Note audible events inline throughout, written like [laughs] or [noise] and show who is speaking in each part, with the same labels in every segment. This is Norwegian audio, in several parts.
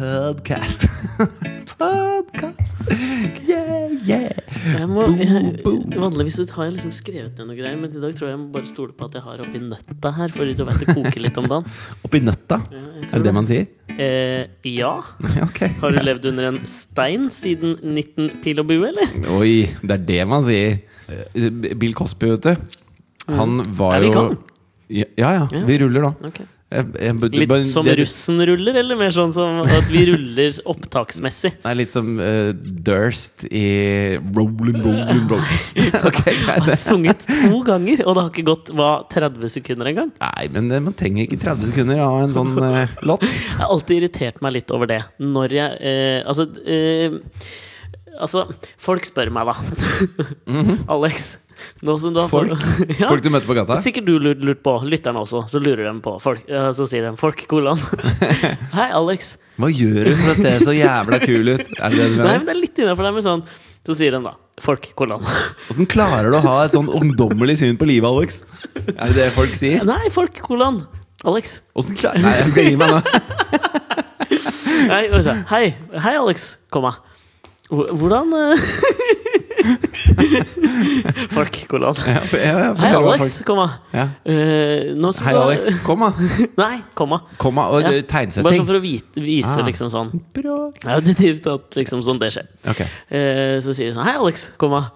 Speaker 1: Podcast. [laughs] Podcast. Yeah, yeah.
Speaker 2: Jeg må,
Speaker 1: Boom,
Speaker 2: jeg,
Speaker 1: boom.
Speaker 2: vanligvis så har jeg liksom skrevet ned noe greier, men i dag tror jeg jeg må bare stole på at jeg har oppi nøtta her, fordi du vet det koker litt om
Speaker 1: [laughs]
Speaker 2: dagen.
Speaker 1: Oppi nøtta.
Speaker 2: Ja, jeg tror
Speaker 1: Er det det man sier? [laughs]
Speaker 2: Eh, ja.
Speaker 1: Ja, Ok.
Speaker 2: Har du levd under en stein siden 19 pil og bue, eller?
Speaker 1: Oi, det er det man sier. Eh, Bill Cosby, vet du. Han var
Speaker 2: Ja, Mm. vi
Speaker 1: jo
Speaker 2: kan.
Speaker 1: Ja, ja.
Speaker 2: Ja.
Speaker 1: Vi ruller nå.
Speaker 2: Ok.
Speaker 1: Jeg- jeg-
Speaker 2: Litt
Speaker 1: bare-
Speaker 2: som
Speaker 1: det-
Speaker 2: russen ruller, eller mer sånn som at vi ruller opptaksmessig?
Speaker 1: Nei, litt som eh, Durst i Rolling, rolling,
Speaker 2: [laughs]
Speaker 1: rolling. [laughs] ok, greit.
Speaker 2: Jeg har sunget to ganger, og det har ikke gått hva, 30 sekunder engang.
Speaker 1: Nei, men eh, man trenger ikke 30 sekunder av en sånn eh, låt.
Speaker 2: [laughs] Jeg har alltid irritert meg litt over det. Når jeg eh, Altså eh, Altså, folk spør meg, da. Alex, nå som du har
Speaker 1: Folk?
Speaker 2: [laughs] ja,
Speaker 1: Mhm. Folk du møter på gata.
Speaker 2: Sikkert du lurt, lurt på. Lytterne også. Så lurer de på. Folk, eh, så sier de 'folk',
Speaker 1: [laughs]
Speaker 2: kolon. Hei, Alex.
Speaker 1: Hva gjør du for å se så jævla kul ut? Er det det du
Speaker 2: Nei, men
Speaker 1: mener?
Speaker 2: det er litt innafor dem. men Sånn. Så sier de da 'folk', kolon.
Speaker 1: Åssen klarer du å ha et sånn ungdommelig syn på livet, Alex? Er det det folk sier?
Speaker 2: [laughs] Nei, 'folk', kolon. Alex.
Speaker 1: Åssen klarer Nei, jeg skal gi meg nå.
Speaker 2: Nei, og så, hei, hei, Alex. Komma. Hvor- Hvordan eh, [laughs] Folk, kolon.
Speaker 1: Ja, for- ja, ja, for
Speaker 2: Hei,
Speaker 1: det var
Speaker 2: Alex,
Speaker 1: folk-
Speaker 2: komma.
Speaker 1: Ja.
Speaker 2: Eh, nå skal
Speaker 1: Hei,
Speaker 2: du ha-
Speaker 1: Alex. Kom, da.
Speaker 2: [laughs] Nei, komma.
Speaker 1: Kom, da. Og
Speaker 2: Ja.
Speaker 1: eh,
Speaker 2: Bare sånn
Speaker 1: tegnsetting.
Speaker 2: for å vite, vise
Speaker 1: Ah.
Speaker 2: liksom sånn.
Speaker 1: Bra.
Speaker 2: Det er jo definitivt at liksom sånn det skjer.
Speaker 1: Ok.
Speaker 2: Eh, så sier de sånn Hei, Alex, komma.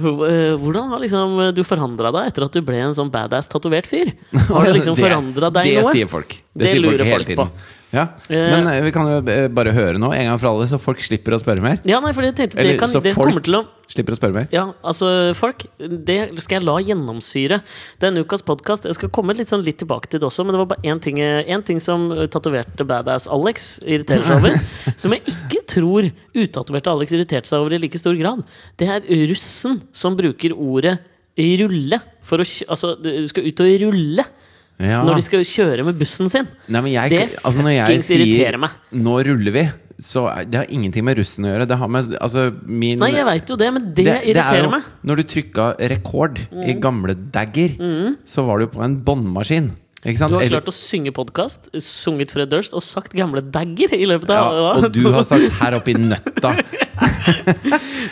Speaker 2: Hv- eh, Hvordan har liksom eh, du forandra deg etter at du ble en sånn badass tatovert fyr?
Speaker 1: [laughs]
Speaker 2: Har du liksom
Speaker 1: Det-
Speaker 2: forandra deg
Speaker 1: det
Speaker 2: noe?
Speaker 1: sier folk. Det,
Speaker 2: Det
Speaker 1: sier folk
Speaker 2: lurer
Speaker 1: hele
Speaker 2: folk
Speaker 1: tiden.
Speaker 2: på.
Speaker 1: Ja.
Speaker 2: Eh.
Speaker 1: Men eh, vi kan jo eh, bare høre nå, en gang for alle, så folk slipper å spørre mer.
Speaker 2: Ja, nei, for jeg tenkte
Speaker 1: Eller,
Speaker 2: det, kan,
Speaker 1: så
Speaker 2: det
Speaker 1: folk-
Speaker 2: kommer til å
Speaker 1: Slipper å spørre mer.
Speaker 2: Ja, altså, folk, det skal jeg la gjennomsyre. Denne ukas podkast Jeg skal komme litt, sånn litt tilbake til det også, men det var bare én ting, én ting som eh, tatoverte badass Alex irriterer
Speaker 1: [laughs]
Speaker 2: seg over. som jeg ikke tror utatoverte Alex irriterte seg over i like stor grad. Det er russen som bruker ordet 'rulle' for å kj- Altså, du skal ut og rulle
Speaker 1: Ja.
Speaker 2: når de skal kjøre med bussen sin.
Speaker 1: Nei, men jeg,
Speaker 2: Det
Speaker 1: altså, når jeg
Speaker 2: fuckings
Speaker 1: sier,
Speaker 2: irriterer meg.
Speaker 1: Nå ruller vi, så er- det har ingenting med russen å gjøre. Det har med altså, min
Speaker 2: Nei, jeg veit jo det, men det,
Speaker 1: det er
Speaker 2: irriterer
Speaker 1: jo-
Speaker 2: meg. Mm.
Speaker 1: Når du trykka rekord i gamle dagger, så var du på en båndmaskin. Ikke sant?
Speaker 2: Du har
Speaker 1: Eller-
Speaker 2: klart å synge podkast, sunget Fred Durst og sagt gamle dagger i løpet av
Speaker 1: ja,
Speaker 2: hva?
Speaker 1: og
Speaker 2: [laughs]
Speaker 1: du har sagt 'her oppi nøtta'.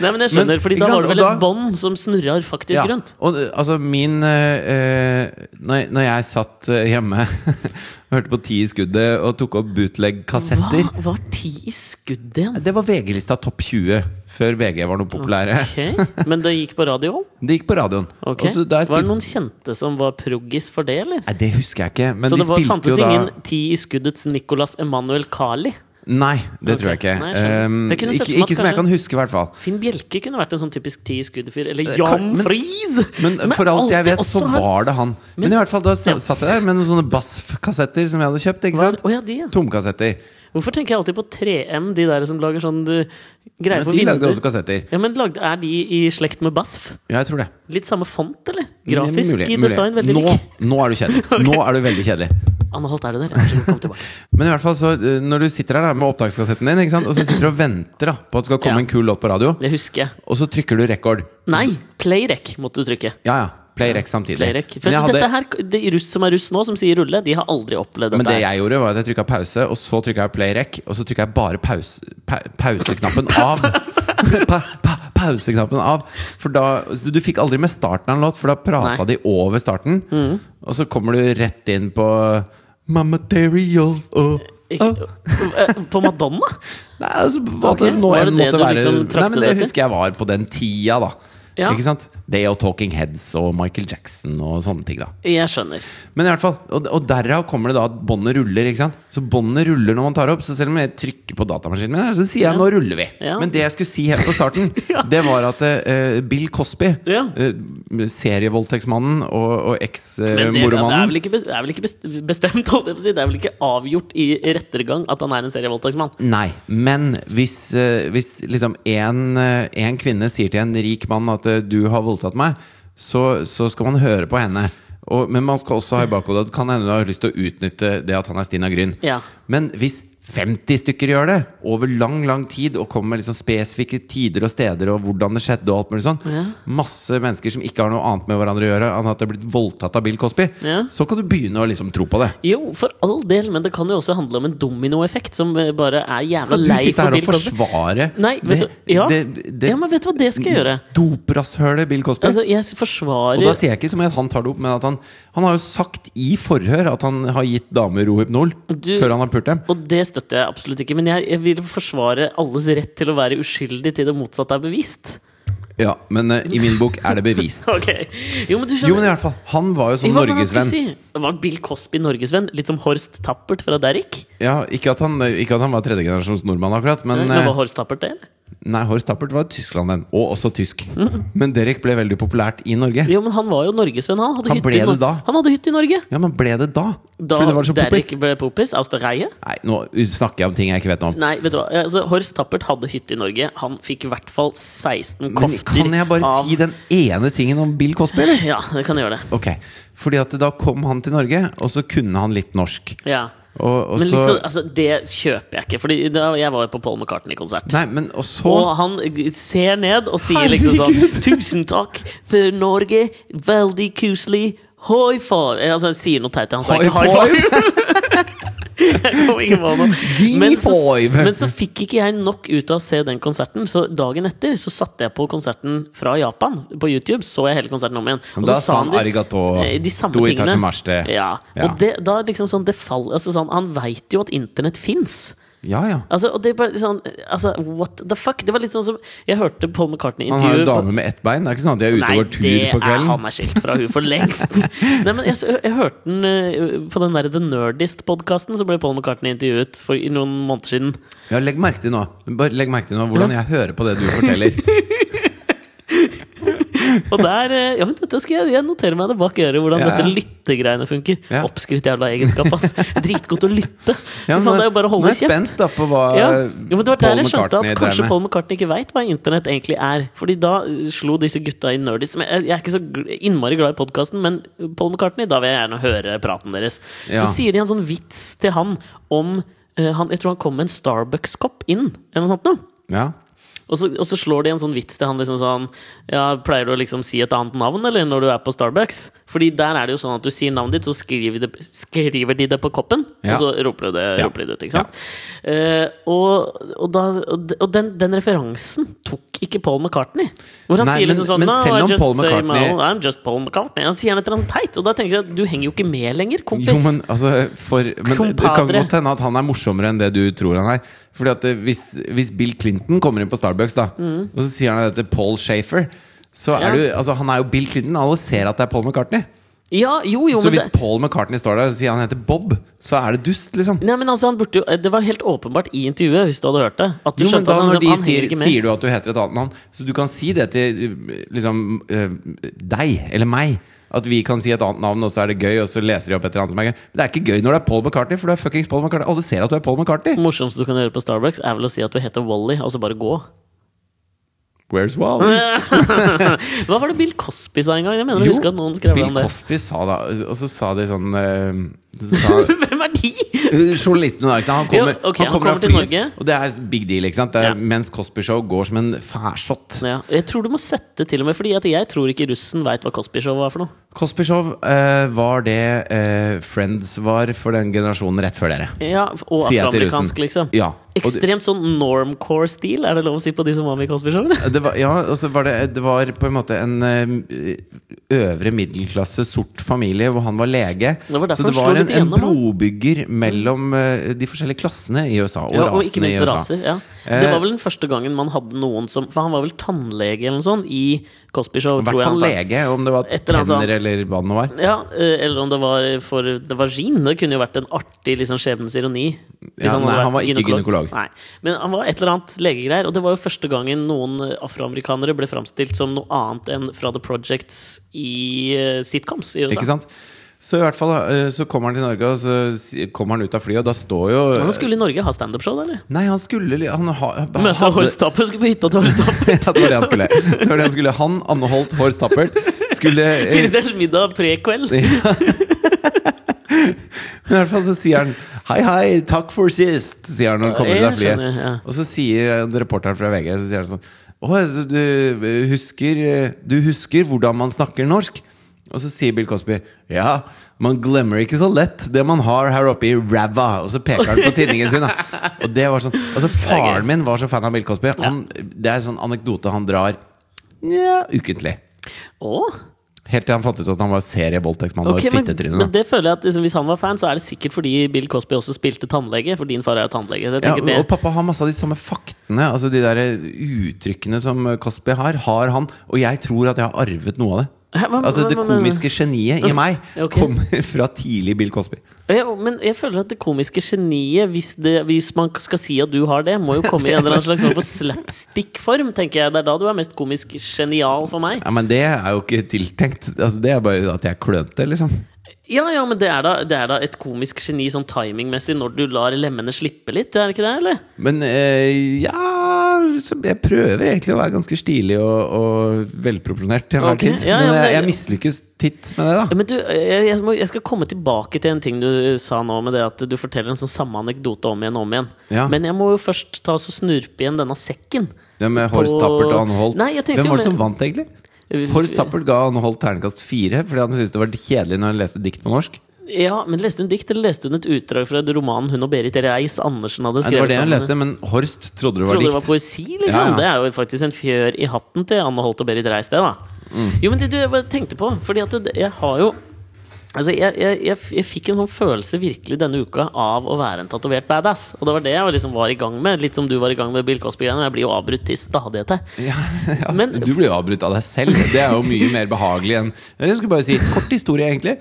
Speaker 2: Nei, men jeg skjønner,
Speaker 1: Men,
Speaker 2: fordi
Speaker 1: ikke
Speaker 2: da
Speaker 1: sant,
Speaker 2: var det vel
Speaker 1: og da-
Speaker 2: et bånd som snurrer faktisk
Speaker 1: Ja,
Speaker 2: rundt.
Speaker 1: Og eh, altså min eh, eh, når, når jeg satt eh, hjemme [laughs] og hørte på Ti i skuddet og tok opp bootleg-kassetter
Speaker 2: Hva var ti i skuddet igjen?
Speaker 1: Det var VG-lista Topp 20 før VG var noe populære.
Speaker 2: Ok, Men det gikk på radio?
Speaker 1: Det gikk på radioen.
Speaker 2: Ok,
Speaker 1: Og så der
Speaker 2: Var det
Speaker 1: spil-
Speaker 2: noen kjente som var proggis for det, eller?
Speaker 1: Nei, det husker jeg ikke, men
Speaker 2: Så
Speaker 1: de
Speaker 2: det var,
Speaker 1: spilte
Speaker 2: fantes
Speaker 1: jo da
Speaker 2: ingen ti i skuddets Nicolas Emanuel Kali?
Speaker 1: Nei, det tror jeg
Speaker 2: Ok,
Speaker 1: ikke.
Speaker 2: nei, jeg skjønner.
Speaker 1: Ehm,
Speaker 2: Jeg kunne
Speaker 1: ikke
Speaker 2: sett for meg at
Speaker 1: ikke som jeg
Speaker 2: kanskje-
Speaker 1: kan huske, i hvert fall.
Speaker 2: Finn Bjelke kunne vært en sånn typisk ti i skuddet-fyr. Eller
Speaker 1: Eh,
Speaker 2: Jan
Speaker 1: kan- men-
Speaker 2: Friis!
Speaker 1: Men
Speaker 2: Som jeg
Speaker 1: for alt jeg
Speaker 2: alltid
Speaker 1: vet, så
Speaker 2: også har-
Speaker 1: var det han. Men, i hvert fall da s-
Speaker 2: Ja.
Speaker 1: satt jeg der med noen sånne Bass-kassetter som jeg hadde kjøpt. ikke sant?
Speaker 2: Å ja, de, ja.
Speaker 1: Tomkassetter.
Speaker 2: Hvorfor tenker jeg alltid på 3M, de der som lager sånn du, greier
Speaker 1: Men
Speaker 2: for
Speaker 1: de lagde
Speaker 2: vinduer?
Speaker 1: også kassetter.
Speaker 2: Ja, men lagde, Er de i slekt med BASF?
Speaker 1: Ja, jeg tror det.
Speaker 2: Litt samme font, eller? Grafisk
Speaker 1: Mulig,
Speaker 2: i
Speaker 1: mulig.
Speaker 2: design, veldig
Speaker 1: nå,
Speaker 2: lik.
Speaker 1: nå er du
Speaker 2: [laughs]
Speaker 1: kjedelig. Nå er du veldig kjedelig.
Speaker 2: Anholdt er det der. Vær så god, kom tilbake.
Speaker 1: Men i hvert fall så eh, når du sitter her da med opptakskassetten din, ikke sant? og så sitter du og venter da på at det skal
Speaker 2: Ja.
Speaker 1: komme en kul låt på radio,
Speaker 2: Det husker jeg.
Speaker 1: og så trykker du record.
Speaker 2: Nei, playrec måtte du trykke.
Speaker 1: Ja ja. Play rec samtidig.
Speaker 2: Playrec. For
Speaker 1: Men, jeg hadde,
Speaker 2: dette her, de russ som er russ nå, som sier rulle, de har aldri opplevd
Speaker 1: men
Speaker 2: dette.
Speaker 1: det
Speaker 2: her.
Speaker 1: jeg gjorde, var at jeg trykka pause, og så trykka jeg play rec, og så trykka jeg bare pause, pa,
Speaker 2: [laughs]
Speaker 1: pauseknappen av. Pa, pa, pauseknappen av. For da så Du fikk aldri med starten av en låt, for da prata de over starten.
Speaker 2: Mm.
Speaker 1: Og så kommer du rett inn på Mamma Material og
Speaker 2: Ikke- Eh, På Madonna?
Speaker 1: Nei, altså, hva
Speaker 2: Ok,
Speaker 1: det nå
Speaker 2: var
Speaker 1: enn
Speaker 2: det det
Speaker 1: måtte
Speaker 2: du
Speaker 1: være
Speaker 2: liksom
Speaker 1: Nei,
Speaker 2: trakk
Speaker 1: men
Speaker 2: det
Speaker 1: det
Speaker 2: til?
Speaker 1: husker jeg var på den tida, da.
Speaker 2: Ja.
Speaker 1: Ikke sant? Det og Talking Heads og Michael Jackson og sånne ting, da.
Speaker 2: Jeg skjønner.
Speaker 1: Men i hvert fall, og, og derav kommer det da at båndet ruller, ikke sant? Så båndet ruller når man tar opp, så selv om jeg trykker på datamaskinen min, her, så sier jeg 'nå ruller vi'.
Speaker 2: Ja.
Speaker 1: Men det jeg skulle si helt på starten,
Speaker 2: [laughs]
Speaker 1: det var at eh, Bill Cosby,
Speaker 2: Ja.
Speaker 1: eh, serievoldtektsmannen og, og
Speaker 2: Men det, det, er vel
Speaker 1: eks-moromannen
Speaker 2: ikke, bes- det er vel ikke bes- bestemt, holdt jeg på å si. Det er vel ikke avgjort i rettergang at han er en serievoldtektsmann.
Speaker 1: Nei, men hvis, eh, hvis liksom en, eh, en kvinne sier til en rik mann at eh, 'du har voldtatt meg', så, så skal man høre på henne. Og, men man skal også ha i bakhodet at kan hende du har lyst til å utnytte det at han er Stina Gryn.
Speaker 2: Ja.
Speaker 1: Men hvis 50 stykker gjør det over lang lang tid, og kommer med liksom spesifikke tider og steder og hvordan det skjedde. og alt mulig sånn Masse mennesker som ikke har noe annet med hverandre å gjøre enn at det er blitt voldtatt av Bill Cosby.
Speaker 2: Ja.
Speaker 1: Så kan du begynne å liksom tro på det.
Speaker 2: Jo, for all del, men det kan jo også handle om en dominoeffekt som eh, bare er jævla
Speaker 1: Skal du
Speaker 2: lei
Speaker 1: sitte
Speaker 2: for
Speaker 1: her
Speaker 2: Bill
Speaker 1: og
Speaker 2: Cosby.
Speaker 1: forsvare
Speaker 2: Nei, vet du, ja.
Speaker 1: det- det-
Speaker 2: ja, men vet du hva det skal jeg gjøre?
Speaker 1: doprasshølet Bill Cosby?
Speaker 2: Altså, jeg forsvarer
Speaker 1: og da sier jeg ikke som at han tar det opp, men at han Han har jo sagt i forhør at han har gitt damer Rohypnol
Speaker 2: Du-
Speaker 1: før han har pult dem.
Speaker 2: Og det støtter jeg absolutt ikke, men jeg, jeg vil forsvare alles rett til å være uskyldig til det motsatte er bevisst.
Speaker 1: Ja, Men eh, i min bok er det bevist.
Speaker 2: [laughs] Ok, Jo, men du skjønner
Speaker 1: Jo, men i hvert fall, han var jo sånn
Speaker 2: Hva var det han skulle
Speaker 1: norgesvenn.
Speaker 2: Si? Var Bill Cosby norgesvenn? Litt som Horst Tappert fra Derrick?
Speaker 1: Ja, ikke at han, eh, ikke at han var tredjegenerasjons nordmann, akkurat. Men,
Speaker 2: Men var Horst Tappert det? eller?
Speaker 1: eh, nei, Horst Tappert var tysklandvenn, og også tysk.
Speaker 2: [laughs]
Speaker 1: Men Derek ble veldig populært i Norge.
Speaker 2: Jo, men han var jo norgesvenn, han. Hadde
Speaker 1: Han
Speaker 2: hytte
Speaker 1: ble
Speaker 2: i Nor-
Speaker 1: det da.
Speaker 2: Han hadde hytte i Norge.
Speaker 1: Ja, men ble det da?
Speaker 2: Da
Speaker 1: Fordi det var så
Speaker 2: Derrick
Speaker 1: poppis?
Speaker 2: ble popis, aus der Reihe.
Speaker 1: Nei, nå snakker jeg om ting jeg ikke vet noe om.
Speaker 2: Nei, vet du hva. Altså, Horst Tappert hadde hytte i Norge. Han fikk i hvert fall 16
Speaker 1: Men
Speaker 2: kofter.
Speaker 1: kan jeg bare
Speaker 2: av-
Speaker 1: si den ene tingen om Bill Cosby, eller?
Speaker 2: Ja, det kan jeg gjøre det.
Speaker 1: Ok, fordi at da kom han til Norge, og så kunne han litt norsk.
Speaker 2: Ja.
Speaker 1: Og, og
Speaker 2: Men
Speaker 1: så
Speaker 2: litt sånn, altså, det kjøper jeg ikke. Fordi da, jeg var jo på Paul McCartney-konsert.
Speaker 1: Nei, men og så
Speaker 2: Og han eh, ser ned og sier liksom sånn Tusen takk for Norge, veldig koselig, high five Eh, Altså, han sier noe teit. Han sa ikke high five. [laughs] Jeg kom ikke på noe.
Speaker 1: [laughs] Gi
Speaker 2: Men så,
Speaker 1: five.
Speaker 2: men så fikk ikke jeg nok ut av å se den konserten, så dagen etter så satte jeg på konserten fra Japan på YouTube. Så jeg hele konserten om igjen. Og
Speaker 1: Da
Speaker 2: så
Speaker 1: sa han
Speaker 2: de-
Speaker 1: arigato,
Speaker 2: eh, de samme
Speaker 1: do
Speaker 2: tingene.
Speaker 1: itashimashite.
Speaker 2: Ja.
Speaker 1: eh. Ja.
Speaker 2: Og det, da liksom sånn, det fall, altså sånn, Han veit jo at internett fins.
Speaker 1: [laughs] Ja, ja.
Speaker 2: Altså, og det er bare sånn altså, What the fuck? Det var litt sånn som Jeg hørte Paul McCartney
Speaker 1: Han har jo
Speaker 2: intervjue
Speaker 1: en dame med ett bein. Det er ikke sånn at de er ute og går tur på
Speaker 2: er, han
Speaker 1: kvelden.
Speaker 2: er skilt fra hun for
Speaker 1: [laughs]
Speaker 2: lengst. Nei, men jeg, s- jeg hørte den eh, på den der The Nerdist-podkasten, så ble Paul McCartney intervjuet for i noen måneder siden.
Speaker 1: Ja, legg merke til nå Bare legg merke til nå hvordan jeg hører på det du
Speaker 2: [laughs]
Speaker 1: forteller.
Speaker 2: Og der eh, Ja, men dette skal jeg, jeg notere meg det bak øret, hvordan
Speaker 1: Ja, ja.
Speaker 2: dette lyttegreiene funker.
Speaker 1: Ja.
Speaker 2: Oppskrytt jævla egenskap, ass. Dritgodt å lytte.
Speaker 1: Ja,
Speaker 2: Fy
Speaker 1: men
Speaker 2: faen, det er jo
Speaker 1: nå
Speaker 2: bare å
Speaker 1: er
Speaker 2: holde
Speaker 1: jeg
Speaker 2: kjeft.
Speaker 1: spent da på hva
Speaker 2: Ja.
Speaker 1: eh,
Speaker 2: Jo, men det var der
Speaker 1: Paul
Speaker 2: jeg skjønte at
Speaker 1: McCartney
Speaker 2: kanskje
Speaker 1: drev med.
Speaker 2: Paul McCartney ikke veit hva internett egentlig er. Fordi da eh, slo disse gutta i Nerdist Men Jeg jeg er ikke så gl- innmari glad i podkasten, men Paul McCartney, da vil jeg gjerne høre praten deres.
Speaker 1: Ja.
Speaker 2: Så sier de en sånn vits til han om eh, han, Jeg tror han kom med en Starbucks-kopp inn, eller noe sånt noe.
Speaker 1: Ja.
Speaker 2: Og så, og så slår de en sånn vits til han liksom sånn Ja, pleier du å liksom si et annet navn, eller, når du er på Starbucks? Fordi der er det jo sånn at du sier navnet ditt, så skriver de, skriver de det på koppen,
Speaker 1: Ja.
Speaker 2: og så roper du det,
Speaker 1: Ja.
Speaker 2: roper de det ut, ikke sant? Eh, og, og, da, og de- og den, den referansen tok ikke Paul McCartney. Hvor han
Speaker 1: Nei,
Speaker 2: sier
Speaker 1: men-
Speaker 2: liksom sånn
Speaker 1: men
Speaker 2: no,
Speaker 1: selv
Speaker 2: I
Speaker 1: om
Speaker 2: just
Speaker 1: Paul
Speaker 2: say my
Speaker 1: McCartney-
Speaker 2: own, I'm just Paul McCartney. Han sier et eller annet teit, og da tenker jeg at du henger jo ikke med lenger, kompis.
Speaker 1: Jo, men altså for, Men det kan
Speaker 2: Compadre.
Speaker 1: godt hende at han er morsommere enn det du tror han er. Fordi at eh, hvis, hvis Bill Clinton kommer inn på Starbucks, da og så sier han dette Paul Shafer så
Speaker 2: Mm. Ja.
Speaker 1: er det jo, altså Han er jo Bill Clinton. Alle ser at det er Paul McCartney.
Speaker 2: ja, jo, jo,
Speaker 1: så
Speaker 2: men
Speaker 1: hvis
Speaker 2: det,
Speaker 1: Paul McCartney står der og sier han heter Bob, så er det dust, liksom.
Speaker 2: Nei, men altså, han burde jo Det var helt åpenbart i intervjuet, hvis du hadde hørt det. At du
Speaker 1: Jo, men
Speaker 2: skjønte
Speaker 1: da
Speaker 2: at han,
Speaker 1: når de
Speaker 2: liksom, han
Speaker 1: sier,
Speaker 2: henger ikke med.
Speaker 1: sier du at du heter et annet navn Så du kan si det til eh, liksom eh, deg, eller meg At vi kan si et annet navn, og så er det gøy Og så leser de opp et eller annet som er gøy Men det er ikke gøy når det er Paul McCartney For du er fucking Paul McCartney Alle ser at du er Paul McCartney
Speaker 2: Det morsomste du kan gjøre på Starbucks, er vel å si at du heter Wally, og så bare gå.
Speaker 1: Where's
Speaker 2: [laughs]
Speaker 1: Wally?
Speaker 2: Hva var det Bill Cosby sa en gang? Jeg mener,
Speaker 1: Jo,
Speaker 2: jeg husker at noen skrev
Speaker 1: Bill
Speaker 2: om det.
Speaker 1: Cosby sa da Og så sa de sånn eh, så sa,
Speaker 2: [laughs] Hvem er de?
Speaker 1: Eh, Journalisten da, ikke sant? Han kommer,
Speaker 2: Jo, ok, han
Speaker 1: av
Speaker 2: kommer til
Speaker 1: flyet,
Speaker 2: Norge.
Speaker 1: Og det er big deal, ikke sant? Det er,
Speaker 2: Ja.
Speaker 1: Mens Cosby-show går som en færsott
Speaker 2: Ja, jeg tror du må sette til og med, fordi at jeg tror ikke russen veit hva Cosby-show var for noe.
Speaker 1: Cosby Show eh, var det eh, Friends var for den generasjonen rett før dere.
Speaker 2: Ja, Og
Speaker 1: Sier jeg til russen.
Speaker 2: afroamerikansk, liksom.
Speaker 1: Ja. Og det,
Speaker 2: Ekstremt sånn normcore-stil, er det lov å si på de som var med i Cosby-show?
Speaker 1: [laughs]
Speaker 2: eller?
Speaker 1: det var, ja, og så var det, det var på en måte en eh, øvre middelklasse sort familie hvor han var lege.
Speaker 2: Det var
Speaker 1: så
Speaker 2: derfor
Speaker 1: det
Speaker 2: han slo
Speaker 1: var en,
Speaker 2: litt
Speaker 1: en
Speaker 2: igjennom, da.
Speaker 1: brobygger mellom eh, de forskjellige klassene i USA. Og
Speaker 2: Ja, og ikke
Speaker 1: rasene i
Speaker 2: minst
Speaker 1: USA.
Speaker 2: raser. Ja.
Speaker 1: Eh,
Speaker 2: Det var vel den første gangen man hadde noen som For han var vel tannlege eller noe sånt i Cosby-show,
Speaker 1: I
Speaker 2: tror
Speaker 1: hvert
Speaker 2: jeg.
Speaker 1: fall
Speaker 2: han sa.
Speaker 1: lege, om det var
Speaker 2: Et eller annet sånn.
Speaker 1: tenner eller hva det nå var.
Speaker 2: Ja, eh, eller om det var for det var gin. Det kunne jo vært en artig liksom, skjebnens ironi. hvis
Speaker 1: Ja,
Speaker 2: hadde
Speaker 1: nei,
Speaker 2: vært
Speaker 1: han var ikke gynekolog.
Speaker 2: Nei, Men han var et eller annet legegreier. Og det var jo første gangen noen eh, afroamerikanere ble framstilt som noe annet enn fra The Projects i eh, sitcoms i USA.
Speaker 1: Ikke sant? Så i hvert fall eh, så kommer han til Norge, og så si- kommer han ut av flyet, og da står jo
Speaker 2: Men Han skulle i Norge ha standup-show, da, eller?
Speaker 1: Nei, han skulle li- han ha,
Speaker 2: Møte
Speaker 1: hadde-
Speaker 2: Horst Tappert, skulle på hytta til Horst
Speaker 1: [laughs]
Speaker 2: Tappert.
Speaker 1: Ja, det var det han skulle. Det var det han skulle Han, Anne Holt, Horst Tappert, skulle eh,
Speaker 2: Firestjerners middag pre-kveld.
Speaker 1: [laughs] I hvert fall så sier han Hei, hei, takk for sist, sier han når han kommer ut
Speaker 2: Ja,
Speaker 1: av
Speaker 2: jeg
Speaker 1: flyet.
Speaker 2: skjønner, ja.
Speaker 1: Og så sier eh, reporteren fra VG så sier han sånn Å, så du eh, husker, eh, du husker hvordan man snakker norsk? Og så sier Bill Cosby ja, man glemmer ikke så lett det man har her oppe i ræva. Og så peker han
Speaker 2: [laughs]
Speaker 1: på tinningen sin. Da. Og det var sånn Altså Faren min var så fan av Bill Cosby. Han, det er en sånn anekdote han drar nja, ukentlig.
Speaker 2: Å?
Speaker 1: Helt til han fant ut at han var serievoldtektsmann
Speaker 2: Ok,
Speaker 1: og
Speaker 2: men,
Speaker 1: fittetryne. da.
Speaker 2: men det føler jeg at liksom, Hvis han var fan, så er det sikkert fordi Bill Cosby også spilte tannlege. For din far er jo tannlege. Så jeg
Speaker 1: Ja,
Speaker 2: tenker det,
Speaker 1: og pappa har masse av de samme faktene. Altså De der uttrykkene som eh, Cosby har, har han. Og jeg tror at jeg har arvet noe av det.
Speaker 2: Hæ, hva-
Speaker 1: altså
Speaker 2: hva-
Speaker 1: Det
Speaker 2: hva-
Speaker 1: komiske geniet i meg
Speaker 2: [laughs] Ok.
Speaker 1: kommer [laughs] fra tidlig Bill Cosby.
Speaker 2: Ja, men jeg føler at det komiske geniet, hvis, det, hvis man skal si at du har det, må jo komme i en eller annen slags form for slapstick-form, tenker jeg. Det er da du er mest komisk genial for meg.
Speaker 1: Ja, Men det er jo ikke tiltenkt. Altså Det er bare at jeg er klønete, liksom.
Speaker 2: Ja, ja, men det er da, det er da et komisk geni sånn timingmessig når du lar lemmene slippe litt, er det ikke det, eller?
Speaker 1: Men eh, ja så Jeg prøver egentlig å være ganske stilig og, og velproporsjonert til enhver
Speaker 2: Ok,
Speaker 1: tid.
Speaker 2: ja, ja,
Speaker 1: men
Speaker 2: men
Speaker 1: jeg,
Speaker 2: det-
Speaker 1: jeg mislykkes titt med det, da.
Speaker 2: Ja, men du, jeg, jeg, må, jeg skal komme tilbake til en ting du sa nå, med det at du forteller en sånn samme anekdote om igjen og om igjen.
Speaker 1: Ja.
Speaker 2: Men jeg må jo først ta og snurpe igjen denne sekken.
Speaker 1: Det med Horst
Speaker 2: På-
Speaker 1: Tappert og Anne Holt.
Speaker 2: Nei, jeg tenkte
Speaker 1: Hvem
Speaker 2: jo
Speaker 1: var det
Speaker 2: det-
Speaker 1: som vant, egentlig? Horst Tappert ga Anne Holt terningkast fire fordi han syntes det var kjedelig når han leste dikt på norsk.
Speaker 2: Ja, men Leste hun dikt, eller leste hun et utdrag fra romanen hun og Berit Reiss-Andersen hadde
Speaker 1: Nei, det
Speaker 2: skrevet?
Speaker 1: var det hun
Speaker 2: sammen?
Speaker 1: leste, men Horst trodde det var
Speaker 2: Trodde det var
Speaker 1: dikt.
Speaker 2: poesi, liksom?
Speaker 1: Ja, ja.
Speaker 2: Det er jo faktisk en fjør i hatten til Anne Holt og Berit Reiss, det, da.
Speaker 1: Mm.
Speaker 2: Jo, men du, du, jeg bare tenkte på Fordi at det- jeg har jo Altså, jeg, jeg, jeg, f- jeg fikk en sånn følelse virkelig denne uka av å være en tatovert badass. Og det var det jeg liksom var i gang med. Litt som du var i gang med Bill Cosby-greiene. Jeg blir jo avbrutt til stadighet her.
Speaker 1: [laughs] Ja, ja.
Speaker 2: Men-
Speaker 1: du ble jo avbrutt av deg selv. Det er jo mye mer behagelig enn Jeg skulle bare si kort historie, egentlig.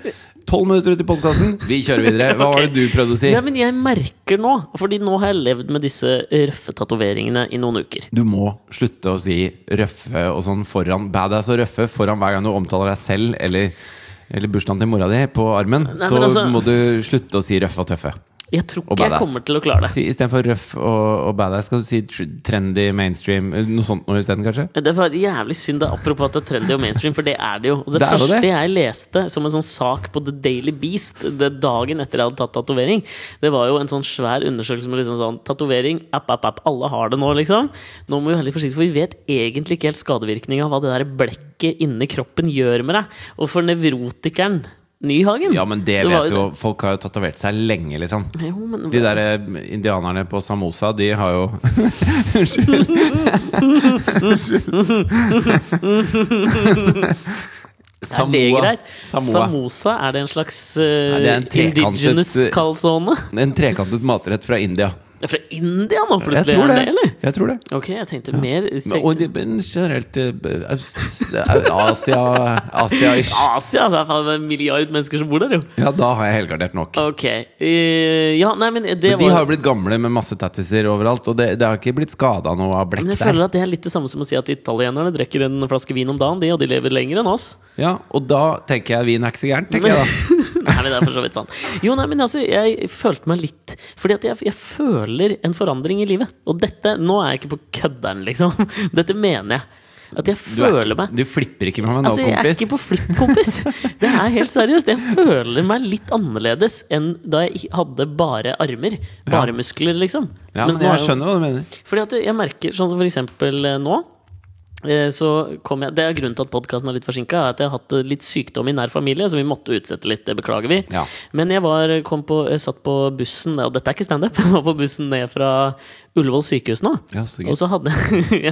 Speaker 1: Tolv minutter ut i podkasten, vi kjører videre. Hva var det du prøvde å si?
Speaker 2: Ja, men jeg merker nå, fordi nå har jeg levd med disse røffe tatoveringene i noen uker.
Speaker 1: Du må slutte å si røffe og sånn foran badass og røffe foran hver gang du omtaler deg selv eller, eller bursdagen til mora di på armen.
Speaker 2: Nei,
Speaker 1: så
Speaker 2: men altså-
Speaker 1: må du slutte å si røffe og tøffe.
Speaker 2: Jeg tror
Speaker 1: Og
Speaker 2: ikke jeg
Speaker 1: badass.
Speaker 2: kommer til å klare det.
Speaker 1: Si- Istedenfor røff og, og badass, skal du si tr trendy, mainstream, eh, noe sånt noe isteden, kanskje?
Speaker 2: Det var jævlig synd, da, apropos at det er trendy og mainstream, for det er det jo. Og det,
Speaker 1: Det er jo
Speaker 2: første
Speaker 1: det.
Speaker 2: jeg leste som en sånn sak på The Daily Beast det dagen etter jeg hadde tatt tatovering, det var jo en sånn svær undersøkelse med liksom sånn Tatovering, app, app, app, alle har det nå, liksom. Nå må vi være litt forsiktige, for vi vet egentlig ikke helt skadevirkninga av hva det der blekket inni kroppen gjør med deg. Og for nevrotikeren Nyhagen
Speaker 1: Ja, men det
Speaker 2: så var
Speaker 1: vet jo Folk har jo tatovert seg lenge, liksom.
Speaker 2: Jo, men
Speaker 1: De der eh, indianerne på Samosa, de har jo [laughs]
Speaker 2: er det greit?
Speaker 1: Samoa.
Speaker 2: Samosa, er det en slags eh,
Speaker 1: Nei, det er en trekantet,
Speaker 2: indigenous
Speaker 1: eh,
Speaker 2: calzone?
Speaker 1: En trekantet matrett fra India.
Speaker 2: Det er Fra India nå,
Speaker 1: Jeg
Speaker 2: plutselig?
Speaker 1: tror
Speaker 2: Er
Speaker 1: det.
Speaker 2: det, eller?
Speaker 1: Jeg tror det.
Speaker 2: Ok, jeg tenkte mer
Speaker 1: Men-
Speaker 2: tenk,
Speaker 1: Og de, men generelt eh, b- aus- Asia
Speaker 2: [laughs]
Speaker 1: Asia-ish.
Speaker 2: Asia, Ah, det er faen meg en milliard mennesker som bor der, jo.
Speaker 1: Ja, da har jeg helgardert nok.
Speaker 2: Ok. eh, ja, nei, men det
Speaker 1: Men de
Speaker 2: var
Speaker 1: har jo blitt gamle med masse tattiser overalt, og det, det har ikke blitt skada noe av blekk
Speaker 2: men jeg
Speaker 1: der.
Speaker 2: føler at det er litt det samme som å si at italienerne drikker en flaske vin om dagen, de, og de lever lenger enn
Speaker 1: [laughs]
Speaker 2: oss.
Speaker 1: Ja, og da tenker jeg vin er ikke så gærent, tenker
Speaker 2: [laughs]
Speaker 1: jeg da.
Speaker 2: nei, men det er for så vidt sant. Jo, nei, men altså, jeg følte meg litt Fordi at jeg, jeg føler en forandring i livet. Og dette Nå er jeg ikke på kødderen, liksom. [laughs] Dette mener jeg. At jeg
Speaker 1: Du, er,
Speaker 2: føler meg
Speaker 1: ikke- du flipper ikke med meg nå,
Speaker 2: Altså, jeg er
Speaker 1: kompis.
Speaker 2: ikke på flipp, kompis. Det er helt seriøst. Jeg føler meg litt annerledes enn da jeg ikke hadde bare armer. Bare muskler, liksom.
Speaker 1: Ja,
Speaker 2: Mens
Speaker 1: men
Speaker 2: nå er
Speaker 1: jeg
Speaker 2: jo-
Speaker 1: skjønner hva du mener.
Speaker 2: Fordi at jeg merker, sånn som for eksempel eh, nå eh, så kom jeg, Det er grunnen til at podkasten er litt forsinka. At jeg har hatt eh, litt sykdom i nær familie, så vi måtte utsette litt. Det beklager vi.
Speaker 1: Ja.
Speaker 2: Men jeg var, kom på, jeg satt på bussen, og dette er ikke standup, [laughs] jeg var på bussen ned fra Ullevål sykehus nå.
Speaker 1: Ja, så
Speaker 2: Og
Speaker 1: gøy.
Speaker 2: så hadde [laughs] ja,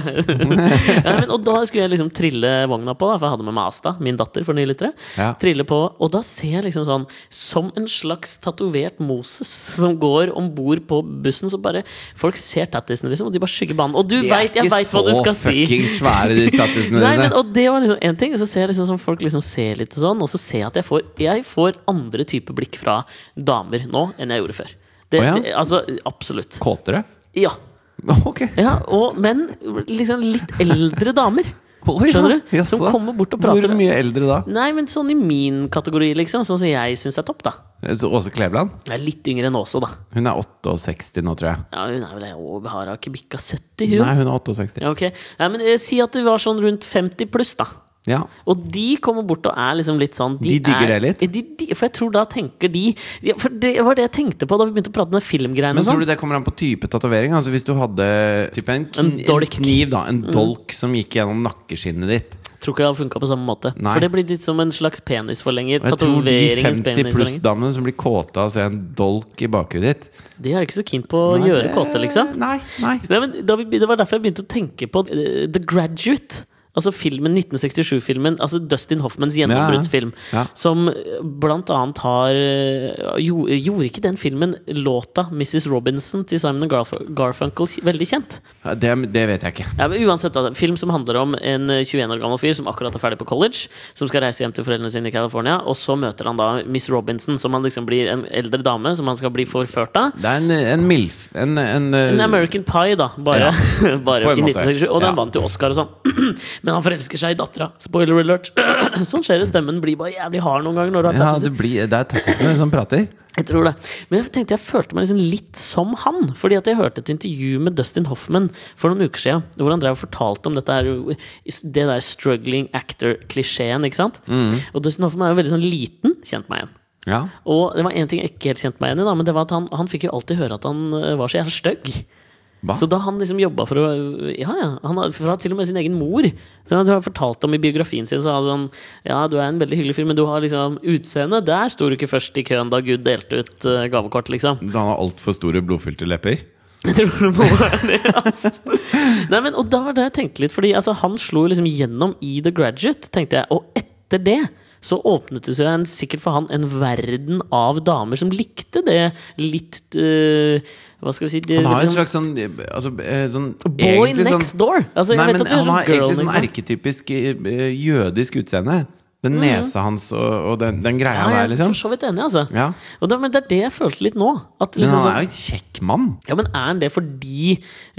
Speaker 2: men, Og da skulle jeg liksom trille vogna på, da, for jeg hadde med meg Asta, min datter, for nye lyttere.
Speaker 1: Ja.
Speaker 2: Trille på, og da ser jeg liksom sånn Som en slags tatovert Moses som går om bord på bussen, så bare Folk ser tattisen, liksom, og de bare skygger banen. Og du
Speaker 1: De er
Speaker 2: veit, jeg
Speaker 1: ikke
Speaker 2: veit hva du skal si!
Speaker 1: Så fucking svære de tattisene
Speaker 2: [laughs] Nei, men,
Speaker 1: dine.
Speaker 2: og det var liksom en ting. Så ser jeg liksom sånn folk liksom ser litt og sånn, og så ser jeg at jeg får, jeg får andre typer blikk fra damer nå enn jeg gjorde før. Det,
Speaker 1: Å ja?
Speaker 2: det, altså, absolutt.
Speaker 1: Kåtere? [laughs]
Speaker 2: Ja.
Speaker 1: Ok.
Speaker 2: Ja, og, men liksom litt eldre damer.
Speaker 1: Å, ja.
Speaker 2: Skjønner du?
Speaker 1: Jaså.
Speaker 2: Som kommer bort og prater.
Speaker 1: Hvor mye eldre da?
Speaker 2: Nei, men sånn i min kategori, liksom. Sånn som jeg syns er topp, da.
Speaker 1: Så Åse Kleveland?
Speaker 2: Jeg er litt yngre enn Åse, da.
Speaker 1: Hun er 68 nå, tror jeg.
Speaker 2: Ja, hun er vel og har ikke bikka 70, hun.
Speaker 1: Nei, hun er 68.
Speaker 2: Ja, ok. Nei, men eh, si at det var sånn rundt 50 pluss, da.
Speaker 1: Ja.
Speaker 2: Og de kommer bort og er liksom litt sånn
Speaker 1: De digger
Speaker 2: er,
Speaker 1: det litt?
Speaker 2: De, de, for jeg tror da tenker de ja, For det var det jeg tenkte på da vi begynte å prate om den filmgreiene.
Speaker 1: Men
Speaker 2: og
Speaker 1: tror
Speaker 2: sånn.
Speaker 1: du det kommer an på type tatovering? Altså Hvis du hadde typ en, kn
Speaker 2: En dolk. Mm.
Speaker 1: en kniv, da. En dolk som gikk gjennom nakkeskinnet ditt.
Speaker 2: Tror ikke det hadde funka på samme måte.
Speaker 1: Nei.
Speaker 2: For det blir litt som en slags penisforlenger.
Speaker 1: Og jeg tror de
Speaker 2: Tatoveringens
Speaker 1: 50
Speaker 2: penisforlenger.
Speaker 1: pluss-damene som blir kåte av å se en dolk i bakhudet ditt
Speaker 2: De er ikke så keen på å
Speaker 1: Nei,
Speaker 2: gjøre
Speaker 1: det-
Speaker 2: kåte, liksom.
Speaker 1: Nei, nei.
Speaker 2: Nei, men da vi, det var derfor jeg begynte å tenke på eh, The Graduate. Altså filmen 1967-filmen. Altså Dustin Hoffmans gjennombruddsfilm.
Speaker 1: Ja, ja.
Speaker 2: Som eh, blant annet har eh, jo, Gjorde ikke den filmen låta 'Mrs. Robinson' til Simon Garf Garfunkel kj- veldig kjent?
Speaker 1: Ja, Det, det vet jeg ikke.
Speaker 2: Ja, men uansett, da, en film som handler om en eh, 21 år gammel fyr som akkurat er ferdig på college, som skal reise hjem til foreldrene sine i California, og så møter han da Miss Robinson, som han liksom blir en eldre dame som han skal bli forført av.
Speaker 1: Det er en, en MILF. En, en, eh,
Speaker 2: En American Pie, da, bare, [laughs] bare
Speaker 1: på en
Speaker 2: i
Speaker 1: måte.
Speaker 2: 1967. Og den
Speaker 1: Ja.
Speaker 2: vant jo Oscar og sånn. [clears throat] Men han forelsker seg i dattera. Spoiler alert. [clears throat] sånn skjer det. Stemmen blir bare jævlig hard noen ganger. Når du har
Speaker 1: ja,
Speaker 2: tatt
Speaker 1: det, blir, det er tattisene som prater.
Speaker 2: jeg tror det. Men jeg tenkte jeg følte meg liksom litt som han. Fordi at jeg hørte et intervju med Dustin Hoffman for noen uker siden. Hvor han drev og fortalte om dette her, det der struggling actor-klisjeen. ikke sant?
Speaker 1: Mm.
Speaker 2: Og Dustin Hoffman er jo veldig sånn liten, kjent meg igjen.
Speaker 1: Ja.
Speaker 2: Og det var en ting jeg ikke helt kjente meg igjen i, da, men det var at han, han fikk jo alltid høre at han eh, var så jævla stygg.
Speaker 1: Hva?
Speaker 2: Så da han liksom jobba for å Ja, ja. Han har for han har til og med sin egen mor. Så han har fortalt om i biografien sin så hadde han Ja, du er en veldig hyggelig fyr, men du har liksom utseende Der sto du ikke først i køen da Gud delte ut eh, gavekort, liksom. [laughs]
Speaker 1: Han har altfor store blodfylte lepper.
Speaker 2: Jeg tror det må være det, altså. Nei, men, og da har det jeg tenkt litt, fordi altså, han slo jo liksom gjennom i The Graduate, tenkte jeg. Og etter det så åpnet det seg en, sikkert for han en verden av damer som likte det litt eh, Hva skal vi si det-
Speaker 1: Han har
Speaker 2: det
Speaker 1: en
Speaker 2: liksom-
Speaker 1: slags sånn, altså, eh, sånn
Speaker 2: Boy
Speaker 1: egentlig
Speaker 2: next door! Altså, jeg
Speaker 1: Nei,
Speaker 2: vet
Speaker 1: men
Speaker 2: at det er
Speaker 1: han
Speaker 2: sånn
Speaker 1: har
Speaker 2: girl
Speaker 1: egentlig sånn
Speaker 2: next
Speaker 1: erketypisk eh, jødisk utseende. Den nesa hans og, og den, den greia
Speaker 2: Mm. Ja,
Speaker 1: der,
Speaker 2: jeg er
Speaker 1: liksom.
Speaker 2: for så vidt enig, altså.
Speaker 1: Ja.
Speaker 2: Og da, men det er det jeg følte litt nå. At
Speaker 1: Men han
Speaker 2: liksom,
Speaker 1: er
Speaker 2: sånn,
Speaker 1: jo en kjekk mann.
Speaker 2: ja, men er han det fordi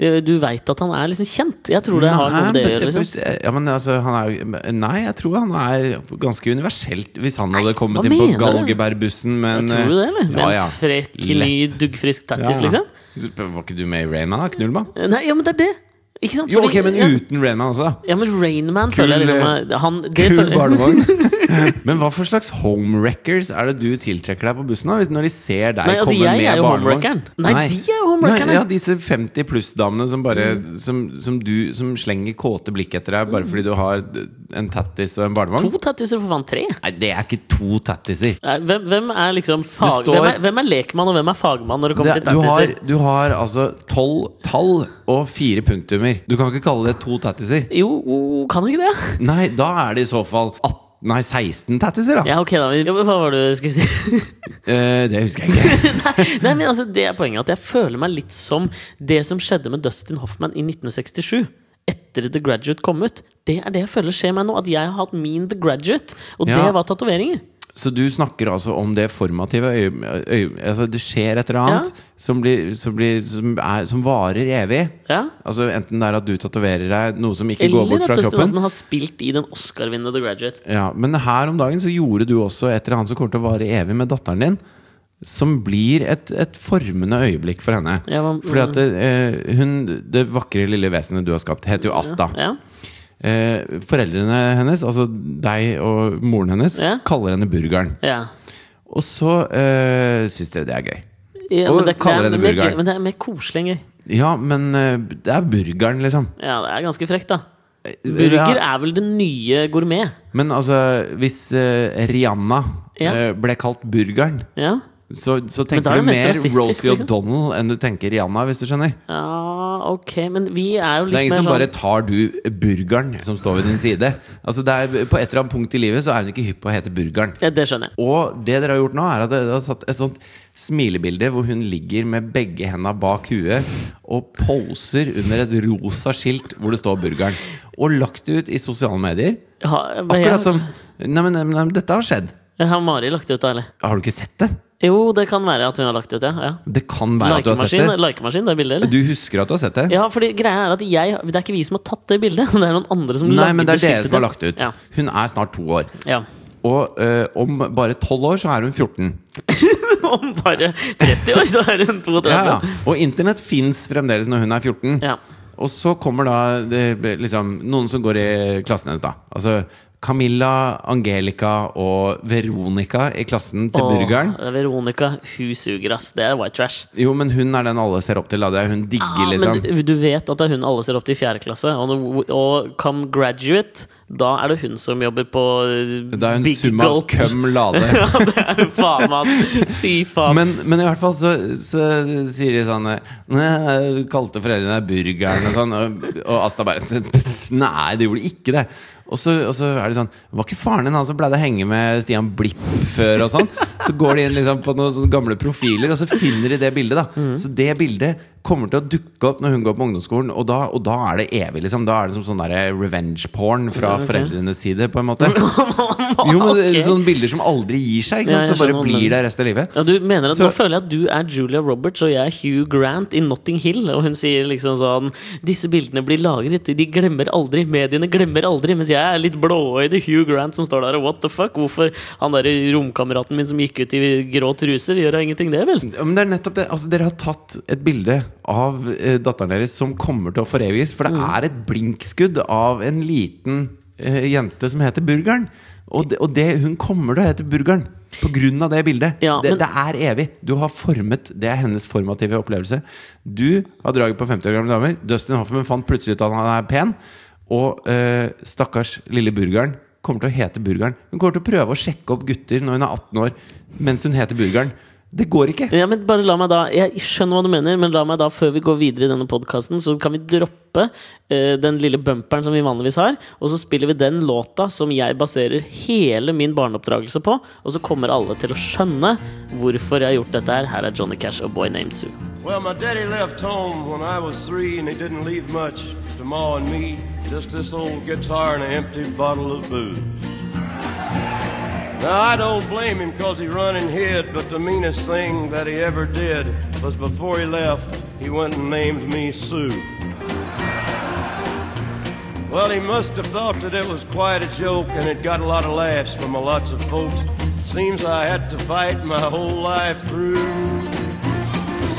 Speaker 2: ø, du veit at han er liksom kjent? Jeg tror det har noe
Speaker 1: Nei,
Speaker 2: med det å gjøre.
Speaker 1: men-
Speaker 2: Liksom.
Speaker 1: ja, men altså, han er, jo- nei, jeg tror han er ganske universelt Hvis han hadde kommet
Speaker 2: hva
Speaker 1: inn på
Speaker 2: mener du?
Speaker 1: Galgeberg-bussen med en
Speaker 2: Tror du det, eller? Med
Speaker 1: Ja,
Speaker 2: en
Speaker 1: ja.
Speaker 2: frekk, ny,
Speaker 1: Lett.
Speaker 2: duggfrisk
Speaker 1: Ja,
Speaker 2: tattis,
Speaker 1: ja.
Speaker 2: liksom?
Speaker 1: Var ikke du med i Raina, da? Knullmann?
Speaker 2: Eh, Nei, ja, men det er det! Ikke sant?
Speaker 1: Jo,
Speaker 2: Fordi-
Speaker 1: ok, men
Speaker 2: ja,
Speaker 1: uten Raina også.
Speaker 2: ja, men Rainman
Speaker 1: Kul,
Speaker 2: føler jeg liksom
Speaker 1: eh,
Speaker 2: er- han, det,
Speaker 1: Kul
Speaker 2: føler- [laughs]
Speaker 1: barnevogn. Men hva for slags homewreckers er det du tiltrekker deg på bussen? da? Hvis- Når de ser deg
Speaker 2: Nei, altså,
Speaker 1: komme
Speaker 2: jeg
Speaker 1: med
Speaker 2: er jo
Speaker 1: barnevogn?
Speaker 2: homewreckeren. Nei, de er jo homewreckerne. Mm.
Speaker 1: Nei, Ja, disse 50 pluss-damene som bare som, som du som slenger kåte blikk etter deg bare fordi du har en tattis og en barnevogn?
Speaker 2: To tattiser for faen, tre!
Speaker 1: Nei, det er ikke to tattiser.
Speaker 2: Nei, Hvem, hvem er liksom
Speaker 1: står-
Speaker 2: fag... Hvem, er, hvem er lekmann, og hvem er fagmann når det kommer
Speaker 1: Det,
Speaker 2: til
Speaker 1: du, har,
Speaker 2: tattiser?
Speaker 1: du har altså tolv tall og fire punktummer. Du kan ikke kalle det to tattiser.
Speaker 2: Jo, kan ikke det?
Speaker 1: Nei, da er det i så fall 18, nei, 16 tattiser, da.
Speaker 2: Ja, ok, da. men- Ja, men hva var det du skulle si?
Speaker 1: [laughs] Eh, det husker jeg ikke.
Speaker 2: [laughs] Nei, men altså, det er poenget at jeg føler meg litt som det som skjedde med Dustin Hoffman i 1967. Etter The Graduate kom ut. Det er det jeg føler skjer meg nå. At jeg har hatt min The Graduate, og
Speaker 1: Ja.
Speaker 2: det var tatoveringer.
Speaker 1: Så du snakker altså om det formative øye, øye, altså Det skjer et eller annet som, blir, som, blir, som, er, som varer evig.
Speaker 2: Ja.
Speaker 1: Altså Enten det er at du tatoverer deg noe som ikke går
Speaker 2: Eller
Speaker 1: bort
Speaker 2: at
Speaker 1: fra
Speaker 2: Dustin
Speaker 1: kroppen.
Speaker 2: Hoffman har spilt i den Oscar-vinnende The Graduate.
Speaker 1: Ja, men her om dagen så gjorde du også et eller annet som kommer til å vare evig med datteren din. Som blir et, et formende øyeblikk for henne.
Speaker 2: Ja, mm. hva-
Speaker 1: Fordi at det, eh, hun, det vakre lille vesenet du har skapt, heter jo Asta.
Speaker 2: Ja.
Speaker 1: Eh, foreldrene hennes, altså deg og moren hennes,
Speaker 2: Ja.
Speaker 1: kaller henne Burgeren.
Speaker 2: ja.
Speaker 1: Og så eh, syns dere det er gøy.
Speaker 2: ja
Speaker 1: Og
Speaker 2: men, det, det
Speaker 1: kaller
Speaker 2: er,
Speaker 1: henne
Speaker 2: men, det er,
Speaker 1: burgeren.
Speaker 2: gøy- men det er mer koselig enn gøy.
Speaker 1: Ja, men eh, det er burgeren, liksom.
Speaker 2: Ja, det er ganske frekt, da. Burger
Speaker 1: Ja,
Speaker 2: er vel den nye gourmet.
Speaker 1: men altså, hvis eh, Rihanna
Speaker 2: Ja.
Speaker 1: eh, ble kalt burgeren,
Speaker 2: Ja.
Speaker 1: så, så
Speaker 2: da er
Speaker 1: tenker
Speaker 2: det
Speaker 1: du
Speaker 2: mest
Speaker 1: mer
Speaker 2: rasistisk,
Speaker 1: Rosie
Speaker 2: liksom.
Speaker 1: O'Donnell enn du tenker Rihanna, hvis du skjønner.
Speaker 2: ja, ok. Men vi er jo
Speaker 1: Det er
Speaker 2: litt
Speaker 1: ingen
Speaker 2: mer
Speaker 1: som
Speaker 2: sånn
Speaker 1: bare tar du burgeren som står ved din side. Altså, det er, på et eller annet punkt i livet så er hun ikke hypp på å hete burgeren.
Speaker 2: ja, Det skjønner jeg.
Speaker 1: Og det dere har gjort nå, er at dere har tatt et sånt smilebilde hvor hun ligger med begge henda bak huet og poser under et rosa skilt hvor det står 'Burgeren'. Og lagt det ut i sosiale medier.
Speaker 2: Ha-
Speaker 1: Akkurat som Nei, men, nei, men dette har skjedd.
Speaker 2: Har Mari lagt det ut, da, eller?
Speaker 1: Har du ikke sett det?
Speaker 2: Jo, det kan være at hun har lagt det ut, ja. ja.
Speaker 1: Det kan være at du har
Speaker 2: Likemaskin,
Speaker 1: sett det.
Speaker 2: likemaskin, det bildet, eller?
Speaker 1: Du husker at du har sett det?
Speaker 2: Ja, fordi greia er at jeg, Det er ikke vi som har tatt det bildet, [laughs] det er noen andre som
Speaker 1: Nei,
Speaker 2: lagde
Speaker 1: men det er dere
Speaker 2: skiltet
Speaker 1: som har
Speaker 2: til.
Speaker 1: lagt det ut.
Speaker 2: Ja,
Speaker 1: Hun er snart to år.
Speaker 2: ja. [laughs]
Speaker 1: Og øh, om bare tolv år så er hun 14.
Speaker 2: Om bare 30 år, så er hun 32.
Speaker 1: Ja, ja. Og internett fins fremdeles når hun er 14.
Speaker 2: Ja.
Speaker 1: Og så kommer da det, liksom, noen som går i klassen hennes, da. Altså Camilla, Angelica og Veronica i klassen til
Speaker 2: Åh,
Speaker 1: burgeren.
Speaker 2: Veronica, hun suger, ass. Det er white trash.
Speaker 1: Jo, men hun er den alle ser opp til. Da. Det er hun digger,
Speaker 2: Ja, Ah, men
Speaker 1: liksom.
Speaker 2: du, du vet at det er hun alle ser opp til i fjerde klasse. Og, når- og come graduate, da er det hun som jobber på eh,
Speaker 1: Da er hun
Speaker 2: Big
Speaker 1: summa
Speaker 2: Gulp.
Speaker 1: cum lade.
Speaker 2: [laughs] ja, det er hun faen, mann. Fy faen.
Speaker 1: Men, men i hvert fall så, så sier de sånn eh, «Nei, Kalte foreldrene deg burgeren og sånn. Og, og Asta bare så, «Pff, Nei, det gjorde ikke det. Og så, og så er det sånn Var ikke faren din han som pleide å henge med Stian Blipp før? og sånn Så går de inn liksom på noen sånne gamle profiler, og så finner de det bildet. da
Speaker 2: Mhm.
Speaker 1: Så det bildet kommer til å dukke opp når hun går på ungdomsskolen, og da, og da er det evig. liksom Da er det som sånn der revenge porn fra
Speaker 2: Ok.
Speaker 1: foreldrenes side, på en
Speaker 2: [laughs]
Speaker 1: måte. Jo, men det
Speaker 2: Ok.
Speaker 1: er sånn- Sånne bilder som aldri gir seg, ikke
Speaker 2: Ja,
Speaker 1: sant?
Speaker 2: jeg
Speaker 1: så bare
Speaker 2: skjønner hva du
Speaker 1: blir
Speaker 2: mener.
Speaker 1: det resten av livet.
Speaker 2: ja, du mener at
Speaker 1: Så-
Speaker 2: Nå føler jeg at du er Julia Roberts og jeg er Hugh Grant i Notting Hill. Og hun sier liksom sånn Disse bildene blir lagret, de glemmer aldri. Mediene glemmer aldri. Mens jeg er litt blåøyd Hugh Grant som står der og what the fuck? Hvorfor han derre romkameraten min som gikk ut i grå truser, gjør da ingenting, det, vel?
Speaker 1: Ja, Men det er nettopp det. Altså, dere har tatt et bilde av eh, datteren deres som kommer til å foreviges. For det
Speaker 2: Mm.
Speaker 1: er et blinkskudd av en liten eh, jente som heter Burgeren. Og, det, og det, hun kommer til å hete Burgeren pga. det bildet.
Speaker 2: Ja,
Speaker 1: det,
Speaker 2: men-
Speaker 1: det er evig. Du har formet Det er hennes formative opplevelse. Du har draget på 50 år gamle damer. Dustin Hoffman fant plutselig ut at han er pen. Og eh, stakkars lille Burgeren kommer til å hete Burgeren. Hun kommer til å prøve å sjekke opp gutter når hun er 18 år, mens hun heter Burgeren. Det går ikke.
Speaker 2: Ja, men bare la meg da Jeg skjønner hva du mener, men la meg da, før vi går videre i denne podkasten, så kan vi droppe eh, den lille bumperen som vi vanligvis har, og så spiller vi den låta som jeg baserer hele min barneoppdragelse på, og så kommer alle til å skjønne hvorfor jeg har gjort dette her. Her er Johnny Cash og Boy Named Sue.
Speaker 3: Well, my daddy left home when I was three, and he didn't leave much to Ma and me. Just this old guitar and an empty bottle of booze. Now, I don't blame him 'cause he run and hid, but the meanest thing that he ever did was before he left, he went and named me Sue. Well, he must have thought that it was quite a joke, and it got a lot of laughs from a lots of folks. Seems I had to fight my whole life through.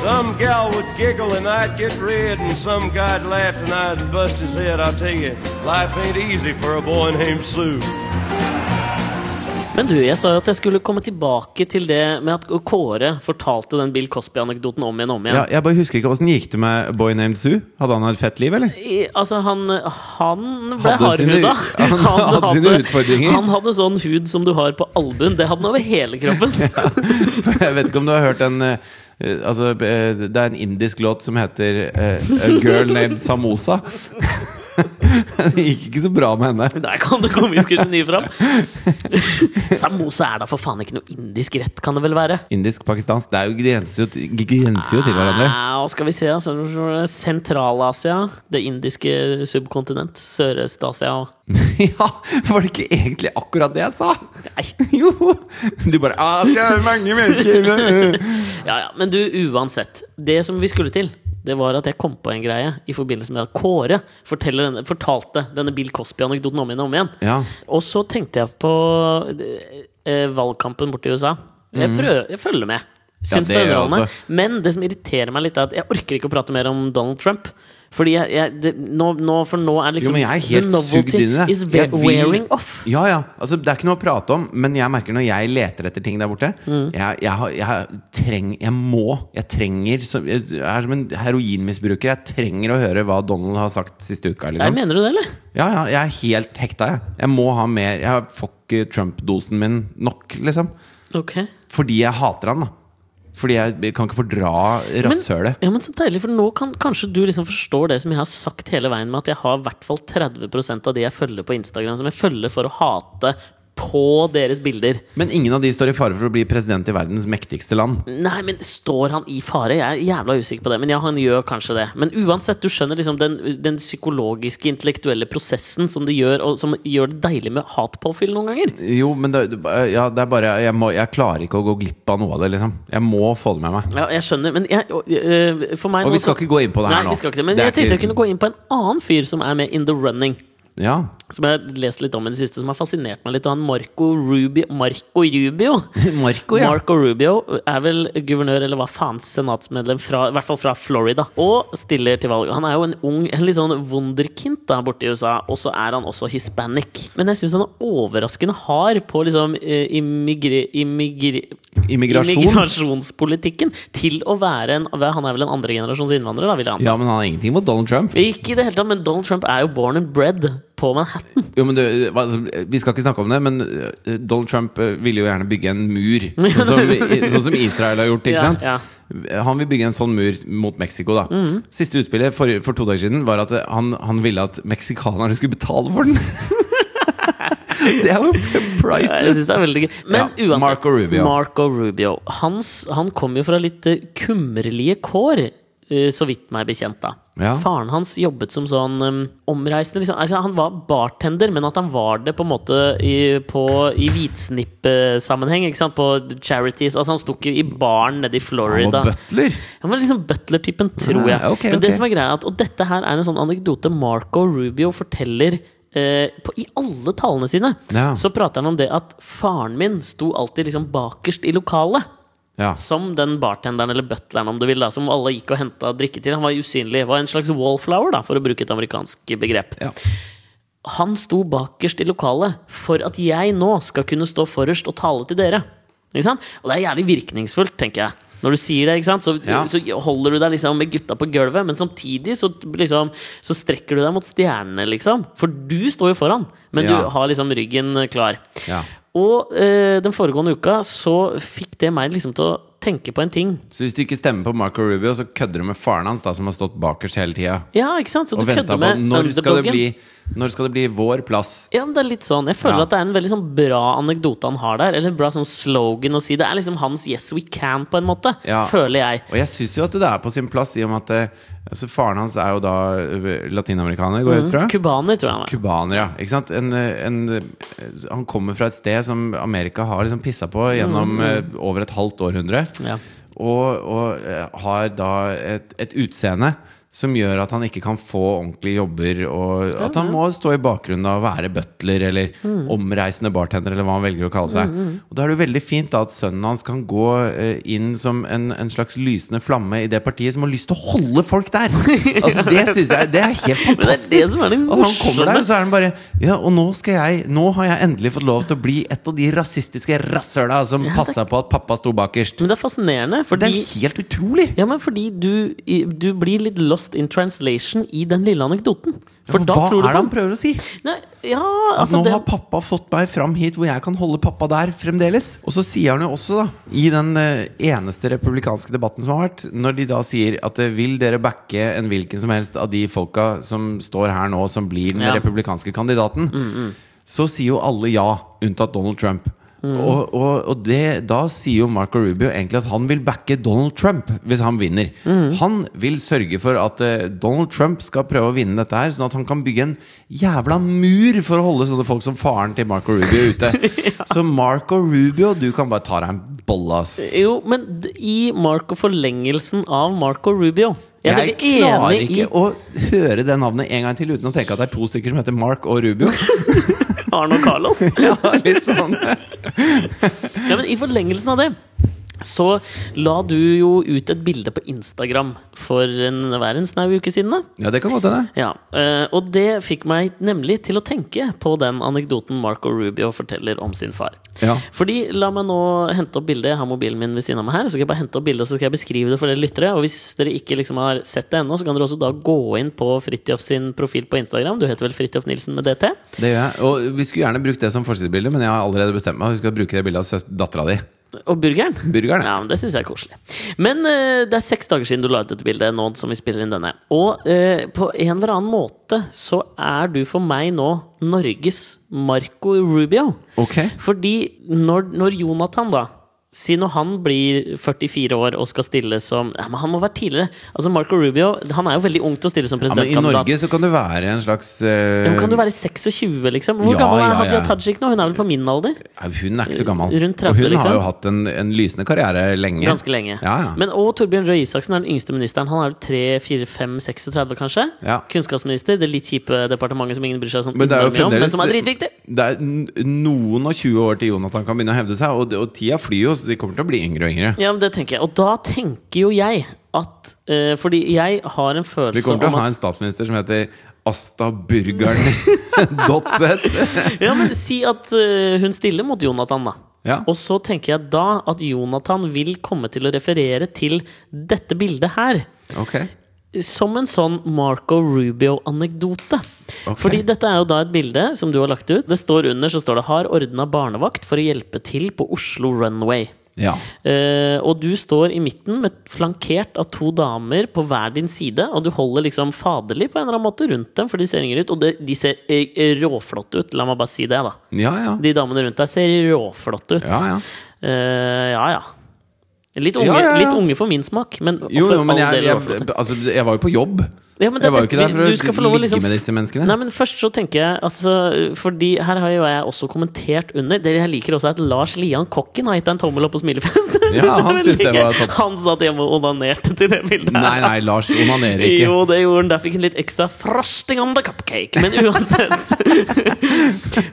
Speaker 3: Some gal would giggle and I'd get red, and some guy'd laugh and I'd bust his head. I'll tell you, life ain't easy for a boy named Sue.
Speaker 2: Men du, jeg sa jo at jeg skulle komme tilbake til det med at Kåre fortalte den Bill Cosby-anekdoten om igjen og om igjen.
Speaker 1: Ja, jeg bare husker ikke Åssen gikk det med Boy Named Sue? Hadde han et fett liv,
Speaker 2: [laughs]
Speaker 1: eller?
Speaker 2: I, altså, han, han ble
Speaker 1: Hadde sine-
Speaker 2: hardhuda. [laughs]
Speaker 1: han hadde sine utfordringer.
Speaker 2: Han hadde sånn hud som du har på albuen. Det hadde han over hele kroppen. [laughs]
Speaker 1: Jeg vet ikke om du har hørt en eh, Altså, eh, det er en indisk låt som heter eh, A Girl Named Samosa. [laughs] Det gikk ikke så bra med henne.
Speaker 2: Der kom det komiske geniet
Speaker 1: [laughs]
Speaker 2: fram. Samosa er da for faen ikke noe indisk rett, kan det vel være?
Speaker 1: Indisk-pakistansk Det er jo grenser jo, til- grenser jo til hverandre. [laughs]
Speaker 2: Ja, og skal vi se, altså, Sentral-Asia, det indiske subkontinent, Sørøst-Asia og
Speaker 1: Ja, var det ikke egentlig akkurat det jeg sa?
Speaker 2: Nei.
Speaker 1: [laughs] Jo! Du bare ah, det er mange mennesker
Speaker 2: Ja, ja, men du, uansett. Det som vi skulle til, det var at jeg kom på en greie i forbindelse med at Kåre forteller denne, fortalte denne Bill Cosby-anekdoten om igjen og om igjen.
Speaker 1: Ja.
Speaker 2: Og så tenkte jeg på eh, valgkampen borte i USA. Jeg, prøver, jeg følger med.
Speaker 1: Mhm. Ja,
Speaker 2: Syns
Speaker 1: det
Speaker 2: det er
Speaker 1: gjør jeg
Speaker 2: underholdende.
Speaker 1: også.
Speaker 2: Men det som irriterer meg litt, er at jeg orker ikke å prate mer om Donald Trump. Fordi jeg, jeg det, nå, nå, For nå er
Speaker 1: Jo,
Speaker 2: liksom
Speaker 1: men jeg er
Speaker 2: the
Speaker 1: helt
Speaker 2: novelty
Speaker 1: sugd inn i det.
Speaker 2: Is ve-
Speaker 1: Jeg vil-
Speaker 2: wearing off.
Speaker 1: Ja, ja. Altså, det er ikke noe å prate om, men jeg merker når jeg leter etter ting der borte
Speaker 2: Mm.
Speaker 1: jeg, jeg, har- jeg, har- treng, jeg må, jeg trenger som- Jeg er som en heroinmisbruker. Jeg trenger å høre hva Donald har sagt siste uka.
Speaker 2: Nei,
Speaker 1: Liksom.
Speaker 2: mener du det, eller?
Speaker 1: Ja, ja, jeg er helt hekta, jeg. Jeg må ha mer. Jeg får ikke Trump-dosen min nok, liksom.
Speaker 2: Ok
Speaker 1: Fordi jeg hater han, da. Fordi jeg kan ikke fordra rasshølet.
Speaker 2: Ja, men så deilig, for nå kan kanskje du liksom forstår det som jeg har sagt hele veien, med at jeg har i hvert fall 30 av de jeg følger på Instagram, som jeg følger for å hate på deres bilder.
Speaker 1: Men ingen av de står i fare for å bli president i verdens mektigste land.
Speaker 2: Nei, men står han i fare? Jeg er jævla usikker på det. Men ja, han gjør kanskje det. Men uansett, du skjønner liksom den, den psykologiske, intellektuelle prosessen som det gjør, og som gjør det deilig med hatpåfyll noen ganger.
Speaker 1: Jo, men det, ja, det er bare jeg, må, jeg klarer ikke å gå glipp av noe av det, liksom. Jeg må få det med meg.
Speaker 2: Ja, jeg skjønner, men jeg, øh, for meg
Speaker 1: Og
Speaker 2: nå
Speaker 1: vi skal
Speaker 2: så-
Speaker 1: ikke gå inn på det her
Speaker 2: Nei,
Speaker 1: nå.
Speaker 2: vi skal ikke det. Men
Speaker 1: Det er
Speaker 2: jeg tenkte jeg
Speaker 1: ikke-
Speaker 2: kunne gå inn på en annen fyr som er med in the running.
Speaker 1: Ja. [laughs]
Speaker 2: som jeg har lest litt om i det siste, som har fascinert meg litt. Og han Marco Rubio, Marco Rubio
Speaker 1: Marco, ja.
Speaker 2: Marco Rubio er vel guvernør, eller hva faen, senatsmedlem, fra, i hvert fall fra Florida. Og stiller til valg. Han er jo en ung, en litt sånn wunderkind da, borte i USA, og så er han også hispanic. Men jeg syns han er overraskende hard på liksom eh, immigri... immigri
Speaker 1: Immigrasjon.
Speaker 2: Immigrasjonspolitikken til å være en Han er vel en andregenerasjons innvandrer, da, vil han.
Speaker 1: Ja, men han har ingenting mot Donald Trump.
Speaker 2: Ikke i det hele tatt, men Donald Trump er jo born and bred på Manhattan.
Speaker 1: Jo, men du, hva- altså, Vi skal ikke snakke om det, men eh, Donald Trump eh, ville jo gjerne bygge en
Speaker 2: [laughs]
Speaker 1: mur. Sånn som, i- sånn som Israel har gjort. ikke
Speaker 2: Ja,
Speaker 1: sant?
Speaker 2: ja. Mhm.
Speaker 1: Han vil bygge en sånn mur mot Mexico. da Siste utspillet for, for to dager siden var at eh, han, han ville at meksikanerne skulle betale for den! [laughs] det er jo
Speaker 2: Ja, Jeg
Speaker 1: priceless!
Speaker 2: synes det er veldig gøy. Men
Speaker 1: Ja,
Speaker 2: uansett
Speaker 1: Marco Rubio.
Speaker 2: Marco Rubio. Hans, han kom jo fra litt eh, kummerlige kår, eh, så vidt meg bekjent, da.
Speaker 1: Ja.
Speaker 2: Faren hans jobbet som sånn eh, omreisende liksom. altså, Han var bartender, men at han var det på en måte i, på, i hvitsnippsammenheng. ikke sant? På charities. Altså, han sto ikke i baren nede i
Speaker 1: Han
Speaker 2: Florida.
Speaker 1: var butler!
Speaker 2: Han var liksom butler-typen, tror jeg.
Speaker 1: Ja, Ah, ok,
Speaker 2: Men det
Speaker 1: ok.
Speaker 2: som er greia er at, Og dette her er en sånn anekdote Marco Rubio forteller eh, på, i alle talene sine.
Speaker 1: Ja.
Speaker 2: Så prater han om det at faren min sto alltid liksom bakerst i lokalet.
Speaker 1: Ja.
Speaker 2: Som den bartenderen eller butleren om du vil da som alle gikk og henta drikke til. Han var usynlig. Var en slags wallflower, da, for å bruke et amerikansk begrep.
Speaker 1: Ja.
Speaker 2: Han sto bakerst i lokalet for at jeg nå skal kunne stå forrest og tale til dere. Ikke sant? Og det er jævlig virkningsfullt, tenker jeg. Når du sier det, ikke sant? Så,
Speaker 1: Ja.
Speaker 2: så holder du deg liksom med gutta på gulvet, men samtidig så, liksom, så strekker du deg mot stjernene, liksom. For du står jo foran, men
Speaker 1: Ja.
Speaker 2: du har liksom ryggen klar.
Speaker 1: Ja.
Speaker 2: Og eh, den foregående uka så fikk det meg liksom til å tenke på en ting.
Speaker 1: Så hvis du ikke stemmer på Marco Rubio, så kødder du med faren hans, da som har stått bakerst hele tida.
Speaker 2: Ja, ikke sant? Så
Speaker 1: Og
Speaker 2: du
Speaker 1: venta
Speaker 2: kødder
Speaker 1: på
Speaker 2: med
Speaker 1: når skal, det
Speaker 2: underdoggen.
Speaker 1: bli, når skal det bli vår plass?
Speaker 2: Ja, men det er litt sånn Jeg føler
Speaker 1: Ja.
Speaker 2: at det er en veldig sånn bra anekdote han har der. Eller en bra sånn slogan å si. Det er liksom hans 'Yes, we can', på en måte.
Speaker 1: Ja.
Speaker 2: Føler jeg.
Speaker 1: Og jeg syns jo at det er på sin plass, i og med at eh, altså, faren hans er jo da eh, latinamerikaner, går jeg
Speaker 2: Mm.
Speaker 1: ut fra.
Speaker 2: Cubaner, tror jeg han var.
Speaker 1: Cubaner, ja. Ikke sant? En, eh, en, eh, han kommer fra et sted som Amerika har liksom pissa på gjennom eh, over et halvt århundre.
Speaker 2: Ja.
Speaker 1: Og, og eh, har da et, et utseende som gjør at han ikke kan få ordentlige jobber. Og at han må stå i bakgrunnen og være butler eller omreisende bartender. Eller hva han velger å kalle seg Og da er det jo veldig fint da at sønnen hans kan gå eh, inn som en, en slags lysende flamme i det partiet som har lyst til å holde folk der! Altså Det synes jeg Det er helt
Speaker 2: Men det
Speaker 1: fantastisk!
Speaker 2: er det som er det
Speaker 1: At han kommer der,
Speaker 2: morsomme.
Speaker 1: og så er han bare Ja, og nå skal jeg Nå har jeg endelig fått lov til å bli et av de rasistiske rasshøla som passa på at pappa sto bakerst.
Speaker 2: Men det er fascinerende,
Speaker 1: Det er
Speaker 2: fordi
Speaker 1: helt utrolig!
Speaker 2: ja, men fordi du, i- du blir litt lost in translation i den lille anekdoten. For da
Speaker 1: Hva
Speaker 2: tror du
Speaker 1: er det han
Speaker 2: på
Speaker 1: prøver å si?
Speaker 2: Nei, ja,
Speaker 1: At
Speaker 2: altså
Speaker 1: nå
Speaker 2: det,
Speaker 1: har pappa fått meg fram hit hvor jeg kan holde pappa der fremdeles. Og så sier han jo også, da, i den eh, eneste republikanske debatten som har vært, når de da sier at eh, vil dere backe en hvilken som helst av de folka som står her nå, som blir den
Speaker 2: Ja.
Speaker 1: republikanske kandidaten,
Speaker 2: Mm,
Speaker 1: så sier jo alle ja, unntatt Donald Trump.
Speaker 2: Mm.
Speaker 1: Og, og, og det, da sier jo Marco Rubio egentlig at han vil backe Donald Trump hvis han vinner.
Speaker 2: Mm.
Speaker 1: Han vil sørge for at eh, Donald Trump skal prøve å vinne dette her, sånn at han kan bygge en jævla mur for å holde sånne folk som faren til Marco Rubio
Speaker 2: [laughs]
Speaker 1: ute. Så Marco Rubio, du kan bare ta deg en bolle, ass.
Speaker 2: Jo, men d- i Marco-forlengelsen av Marco Rubio Jeg, er
Speaker 1: Jeg
Speaker 2: veldig
Speaker 1: klarer
Speaker 2: enig
Speaker 1: ikke
Speaker 2: i
Speaker 1: å høre det navnet en gang til uten å tenke at det er to stykker som heter Mark og Rubio. [laughs]
Speaker 2: Arno Carlos.
Speaker 1: Ja, litt sånn
Speaker 2: Ja, men I forlengelsen av det så la du jo ut et bilde på Instagram for en hver en snau uke siden. da
Speaker 1: Ja, det kan godt hende.
Speaker 2: ja, eh, Og det fikk meg nemlig til å tenke på den anekdoten Marco Rubio forteller om sin far.
Speaker 1: Ja.
Speaker 2: Fordi, La meg nå hente opp bildet. Jeg har mobilen min ved siden av meg her. Så skal jeg bare hente opp bildet, og så skal jeg beskrive det for dere lyttere. Og hvis dere ikke liksom har sett det ennå, så kan dere også da gå inn på Fridtjof sin profil på Instagram. Du heter vel Fridtjof Nilsen med DT?
Speaker 1: Det gjør jeg. Og vi skulle gjerne brukt det som forsidebilde, men jeg har allerede bestemt meg. Vi skal bruke det bildet av dattera di.
Speaker 2: Og burgeren?
Speaker 1: Burgeren, ja.
Speaker 2: Ja, men Det syns jeg er koselig. Men eh, det er seks dager siden du la ut dette bildet, nå som vi spiller inn denne. Og eh, på en eller annen måte så er du for meg nå Norges Marco Rubio.
Speaker 1: Ok.
Speaker 2: Fordi når, når Jonathan, da Si når han blir 44 år og skal stille som ja, men Han må være tidligere! Altså Marco Rubio han er jo veldig ung til å stille som
Speaker 1: Ja, men I
Speaker 2: presidentkandidat.
Speaker 1: Norge så kan du være en slags eh,
Speaker 2: Ja, men kan du være 26, liksom? Hvor
Speaker 1: Ja,
Speaker 2: gammel er
Speaker 1: ja,
Speaker 2: Hadia
Speaker 1: ja.
Speaker 2: Tajik nå? Hun er vel på min alder?
Speaker 1: ja, Hun er ikke så gammel.
Speaker 2: Rundt 30,
Speaker 1: og hun
Speaker 2: liksom.
Speaker 1: har jo hatt en, en lysende karriere lenge.
Speaker 2: Ganske lenge.
Speaker 1: Ja, ja.
Speaker 2: Men og Torbjørn Røe Isaksen er den yngste ministeren. Han er 3, 4, 5, 36, kanskje?
Speaker 1: Ja.
Speaker 2: Kunnskapsminister. Det litt kjipe departementet som ingen bryr seg sånn
Speaker 1: Men det er jo
Speaker 2: innmari mye om, men
Speaker 1: fremdeles
Speaker 2: som er dritviktig!
Speaker 1: Det er n- noen og 20 år til Jonathan kan begynne å hevde seg, og, det- og tida flyr jo, så de kommer til å bli yngre og yngre.
Speaker 2: Ja, men det tenker jeg. Og da tenker jo jeg at eh, Fordi jeg har en
Speaker 1: Vi
Speaker 2: følelse
Speaker 1: kommer til
Speaker 2: om
Speaker 1: å ha
Speaker 2: at
Speaker 1: en statsminister som heter Asta [laughs]
Speaker 2: [laughs]
Speaker 1: Burgern.z.
Speaker 2: Ja, men si at eh, hun stiller mot Jonathan, da.
Speaker 1: Ja.
Speaker 2: Og så tenker jeg da at Jonathan vil komme til å referere til dette bildet her.
Speaker 1: Ok.
Speaker 2: som en sånn Marco Rubio-anekdote.
Speaker 1: Ok.
Speaker 2: Fordi dette er jo da et bilde som du har lagt ut. Det står under så står det 'Har ordna barnevakt for å hjelpe til på Oslo Runway'.
Speaker 1: Ja.
Speaker 2: Eh, og du står i midten, med, flankert av to damer på hver din side. Og du holder liksom faderlig på en eller annen måte rundt dem, for de ser yngre ut. Og det, de ser eh, råflotte ut. La meg bare si det, da.
Speaker 1: Ja, ja.
Speaker 2: De damene rundt deg ser råflotte ut.
Speaker 1: Ja, ja.
Speaker 2: Eh, ja, ja. Litt unge,
Speaker 1: Ja, ja, ja.
Speaker 2: litt unge for min smak, men
Speaker 1: Jo,
Speaker 2: for
Speaker 1: jo, men
Speaker 2: all
Speaker 1: jeg,
Speaker 2: del
Speaker 1: jeg,
Speaker 2: råflotte.
Speaker 1: altså, jeg var jo på jobb.
Speaker 2: Ja, men det-
Speaker 1: Jeg var jo ikke der
Speaker 2: vi-
Speaker 1: for å
Speaker 2: du skal få lov å
Speaker 1: ligge
Speaker 2: liksom-
Speaker 1: med disse menneskene.
Speaker 2: Nei, men først så tenker jeg altså, Fordi her har jo jeg også kommentert under Det jeg liker også er at Lars Lian Kokken har gitt deg en tommel opp på smilefest
Speaker 1: Ja,
Speaker 2: [laughs]
Speaker 1: han
Speaker 2: Det er veldig
Speaker 1: synes det
Speaker 2: gøy.
Speaker 1: var topp.
Speaker 2: Han satt hjemme og onanerte til det bildet
Speaker 1: Nei, nei,
Speaker 2: ass.
Speaker 1: Lars onanerer ikke.
Speaker 2: Jo, det gjorde han. Der fikk han litt ekstra frosting on the cupcake. Men uansett.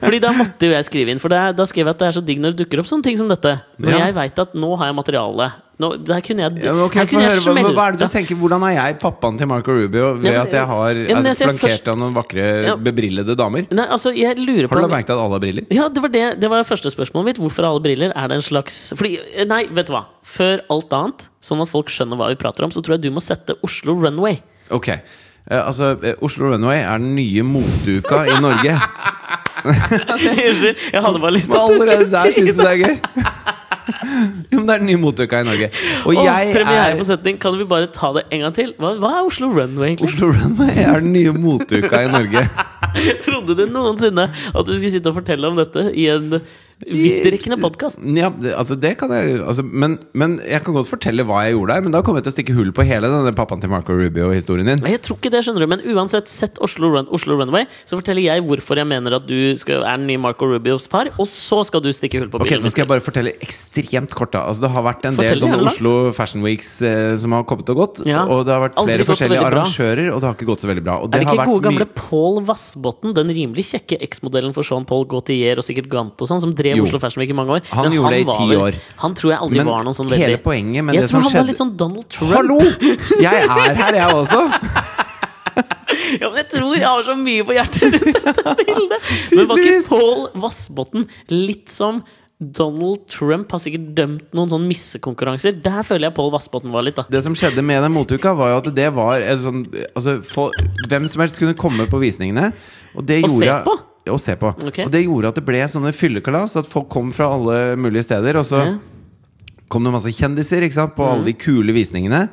Speaker 2: [laughs] Fordi da måtte jo jeg skrive inn. For det er, da skrev jeg at det er så digg når det dukker opp sånne ting som dette. Men
Speaker 1: Ja.
Speaker 2: jeg veit at nå har jeg materiale. Nå, der kunne jeg,
Speaker 1: Ja, men ok,
Speaker 2: her
Speaker 1: få
Speaker 2: kunne jeg
Speaker 1: høre, hva, hva er det
Speaker 2: smelta.
Speaker 1: du tenker? Hvordan er jeg pappaen til Marco Rubio ved
Speaker 2: Ja, men-
Speaker 1: at jeg har
Speaker 2: Ja, men
Speaker 1: er
Speaker 2: jeg ser først-
Speaker 1: flankert av noen vakre,
Speaker 2: Ja.
Speaker 1: bebrillede damer?
Speaker 2: Nei, altså, jeg lurer på
Speaker 1: Har du
Speaker 2: om-
Speaker 1: lagt merke til at alle har briller?
Speaker 2: Ja, det var det, det var det første spørsmålet mitt. Hvorfor har alle briller? Er det en slags Fordi, eh, Nei, vet du hva. Før alt annet, sånn at folk skjønner hva vi prater om, så tror jeg du må sette Oslo Runway.
Speaker 1: [laughs]
Speaker 2: [laughs]
Speaker 1: Ok. Eh, altså, eh, Oslo Runway er den nye moteuka i
Speaker 2: [laughs]
Speaker 1: Norge.
Speaker 2: Unnskyld, jeg hadde bare lyst til at du
Speaker 1: Allerede
Speaker 2: skulle
Speaker 1: der
Speaker 2: si
Speaker 1: syns du
Speaker 2: det.
Speaker 1: det er gøy! [laughs] Jo, men det er den nye moteuka i Norge. Og
Speaker 2: Åh,
Speaker 1: jeg
Speaker 2: premiere
Speaker 1: er
Speaker 2: på setning. Kan vi bare ta det en gang til? Hva, hva er Oslo Runway, egentlig? [laughs]
Speaker 1: Oslo Runway er den nye moteuka i Norge.
Speaker 2: Trodde du noensinne at du skulle sitte og fortelle om dette i en vidtrekkende podkast?
Speaker 1: Ja, det- altså det kan jeg altså, men, men jeg kan godt fortelle hva jeg gjorde der. Men da kommer jeg til å stikke hull på hele denne pappaen til Marco Rubio-historien din.
Speaker 2: Nei, jeg tror ikke det, skjønner du. Men uansett, sett Oslo, Run Oslo Runway, så forteller jeg hvorfor jeg mener at du skal, er den nye Marco Rubios far, og så skal du stikke hull på
Speaker 1: Ok,
Speaker 2: bilen.
Speaker 1: Nå skal jeg bare fortelle ekstremt kort. da Altså Det har vært en
Speaker 2: Fortell
Speaker 1: del sånne
Speaker 2: gjerne langt.
Speaker 1: Oslo Fashion Weeks eh, som har kommet og gått.
Speaker 2: Ja.
Speaker 1: Og det har vært
Speaker 2: Aldri
Speaker 1: flere
Speaker 2: gått så
Speaker 1: forskjellige
Speaker 2: veldig bra.
Speaker 1: arrangører, og det har ikke gått så veldig bra. Og
Speaker 2: Er det
Speaker 1: har
Speaker 2: ikke
Speaker 1: vært
Speaker 2: gode gamle
Speaker 1: mye-
Speaker 2: Pål Vassbotn, den rimelig kjekke eksmodellen for Jean-Paul Gaultier og sikkert Gant og sånn, som drev
Speaker 1: Jo.
Speaker 2: Oslo Fashion Week i mange år?
Speaker 1: Han gjorde det i
Speaker 2: var
Speaker 1: ti
Speaker 2: vel-
Speaker 1: år.
Speaker 2: Han tror jeg aldri
Speaker 1: Men
Speaker 2: var noen sånn
Speaker 1: hele
Speaker 2: veldig
Speaker 1: poenget med
Speaker 2: Jeg
Speaker 1: det som
Speaker 2: tror han var
Speaker 1: skjedde
Speaker 2: litt sånn Donald Trump.
Speaker 1: Hallo! Jeg er her, jeg også.
Speaker 2: [laughs] Ja, men jeg tror jeg har så mye på hjertet rundt dette bildet! Men var ikke
Speaker 1: Tydeligvis.
Speaker 2: Pål Vassbotn litt som Donald Trump har sikkert dømt noen sånne missekonkurranser. Der føler jeg Pål Vassbotn var litt, da.
Speaker 1: Det som skjedde med den moteuka, var jo at det var en sånn Altså, fol- hvem som helst kunne komme på visningene. Og det
Speaker 2: Og se
Speaker 1: gjorde
Speaker 2: på?
Speaker 1: Og se på.
Speaker 2: Ok.
Speaker 1: Og det gjorde at det ble sånne fyllekalas. At folk kom fra alle mulige steder. Og så
Speaker 2: Ja. Mm.
Speaker 1: kom det masse kjendiser ikke sant, på alle de kule visningene.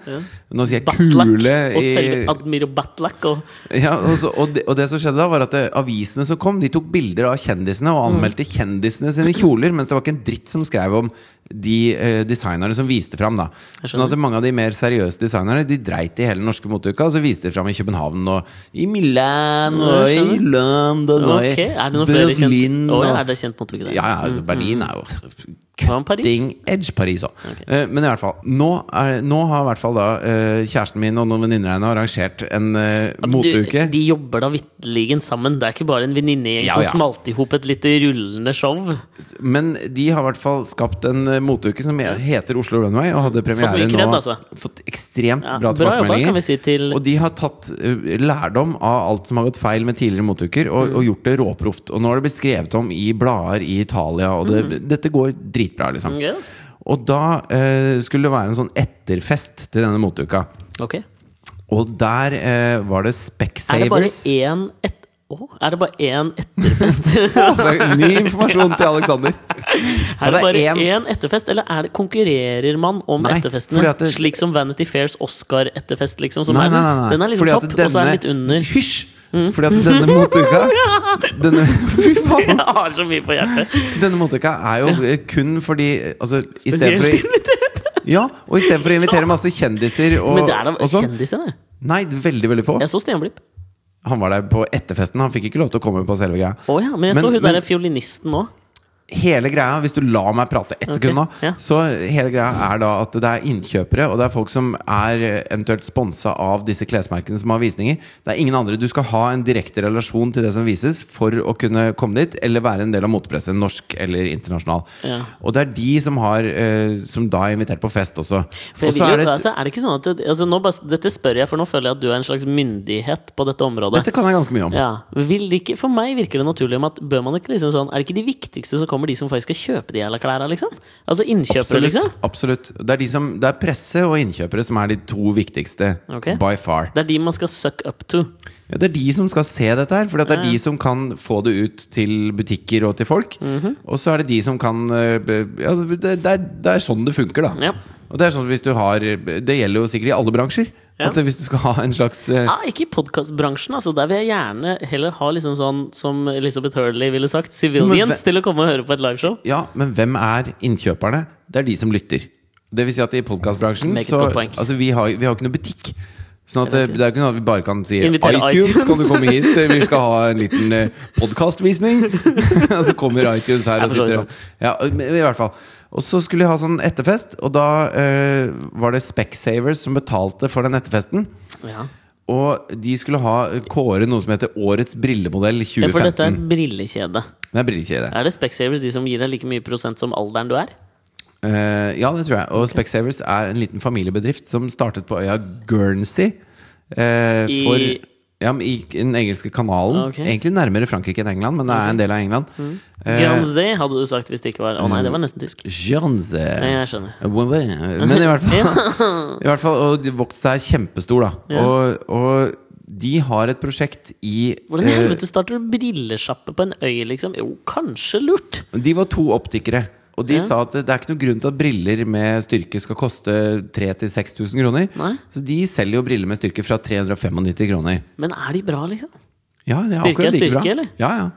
Speaker 1: Nå sier jeg
Speaker 2: Batlak
Speaker 1: kule
Speaker 2: og selve
Speaker 1: i,
Speaker 2: Admiro Batlak og
Speaker 1: ja, og, så, og, det, og det som skjedde da, var at det, avisene som kom, de tok bilder av kjendisene og
Speaker 2: Mm.
Speaker 1: anmeldte kjendisene sine kjoler, mens det var ikke en dritt som skrev om de eh, designerne som viste fram. Da.
Speaker 2: Jeg
Speaker 1: Sånn
Speaker 2: skjønner.
Speaker 1: at mange av de mer seriøse designerne De dreit i hele den norske moteuka, og så viste de fram i København og i Milan
Speaker 2: Ja,
Speaker 1: og
Speaker 2: jeg
Speaker 1: i
Speaker 2: skjønner.
Speaker 1: London og
Speaker 2: Ok,
Speaker 1: i
Speaker 2: er det noen flere kjent?
Speaker 1: Berlin
Speaker 2: Å, ja,
Speaker 1: og-
Speaker 2: er det kjent mot ikke det? Mm,
Speaker 1: ja, ja, altså Berlin er jo
Speaker 2: Hva med Paris?
Speaker 1: cutting edge Paris òg. men i hvert fall, nå, er, nå har i hvert fall da eh, kjæresten min og noen venninner av henne arrangert en eh, moteuke.
Speaker 2: Du, de jobber da vitterlig sammen. Det er ikke bare en venninnegjeng
Speaker 1: Ja, ja.
Speaker 2: som smalt i hop et lite rullende show.
Speaker 1: Men de har i hvert fall skapt en eh, moteuke som heter Oslo Runway, og hadde premiere
Speaker 2: mye kred,
Speaker 1: nå.
Speaker 2: altså.
Speaker 1: Fått ekstremt
Speaker 2: Ja,
Speaker 1: bra
Speaker 2: bra jobba, kan
Speaker 1: tilbakemeldinger.
Speaker 2: vi si til
Speaker 1: Og de har tatt eh, lærdom av alt som har gått feil med tidligere motuker, og,
Speaker 2: Mm.
Speaker 1: og gjort det råproft. Og nå har det blitt skrevet om i blader i Italia, og det, dette går dritbra, liksom.
Speaker 2: Mm. Ja.
Speaker 1: Og da eh, skulle det være en sånn etterfest til denne motuka.
Speaker 2: Ok.
Speaker 1: Og der eh, var det
Speaker 2: Er det bare
Speaker 1: Specsavers.
Speaker 2: én et... Å, er det bare én [laughs] etterfest?
Speaker 1: [laughs] Det er Ny informasjon til
Speaker 2: [laughs]
Speaker 1: Alexander.
Speaker 2: Er det
Speaker 1: Ja, det
Speaker 2: bare
Speaker 1: er en-
Speaker 2: én etterfest, eller er det, konkurrerer man om
Speaker 1: Nei,
Speaker 2: etterfestene?
Speaker 1: fordi at det-
Speaker 2: Slik som Vanity Fairs Oscar-etterfest, liksom. Som
Speaker 1: Nei,
Speaker 2: er
Speaker 1: nei,
Speaker 2: den.
Speaker 1: nei, nei.
Speaker 2: Den er liksom
Speaker 1: Fordi at
Speaker 2: topp, og så er den litt under. [laughs] Mm.
Speaker 1: Hysj! Fordi at denne moteuka denne, [laughs] Fy faen!
Speaker 2: Jeg har så mye på hjertet.
Speaker 1: Denne moteuka er jo eh, kun fordi eh, altså, i stedet for,
Speaker 2: Spesielt
Speaker 1: å- ja, og i stedet
Speaker 2: [laughs]
Speaker 1: for å invitere masse kjendiser og,
Speaker 2: Men det er da
Speaker 1: og sånn.
Speaker 2: kjendisene.
Speaker 1: Nei, veldig, veldig få.
Speaker 2: Jeg så Stenblipp.
Speaker 1: Han var der på etterfesten. Han fikk ikke lov til å komme på selve greia.
Speaker 2: Å ja, men jeg så hun derre fiolinisten nå.
Speaker 1: hele greia, hvis du lar meg prate ett
Speaker 2: Ok,
Speaker 1: sekund nå,
Speaker 2: ja.
Speaker 1: så hele greia er da at det er innkjøpere, og det er folk som er eh, eventuelt sponsa av disse klesmerkene som har visninger. Det er ingen andre. Du skal ha en direkte relasjon til det som vises for å kunne komme dit, eller være en del av motepressen, norsk eller internasjonal.
Speaker 2: Ja.
Speaker 1: Og det er de som har eh, Som da er invitert på fest også.
Speaker 2: For
Speaker 1: Og
Speaker 2: jeg
Speaker 1: så
Speaker 2: vil jo,
Speaker 1: er det
Speaker 2: altså, er det ikke sånn at det, altså, nå bare, Dette spør jeg, for nå føler jeg at du er en slags myndighet på dette området.
Speaker 1: Dette kan jeg ganske mye om.
Speaker 2: ja, vil det ikke, For meg virker det naturlig om at bør man ikke liksom sånn Er det ikke de viktigste som kommer, de som faktisk skal kjøpe de jævla klærne, liksom? Altså innkjøpere,
Speaker 1: Absolutt.
Speaker 2: liksom?
Speaker 1: absolutt. Det, er de som, det er presse og innkjøpere som er de to viktigste.
Speaker 2: Ok.
Speaker 1: By far.
Speaker 2: Det er de man skal suck up to.
Speaker 1: Ja, det er de som skal se dette her, for det er
Speaker 2: Ja, ja.
Speaker 1: de som kan få det ut til butikker og til folk.
Speaker 2: Mhm.
Speaker 1: Og så er det de som kan eh, be- altså, det, det, er, det er sånn det funker, da.
Speaker 2: Ja.
Speaker 1: Og det er sånn hvis du har Det gjelder jo sikkert i alle bransjer.
Speaker 2: Ja.
Speaker 1: At hvis du skal ha en slags eh,
Speaker 2: Ja, Ah, ikke i podkastbransjen, altså. Der vil jeg gjerne heller ha liksom sånn, som Elizabeth Hurley ville sagt,
Speaker 1: Men
Speaker 2: civilians
Speaker 1: hve-
Speaker 2: til å komme og høre på et liveshow.
Speaker 1: Ja, men hvem er innkjøperne? Det er de som lytter. Det vil si at i podkastbransjen
Speaker 2: Meget
Speaker 1: så
Speaker 2: godt poeng.
Speaker 1: Altså, vi har, vi har ikke noe butikk. Sånn at det, det er ikke noe at vi bare kan si
Speaker 2: Invitere
Speaker 1: iTunes,
Speaker 2: iTunes.
Speaker 1: kan du komme hit? eh, Vi skal ha en liten eh, podcastvisning [laughs] Og så kommer iTunes her
Speaker 2: Jeg
Speaker 1: og
Speaker 2: forstår det
Speaker 1: sitter og Ja, men i hvert fall. Og så skulle jeg ha sånn etterfest, og da eh, var det Specsavers som betalte for den etterfesten.
Speaker 2: Ja.
Speaker 1: Og de skulle ha kåre noe som heter Årets brillemodell
Speaker 2: Ja, for dette
Speaker 1: 2015.
Speaker 2: er et brillekjede.
Speaker 1: Det er brillekjede.
Speaker 2: Er det Specsavers de som gir deg like mye prosent som alderen du er?
Speaker 1: Eh, ja, det tror jeg. Og Specsavers er en liten familiebedrift som startet på øya Guernsey. eh,
Speaker 2: I- Ah,
Speaker 1: for, ja, men I den engelske kanalen.
Speaker 2: Ok. Mm.
Speaker 1: Egentlig nærmere Frankrike enn England, men det er en del av England. Eh,
Speaker 2: Granzé hadde du sagt hvis det ikke var Å nei, det var nesten tysk.
Speaker 1: Guernsey. Eh,
Speaker 2: Nei, jeg skjønner.
Speaker 1: Men i
Speaker 2: [laughs]
Speaker 1: hvert fall, [laughs] i hvert fall Og de vokste er kjempestor, da.
Speaker 2: Ja.
Speaker 1: Og, og de har et prosjekt i
Speaker 2: Hvordan i
Speaker 1: eh,
Speaker 2: helvete starter du brillesjappe på en øy, liksom? Jo, kanskje lurt!
Speaker 1: Men De var to optikere, og de
Speaker 2: Ja.
Speaker 1: sa at det er ikke noen grunn til at briller med styrke skal koste 3000-6000 kroner.
Speaker 2: Nei.
Speaker 1: Så de selger jo briller med styrke fra 395 kroner.
Speaker 2: Men er de bra, liksom?
Speaker 1: Ja, det er
Speaker 2: Styrke er
Speaker 1: akkurat like bra.
Speaker 2: styrke, eller?
Speaker 1: Ja, ja.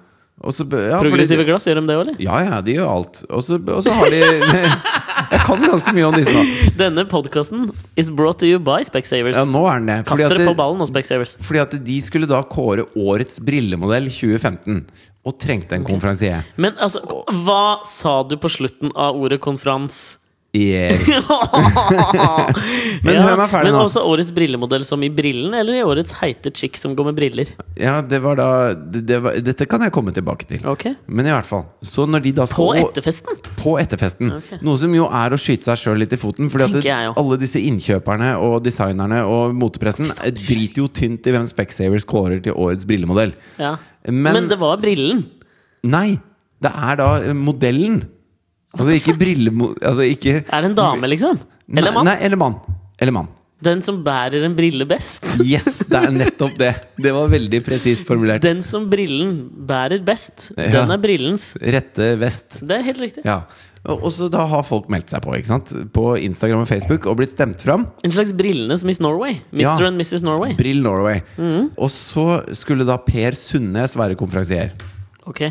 Speaker 1: Og så- ja, fordi-
Speaker 2: Progressive glass, gjør de det òg, eller?
Speaker 1: Ja, ja, de gjør alt. Og så og så har de [laughs] Jeg kan ganske mye om disse nå.
Speaker 2: Denne podkasten is brought to you by Specsavers.
Speaker 1: Ja, nå er den det.
Speaker 2: Kast dere
Speaker 1: det-
Speaker 2: på ballen nå, Specsavers.
Speaker 1: fordi at de skulle da kåre årets brillemodell 2015, og trengte en konferansier.
Speaker 2: Men altså, hva sa du på slutten av ordet
Speaker 1: [laughs]
Speaker 2: konferans?
Speaker 1: Yeah.
Speaker 2: [laughs] men
Speaker 1: hør meg ferdig
Speaker 2: men
Speaker 1: nå.
Speaker 2: også årets brillemodell som i brillen, eller i årets heite chick som går med briller?
Speaker 1: Ja, det var da det, det var, Dette kan jeg komme tilbake til.
Speaker 2: Ok.
Speaker 1: Men i hvert fall. Så når de da skal
Speaker 2: På etterfesten?
Speaker 1: på etterfesten.
Speaker 2: Ok.
Speaker 1: Noe som jo er å skyte seg sjøl litt i foten. Fordi at
Speaker 2: Tenker jeg jo.
Speaker 1: alle disse innkjøperne og designerne og motepressen eh, driter jo tynt i hvem Specsavers kårer til årets brillemodell.
Speaker 2: Ja. Men,
Speaker 1: Men-
Speaker 2: det var brillen.
Speaker 1: Nei! Det er da eh, modellen. Altså ikke brillemo... Altså ikke
Speaker 2: Er det en dame, liksom? Eller
Speaker 1: Nei,
Speaker 2: mann?
Speaker 1: nei, eller mann. Eller mann.
Speaker 2: Den som bærer en brille best.
Speaker 1: Yes, det er nettopp det! Det var veldig presist formulert.
Speaker 2: Den som brillen bærer best,
Speaker 1: Ja.
Speaker 2: den er brillens.
Speaker 1: Rette vest.
Speaker 2: Det er helt riktig.
Speaker 1: Ja. Og og så da har folk meldt seg på, ikke sant? På Instagram og Facebook og blitt stemt fram.
Speaker 2: En slags brillenes Miss Norway. Mr.
Speaker 1: Ja.
Speaker 2: and Mrs. Norway.
Speaker 1: Brill Norway. Og så skulle da Per Sundnes være konferansier.
Speaker 2: Ok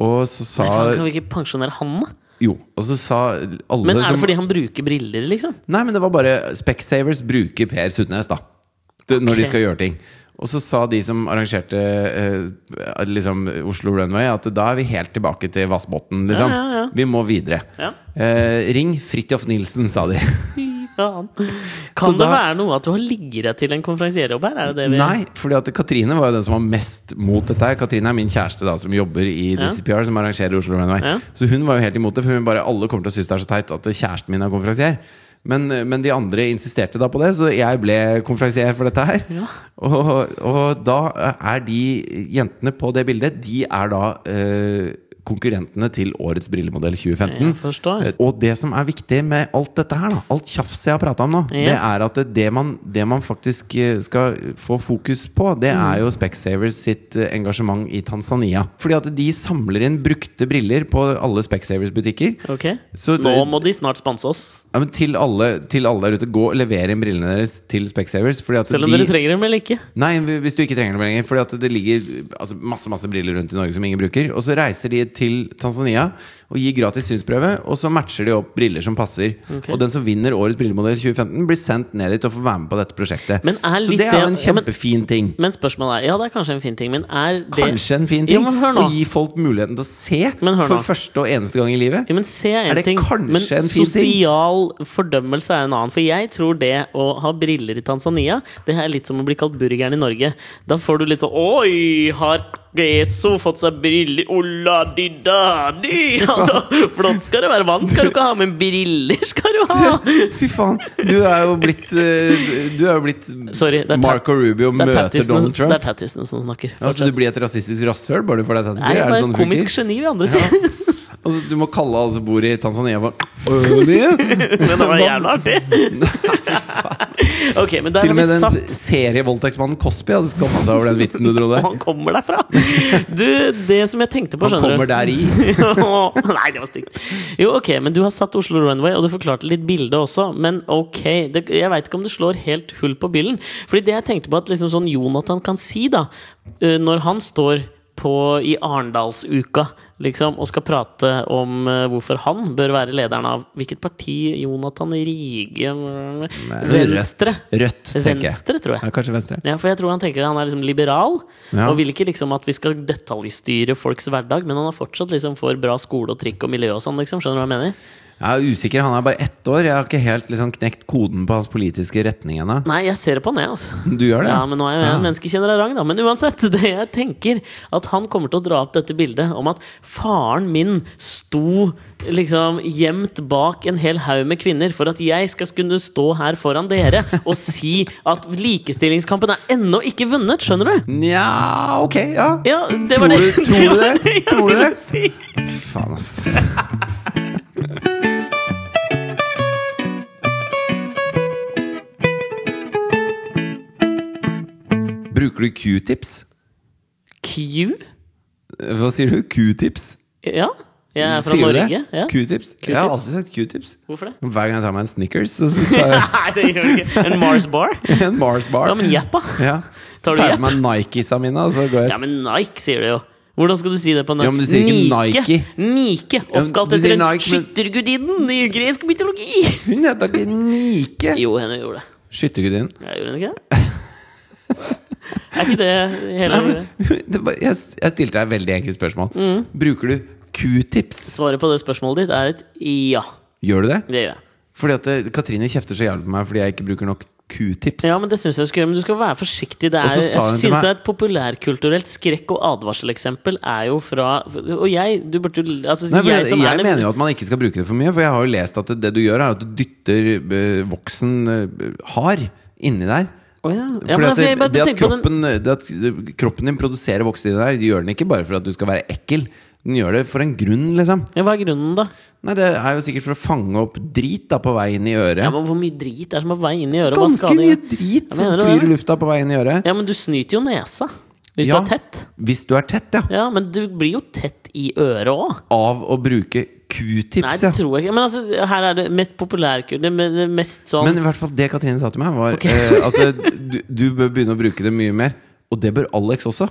Speaker 1: Og så sa
Speaker 2: Nei, faen, Kan vi ikke pensjonere han, da?
Speaker 1: Jo, og så sa alle
Speaker 2: Men er det
Speaker 1: som
Speaker 2: fordi han bruker briller, liksom?
Speaker 1: Nei, men det var bare Specsavers bruker Per Sundnes, da. Det, Når de
Speaker 2: Ok.
Speaker 1: skal gjøre ting. Og så sa de som arrangerte eh, liksom Oslo Runway, at da er vi helt tilbake til Vassbotn, liksom.
Speaker 2: Ja, ja, ja.
Speaker 1: Vi må videre.
Speaker 2: Ja.
Speaker 1: Eh, ring Fridtjof Nilsen, sa de.
Speaker 2: Fy
Speaker 1: [laughs]
Speaker 2: faen. Kan det
Speaker 1: da-
Speaker 2: være noe at du har ligget deg til en konferansierjobb her? Er det det vi
Speaker 1: Nei, fordi at Katrine var jo den som var mest mot dette her. Katrine er min kjæreste da, som jobber i
Speaker 2: Ja.
Speaker 1: DCPR, som arrangerer Oslo Runway.
Speaker 2: Ja.
Speaker 1: Så hun var jo helt imot det, for hun bare alle kommer til å synes det er så teit at kjæresten min er konferansier. Men, men de andre insisterte da på det, så jeg ble konferansier for dette her.
Speaker 2: Ja.
Speaker 1: Og, og da er de jentene på det bildet, de er da eh, konkurrentene til årets brillemodell 2015.
Speaker 2: Jeg forstår.
Speaker 1: Eh, Og det som er viktig med alt dette her, da, alt tjafset jeg har prata om nå,
Speaker 2: Ja.
Speaker 1: det er at det man, det man faktisk eh, skal få fokus på, det
Speaker 2: Mm.
Speaker 1: er jo Specsavers sitt eh, engasjement i Tanzania. Fordi at de samler inn brukte briller på alle Specsavers-butikker.
Speaker 2: Ok,
Speaker 1: Så
Speaker 2: Nå
Speaker 1: det-
Speaker 2: må de snart sponse oss.
Speaker 1: Ja, men til alle, til alle der ute, gå og levere inn brillene deres til Specsavers. Fordi at
Speaker 2: Selv om
Speaker 1: de,
Speaker 2: dere trenger dem eller ikke.
Speaker 1: Nei, hvis du ikke trenger dem lenger. Fordi at det ligger altså, masse masse briller rundt i Norge som ingen bruker. Og så reiser de til Tanzania og gir gratis synsprøve. Og så matcher de opp briller som passer.
Speaker 2: Ok.
Speaker 1: Og den som vinner årets brillemodell 2015, blir sendt ned dit og får være med på dette prosjektet.
Speaker 2: Men er
Speaker 1: så
Speaker 2: litt
Speaker 1: det er
Speaker 2: det-
Speaker 1: jo en
Speaker 2: ja, men-
Speaker 1: kjempefin ting.
Speaker 2: Men spørsmålet er Ja, det er kanskje en fin ting, men er det
Speaker 1: Kanskje en fin
Speaker 2: Ja,
Speaker 1: ting
Speaker 2: men hør nå.
Speaker 1: å gi folk muligheten til å se
Speaker 2: Men hør nå.
Speaker 1: for første og eneste gang i livet.
Speaker 2: Ja, men se en
Speaker 1: Er det
Speaker 2: ting,
Speaker 1: kanskje
Speaker 2: men
Speaker 1: en fin ting?
Speaker 2: sosial fordømmelse er en annen. For jeg tror det å ha briller i Tanzania, det er litt som å bli kalt burgeren i Norge. Da får du litt sånn Oi, har Geso fått seg briller? Ola di da di! [laughs] Altså, flott skal det være. Vann skal du ikke ha, men briller skal du
Speaker 1: [laughs]
Speaker 2: ha!
Speaker 1: Fy faen, du er jo blitt eh, Du er jo blitt
Speaker 2: Sorry, det er ta-
Speaker 1: Marco Rubio
Speaker 2: Det er
Speaker 1: møter
Speaker 2: tattisene-
Speaker 1: Donald Trump.
Speaker 2: Det er tattisene som snakker.
Speaker 1: Ja, så sånn du blir et rasistisk rasshøl bare for deg?
Speaker 2: Nei, jeg er bare et komisk geni ved andre siden.
Speaker 1: Og så Altså, du må kalle alle som bor i Tanzania for Ølige.
Speaker 2: [laughs] Men [laughs] det var jævla artig!
Speaker 1: [laughs]
Speaker 2: Ok, men der
Speaker 1: Til og
Speaker 2: har
Speaker 1: med
Speaker 2: vi
Speaker 1: den
Speaker 2: satt
Speaker 1: serievoldtektsmannen Cosby hadde skamma seg over den vitsen du dro
Speaker 2: Og
Speaker 1: der.
Speaker 2: [laughs] han kommer derfra! Du, det som jeg tenkte på,
Speaker 1: Han
Speaker 2: skjønner
Speaker 1: kommer
Speaker 2: du
Speaker 1: der i.
Speaker 2: [laughs] Nei, det var stygt. Jo, ok, men du har satt Oslo Runway, og du forklarte litt bilde også. Men ok, det, jeg veit ikke om det slår helt hull på bilden. Fordi det jeg tenkte på at liksom sånn Jonathan kan si, da, eh, når han står på, i Arendalsuka liksom, og skal prate om eh, hvorfor han bør være lederen av hvilket parti Jonathan Rige
Speaker 1: Nei, det er
Speaker 2: Venstre.
Speaker 1: Rødt, rødt tenker jeg.
Speaker 2: Venstre, tror jeg.
Speaker 1: Ja, kanskje Venstre.
Speaker 2: Ja, for jeg tror han tenker han er liksom liberal,
Speaker 1: Ja.
Speaker 2: og vil ikke liksom at vi skal detaljstyre folks hverdag, men han er fortsatt liksom for bra skole og trikk og miljø og sånn, liksom. Skjønner du hva jeg mener?
Speaker 1: Jeg er usikker, han er bare ett år. Jeg har ikke helt liksom knekt koden på hans politiske retning ennå.
Speaker 2: Nei, jeg ser det på han, jeg, altså.
Speaker 1: Du gjør det?
Speaker 2: Ja, men nå er jo jeg en menneskekjenner av rang, da. Men uansett, [laughs] det jeg tenker, at han kommer til å dra opp dette bildet om at faren min sto liksom gjemt bak en hel haug med kvinner for at jeg skal kunne stå her foran dere og si at likestillingskampen er ennå ikke vunnet, skjønner du?
Speaker 1: Nja, ok, ja.
Speaker 2: Ja, det
Speaker 1: Tror
Speaker 2: var [laughs] det.
Speaker 1: du- tror du
Speaker 2: var
Speaker 1: det?
Speaker 2: jeg
Speaker 1: Tror du
Speaker 2: ville
Speaker 1: det?
Speaker 2: Si.
Speaker 1: Faen, ass. Bruker du q-tips?
Speaker 2: Q?
Speaker 1: Hva sier du? Q-tips?
Speaker 2: Ja. Jeg er fra
Speaker 1: Sier du det?
Speaker 2: Norge. Ja.
Speaker 1: Q-tips? Jeg har alltid sett Q-tips.
Speaker 2: Hvorfor det?
Speaker 1: Hver gang jeg tar meg en Snickers, så tar
Speaker 2: [laughs] Nei, det gjør du ikke. En Mars bar?
Speaker 1: jeg [laughs] en Mars Bar.
Speaker 2: Ja, men jappa.
Speaker 1: Ja.
Speaker 2: Tar
Speaker 1: Så
Speaker 2: du
Speaker 1: tar jeg
Speaker 2: jepp?
Speaker 1: på meg Nikesa mine, og så går jeg
Speaker 2: Ja, men Nike sier du jo. Hvordan skal du si det på norsk?
Speaker 1: Ja, men du sier ikke Nike.
Speaker 2: Nike,
Speaker 1: men
Speaker 2: oppkalt
Speaker 1: du
Speaker 2: etter
Speaker 1: sier
Speaker 2: en
Speaker 1: Nike, men-
Speaker 2: skyttergudinnen i gresk mytologi! [laughs]
Speaker 1: Hun heter ikke Nike!
Speaker 2: Jo, henne gjorde det.
Speaker 1: Skyttergudinnen.
Speaker 2: Ja, gjorde hun ikke det?
Speaker 1: [laughs]
Speaker 2: Er ikke det Mm. hele
Speaker 1: Nei, men, [laughs] det var- Jeg jeg stilte deg et veldig enkelt spørsmål. Bruker du Q-tips?
Speaker 2: Svaret på det spørsmålet ditt er et ja.
Speaker 1: Gjør du det?
Speaker 2: Det gjør jeg.
Speaker 1: Fordi at eh, Katrine kjefter så jævlig på meg fordi jeg ikke bruker nok Q-tips.
Speaker 2: Ja, men det synes jeg du skal gjøre, men du skal være forsiktig. Det
Speaker 1: Og
Speaker 2: er,
Speaker 1: så sa hun
Speaker 2: jeg
Speaker 1: til
Speaker 2: synes
Speaker 1: meg-
Speaker 2: det er et populærkulturelt skrekk- og advarseleksempel er jo fra Og jeg du burde, jo- altså,
Speaker 1: Nei, for
Speaker 2: jeg,
Speaker 1: jeg,
Speaker 2: som
Speaker 1: jeg,
Speaker 2: er litt-
Speaker 1: mener jo at man ikke skal bruke det for mye, for jeg har jo lest at det, det du gjør, er at du dytter eh, voksen eh, hard inni der.
Speaker 2: Å ja. Ja,
Speaker 1: Fordi
Speaker 2: men
Speaker 1: at det,
Speaker 2: jeg bare
Speaker 1: det, at
Speaker 2: tenker på den-
Speaker 1: kroppen, det at eh, kroppen din produserer voksen inni der, det gjør den ikke bare for at du skal være ekkel. Den gjør det for en grunn, liksom.
Speaker 2: ja, Hva er grunnen, da?
Speaker 1: Nei, Det er jo sikkert for å fange opp drit da på vei inn i øret.
Speaker 2: Ja, men Hvor mye drit er det som er på vei inn i øret? Hva
Speaker 1: Ganske
Speaker 2: skal det
Speaker 1: mye
Speaker 2: gjøre?
Speaker 1: drit
Speaker 2: Ja,
Speaker 1: som
Speaker 2: mener du
Speaker 1: flyr
Speaker 2: det?
Speaker 1: i lufta på vei inn i øret.
Speaker 2: Ja, men du snyter jo nesa hvis
Speaker 1: Ja.
Speaker 2: du er tett.
Speaker 1: Hvis du er tett, ja.
Speaker 2: Ja, men du blir jo tett i øret òg.
Speaker 1: Av å bruke
Speaker 2: Nei,
Speaker 1: q-tips,
Speaker 2: det
Speaker 1: ja.
Speaker 2: tror jeg ikke. Men altså, her er det mest populærkultur. Det, det mest sånn
Speaker 1: Men i hvert fall det Katrine sa til meg, var
Speaker 2: Ok.
Speaker 1: eh, at eh, du, du bør begynne å bruke det mye mer. Og det bør Alex også.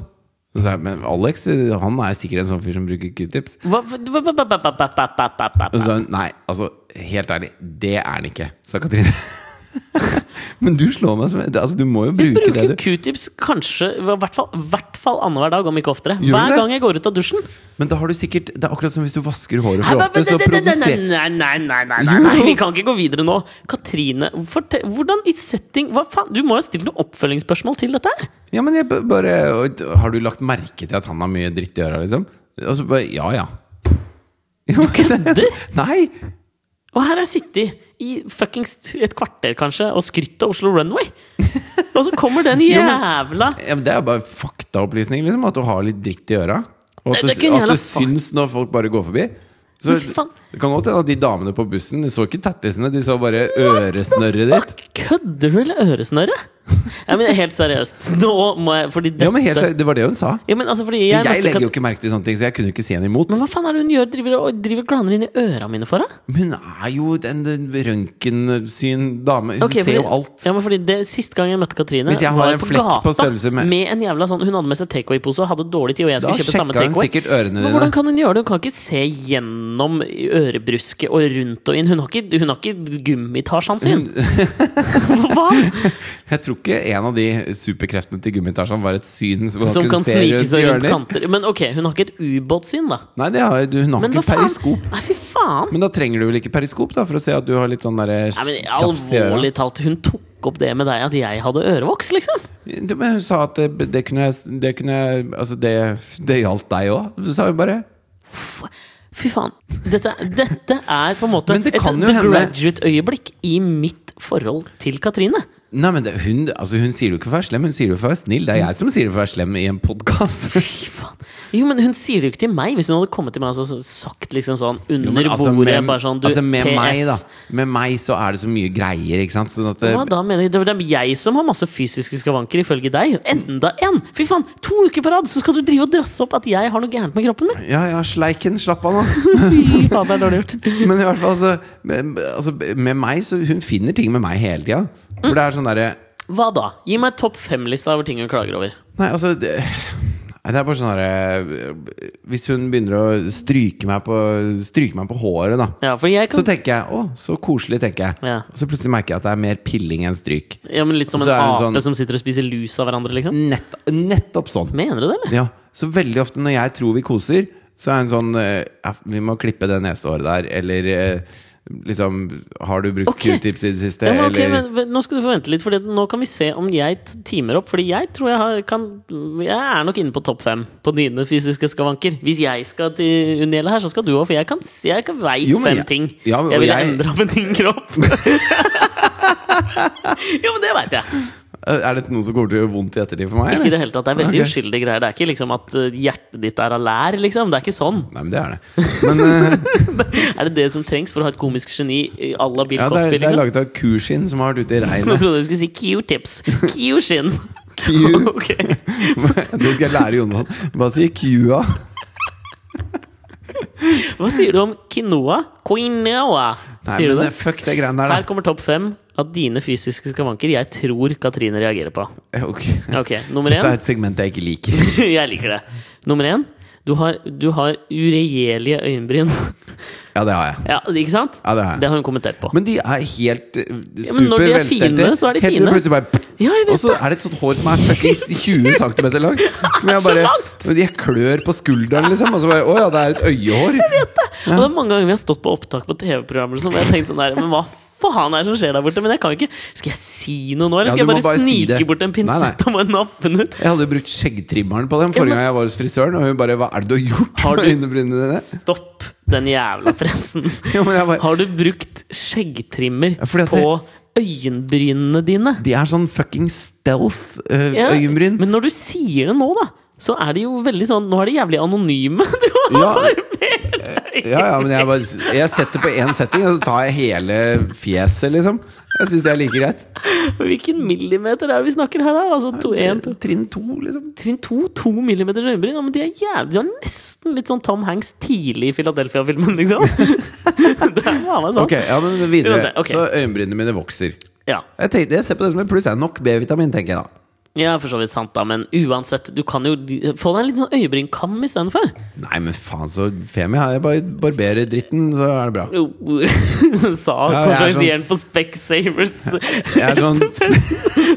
Speaker 1: Så sa jeg, men Alex eh, han er sikkert en sånn fyr som bruker q-tips.
Speaker 2: Hva- hva- hva- hva- hva- hva- hva- hva- hva- hva-
Speaker 1: Og så
Speaker 2: hva?
Speaker 1: sa hun nei, altså helt ærlig, det er han ikke, sa Katrine. [laughs] men du slår meg som altså, Du må jo bruke det
Speaker 2: Bruker
Speaker 1: du
Speaker 2: q-tips kanskje i hvert fall, hvert fall annenhver dag, om ikke oftere.
Speaker 1: du
Speaker 2: Hver
Speaker 1: det?
Speaker 2: gang jeg går ut av dusjen.
Speaker 1: Men da har du sikkert Det er akkurat som hvis du vasker håret
Speaker 2: Nei,
Speaker 1: for ofte, så
Speaker 2: nei, nei, nei,
Speaker 1: produserer
Speaker 2: nei, nei, nei, nei, nei, nei, vi kan ikke gå videre nå. Katrine, fortell, hvordan i setting hva faen, Du må jo stille noen oppfølgingsspørsmål til dette her!
Speaker 1: Ja, men jeg b- bare og- Har du lagt merke til at han har mye dritt i øra, liksom? Og så bare Ja, ja. Du kødder? [laughs] Nei!
Speaker 2: Og her har jeg sittet i fuckings et kvarter, kanskje, og skrytt av Oslo Runway! Og så kommer den
Speaker 1: men- [laughs]
Speaker 2: jævla
Speaker 1: Ja, men det er jo bare faktaopplysning, liksom. At du har litt dritt i øra. Og Og at
Speaker 2: Det-
Speaker 1: det,
Speaker 2: det
Speaker 1: at
Speaker 2: kunne jævla
Speaker 1: det
Speaker 2: fuck.
Speaker 1: syns når folk bare går forbi. Så
Speaker 2: Men faen.
Speaker 1: Det kan godt hende at de damene på bussen De så ikke tattisene, de så bare øresnørret ditt.
Speaker 2: Fuck, kødder du, eller øresnøre? Ja, men helt seriøst. Nå må jeg Fordi dette
Speaker 1: Ja, men helt, seriøst, Det var det hun sa.
Speaker 2: Ja, men altså, fordi
Speaker 1: Men
Speaker 2: jeg,
Speaker 1: jeg
Speaker 2: møtte
Speaker 1: legger jo
Speaker 2: Kat-
Speaker 1: ikke merke til sånne ting, så jeg kunne ikke si henne imot.
Speaker 2: Men hva faen er det hun gjør? Driver og driver og glaner inn i øra mine for deg?
Speaker 1: Men hun er jo en røntgensyn dame. Hun
Speaker 2: Ok, fordi-
Speaker 1: ser jo alt.
Speaker 2: Ja, men fordi det, Siste gang jeg møtte Katrine,
Speaker 1: Hvis jeg har
Speaker 2: var
Speaker 1: en flekk på størrelse med-
Speaker 2: en jævla sånn Hun hadde med seg takeaway-pose og hadde dårlig tid, og jeg
Speaker 1: Da
Speaker 2: skulle kjøpe samme
Speaker 1: sjekka hun
Speaker 2: takeaway.
Speaker 1: sikkert ørene
Speaker 2: Men
Speaker 1: dine.
Speaker 2: hvordan kan hun gjøre det? Hun kan ikke se gjennom ørebrusket og rundt og inn. Hun har ikke, hun har ikke gummitasjen sin! [laughs] Hva?
Speaker 1: Jeg tror ikke en av de superkreftene til gummitasjen var et syn som,
Speaker 2: Som
Speaker 1: kunne
Speaker 2: kan
Speaker 1: se
Speaker 2: snike
Speaker 1: rundt
Speaker 2: seg rundt
Speaker 1: hjørner.
Speaker 2: kanter. Men ok, hun har ikke et ubåtsyn, da.
Speaker 1: Nei, det har, du, hun har
Speaker 2: Men hva
Speaker 1: ikke
Speaker 2: faen?
Speaker 1: periskop.
Speaker 2: Nei, fy faen!
Speaker 1: Men da trenger du vel ikke periskop da for å se at du har litt sånn derre
Speaker 2: Nei, men
Speaker 1: tjafs i øra?
Speaker 2: Alvorlig talt, hun tok opp det med deg at jeg hadde ørevoks, liksom?
Speaker 1: Du, Men hun sa at det, det kunne jeg Det kunne jeg Altså, det, det gjaldt deg òg, sa hun bare.
Speaker 2: Fy faen. Dette, dette er på en måte
Speaker 1: Men det
Speaker 2: et
Speaker 1: kan jo
Speaker 2: The
Speaker 1: hende-
Speaker 2: Graduate-øyeblikk i mitt forhold til Katrine.
Speaker 1: Nei, men det, hun, altså, hun sier det jo ikke for å være slem, hun sier det jo for å være snill. Det er jeg som sier det for å være slem i en podkast.
Speaker 2: Fy faen. Jo, men hun sier det jo ikke til meg. Hvis hun hadde kommet til meg og så- så sagt liksom sånn [laughs] under bordet bare sånn, du,
Speaker 1: altså, med
Speaker 2: PS.
Speaker 1: meg, da. Med meg så er det så mye greier, ikke sant. Sånn at det,
Speaker 2: Hva da mener jeg? Det er jeg som har masse fysiske skavanker, ifølge deg. Enda en! Fy faen! To uker på rad så skal du drive og drasse opp at jeg har noe gærent med kroppen min!
Speaker 1: Ja, ja, sleiken, slapp av nå. [laughs]
Speaker 2: Fy faen, det er dårlig gjort.
Speaker 1: Men i hvert fall, altså, med, altså, med meg, så hun finner ting med meg hele tida. Hvor det er sånn derre
Speaker 2: Hva da? Gi meg topp fem-lista over ting hun klager over.
Speaker 1: Nei, altså det, Nei, det er bare sånn derre Hvis hun begynner å stryke meg på, stryke meg på håret, da.
Speaker 2: Ja, for jeg
Speaker 1: Så
Speaker 2: kan
Speaker 1: tenker jeg 'å, så koselig', tenker jeg.
Speaker 2: Ja.
Speaker 1: Og så plutselig merker jeg at det er mer pilling enn stryk.
Speaker 2: ja, men Litt som
Speaker 1: Så
Speaker 2: en
Speaker 1: er hun
Speaker 2: ape
Speaker 1: sånn- Mm.
Speaker 2: som sitter og spiser lus av hverandre, liksom.
Speaker 1: Nett, nettopp sånn.
Speaker 2: Mener du det, eller?
Speaker 1: Ja, Så veldig ofte når jeg tror vi koser, så er hun sånn eh, ja, 'Vi må klippe det nesehåret der', eller eh, liksom 'Har du brukt
Speaker 2: Ok.
Speaker 1: q-tips i det siste',
Speaker 2: Ja, men, ok,
Speaker 1: eller
Speaker 2: men, men Nå skal du få vente litt, for nå kan vi se om jeg t- timer opp. Fordi jeg tror jeg har kan, Jeg er nok inne på topp fem på dine fysiske skavanker. Hvis jeg skal til Uniela her, så skal du òg, for jeg kan, s- jeg kan veit
Speaker 1: Jo, men
Speaker 2: fem
Speaker 1: jeg-
Speaker 2: ting.
Speaker 1: ja, men-
Speaker 2: jeg
Speaker 1: og
Speaker 2: ville
Speaker 1: jeg-
Speaker 2: endra på din
Speaker 1: [laughs]
Speaker 2: kropp. jo, men det veit jeg.
Speaker 1: «Eh, Er dette noe som kommer til å gjøre vondt i ettertid for meg?
Speaker 2: Ikke i
Speaker 1: eller?
Speaker 2: det hele tatt. Det er veldig
Speaker 1: Ok.
Speaker 2: uskyldige greier. Det er ikke liksom at eh, hjertet ditt er av lær, liksom. Det er ikke sånn.
Speaker 1: Nei, men det er
Speaker 2: [laughs]
Speaker 1: det. Men eh,
Speaker 2: Er det det som trengs for å ha et komisk geni eh, à la Bill
Speaker 1: ja, det, er,
Speaker 2: Cosby,
Speaker 1: det er
Speaker 2: liksom?
Speaker 1: laget av kuskinn som har vært ute i
Speaker 2: [laughs] Nå
Speaker 1: regnet.
Speaker 2: trodde jeg du skulle si Q-tips. Q-skinn.
Speaker 1: [laughs]
Speaker 2: [laughs]
Speaker 1: Q.
Speaker 2: Ok.
Speaker 1: Det skal jeg lære Jonan. Hva sier Q-a?
Speaker 2: Hva sier du om quinoa? Quinoa!
Speaker 1: Nei,
Speaker 2: Sier
Speaker 1: men
Speaker 2: du det?
Speaker 1: eh, fuck det greiene
Speaker 2: Her
Speaker 1: der, da.
Speaker 2: kommer topp fem av dine fysiske skavanker jeg tror Katrine reagerer på.
Speaker 1: Eh, Ok.
Speaker 2: [laughs] Ok, Nummer
Speaker 1: Dette er
Speaker 2: én
Speaker 1: et segment jeg ikke liker.
Speaker 2: [laughs] Jeg liker det. Nummer én du har, du har uregjerlige øyenbryn. [laughs]
Speaker 1: Ja, det har jeg.
Speaker 2: Ja, ikke sant?
Speaker 1: Ja, det har jeg.
Speaker 2: Det har hun kommentert på.
Speaker 1: Men de er helt eh,
Speaker 2: Ja, men når
Speaker 1: super
Speaker 2: de er
Speaker 1: velstelte.
Speaker 2: fine, så er de
Speaker 1: Helt til
Speaker 2: fine.
Speaker 1: plutselig bare
Speaker 2: Ja, jeg vet
Speaker 1: Og så er det et sånt hår som er
Speaker 2: [laughs]
Speaker 1: fuckings 20 cm langt. Som jeg bare Jeg klør på skulderen, liksom. Og så bare Å ja, det er et øyehår.
Speaker 2: Og det er mange ganger vi har stått på opptak på TV-programmer og sånn, og jeg har tenkt sånn der, men hva faen er det som skjer der borte? Men jeg kan ikke Skal jeg si noe nå, eller
Speaker 1: Ja,
Speaker 2: skal
Speaker 1: du må
Speaker 2: jeg bare,
Speaker 1: bare si
Speaker 2: snike
Speaker 1: det.
Speaker 2: bort en
Speaker 1: Nei, nei.
Speaker 2: pinsett og bare nappe den ut?
Speaker 1: Jeg hadde jo brukt skjeggtrimmeren på dem
Speaker 2: Ja, men-
Speaker 1: forrige gang jeg var hos frisøren, og hun bare Hva er det du har gjort
Speaker 2: Har
Speaker 1: med
Speaker 2: du-
Speaker 1: øyenebrynene dine?
Speaker 2: Stopp den jævla pressen.
Speaker 1: Ja, men jeg bare-
Speaker 2: Har du brukt skjeggtrimmer
Speaker 1: Ja, fordi at
Speaker 2: på øyenbrynene dine?
Speaker 1: De er sånn fucking stealth øh,
Speaker 2: Ja,
Speaker 1: øyenbryn.
Speaker 2: Men når du sier det nå, da, så er det jo veldig sånn Nå er de jævlig anonyme. [laughs] Du har
Speaker 1: Ja.
Speaker 2: barbert deg!
Speaker 1: Ja, ja, men jeg, bare, jeg setter på én setting, og så tar jeg hele fjeset, liksom. Jeg syns det er like greit.
Speaker 2: Hvilken millimeter er det vi snakker her, da? Altså to, en, to.
Speaker 1: Trinn to, liksom.
Speaker 2: Trinn to, to millimeters øyenbryn. Ja, men de er jævlig De har nesten litt sånn Tom Hanks tidlig i Philadelphia-filmen, liksom. [laughs] det er faen meg sånn.
Speaker 1: Ok, ja, men videre.
Speaker 2: Uansett, ok.
Speaker 1: Så øyenbrynene mine vokser.
Speaker 2: Ja.
Speaker 1: Jeg, tenkte, jeg ser på det som et pluss. Jeg er nok B-vitamin, tenker jeg da.
Speaker 2: ja, for så vidt sant, da. Men uansett, du kan jo få deg en liten sånn øyebrynkam istedenfor.
Speaker 1: Nei, men faen så femi jeg er. Jeg bare barberer dritten, så er det bra.
Speaker 2: Jo, [laughs] sa
Speaker 1: Ja, jeg er sånn-
Speaker 2: konferansieren på Specsavers
Speaker 1: Jeg er
Speaker 2: [laughs]
Speaker 1: sånn,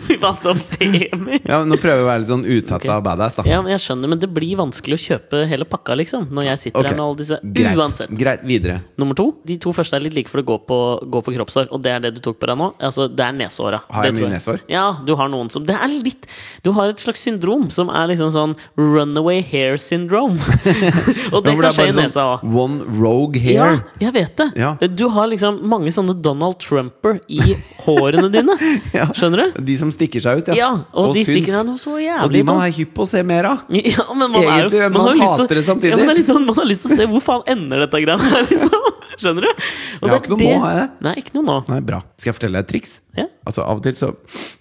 Speaker 2: Vi var så femi!
Speaker 1: ja, nå prøver jeg å være litt sånn uttatt av badass, da.
Speaker 2: Ja, men jeg skjønner, men det blir vanskelig å kjøpe hele pakka, liksom. Når jeg sitter
Speaker 1: Ok,
Speaker 2: her med alle disse.
Speaker 1: Greit.
Speaker 2: Uansett.
Speaker 1: Greit. Videre.
Speaker 2: Nummer to. De to første er litt like for det går på, går på kroppshår, og det er det du tok på deg nå. Altså, det er nesehåra.
Speaker 1: Har jeg
Speaker 2: Det tror
Speaker 1: mye nesehår?
Speaker 2: Ja, du har noen som Det er litt litt Du har et slags syndrom som er liksom sånn runaway hair syndrome. [laughs] og det
Speaker 1: Ja, for
Speaker 2: kan skje i
Speaker 1: bare sånn-
Speaker 2: nesa òg.
Speaker 1: One rogue hair.
Speaker 2: Ja, jeg vet det.
Speaker 1: Ja.
Speaker 2: Du har liksom mange sånne Donald Trumper i hårene
Speaker 1: [laughs]
Speaker 2: dine.
Speaker 1: [laughs] Ja.
Speaker 2: Skjønner du?
Speaker 1: De som stikker seg ut, ja.
Speaker 2: Ja, og, de
Speaker 1: syns.
Speaker 2: stikker av noe så jævlig
Speaker 1: Og de man
Speaker 2: ut.
Speaker 1: er hypp på å se mer av.
Speaker 2: [laughs] ja, men man
Speaker 1: Egentlig,
Speaker 2: er jo,
Speaker 1: man
Speaker 2: har jo lyst
Speaker 1: hater
Speaker 2: til-
Speaker 1: det samtidig.
Speaker 2: Ja, men det er litt sånn, man har lyst til å se hvor faen ender dette greiene her, [laughs] liksom. Skjønner du? Og
Speaker 1: Jeg har ikke noe nå, har jeg det?
Speaker 2: Nei, ikke noe nå.
Speaker 1: Nei, bra. Skal jeg fortelle deg et triks?
Speaker 2: Ja.
Speaker 1: Altså Av og til så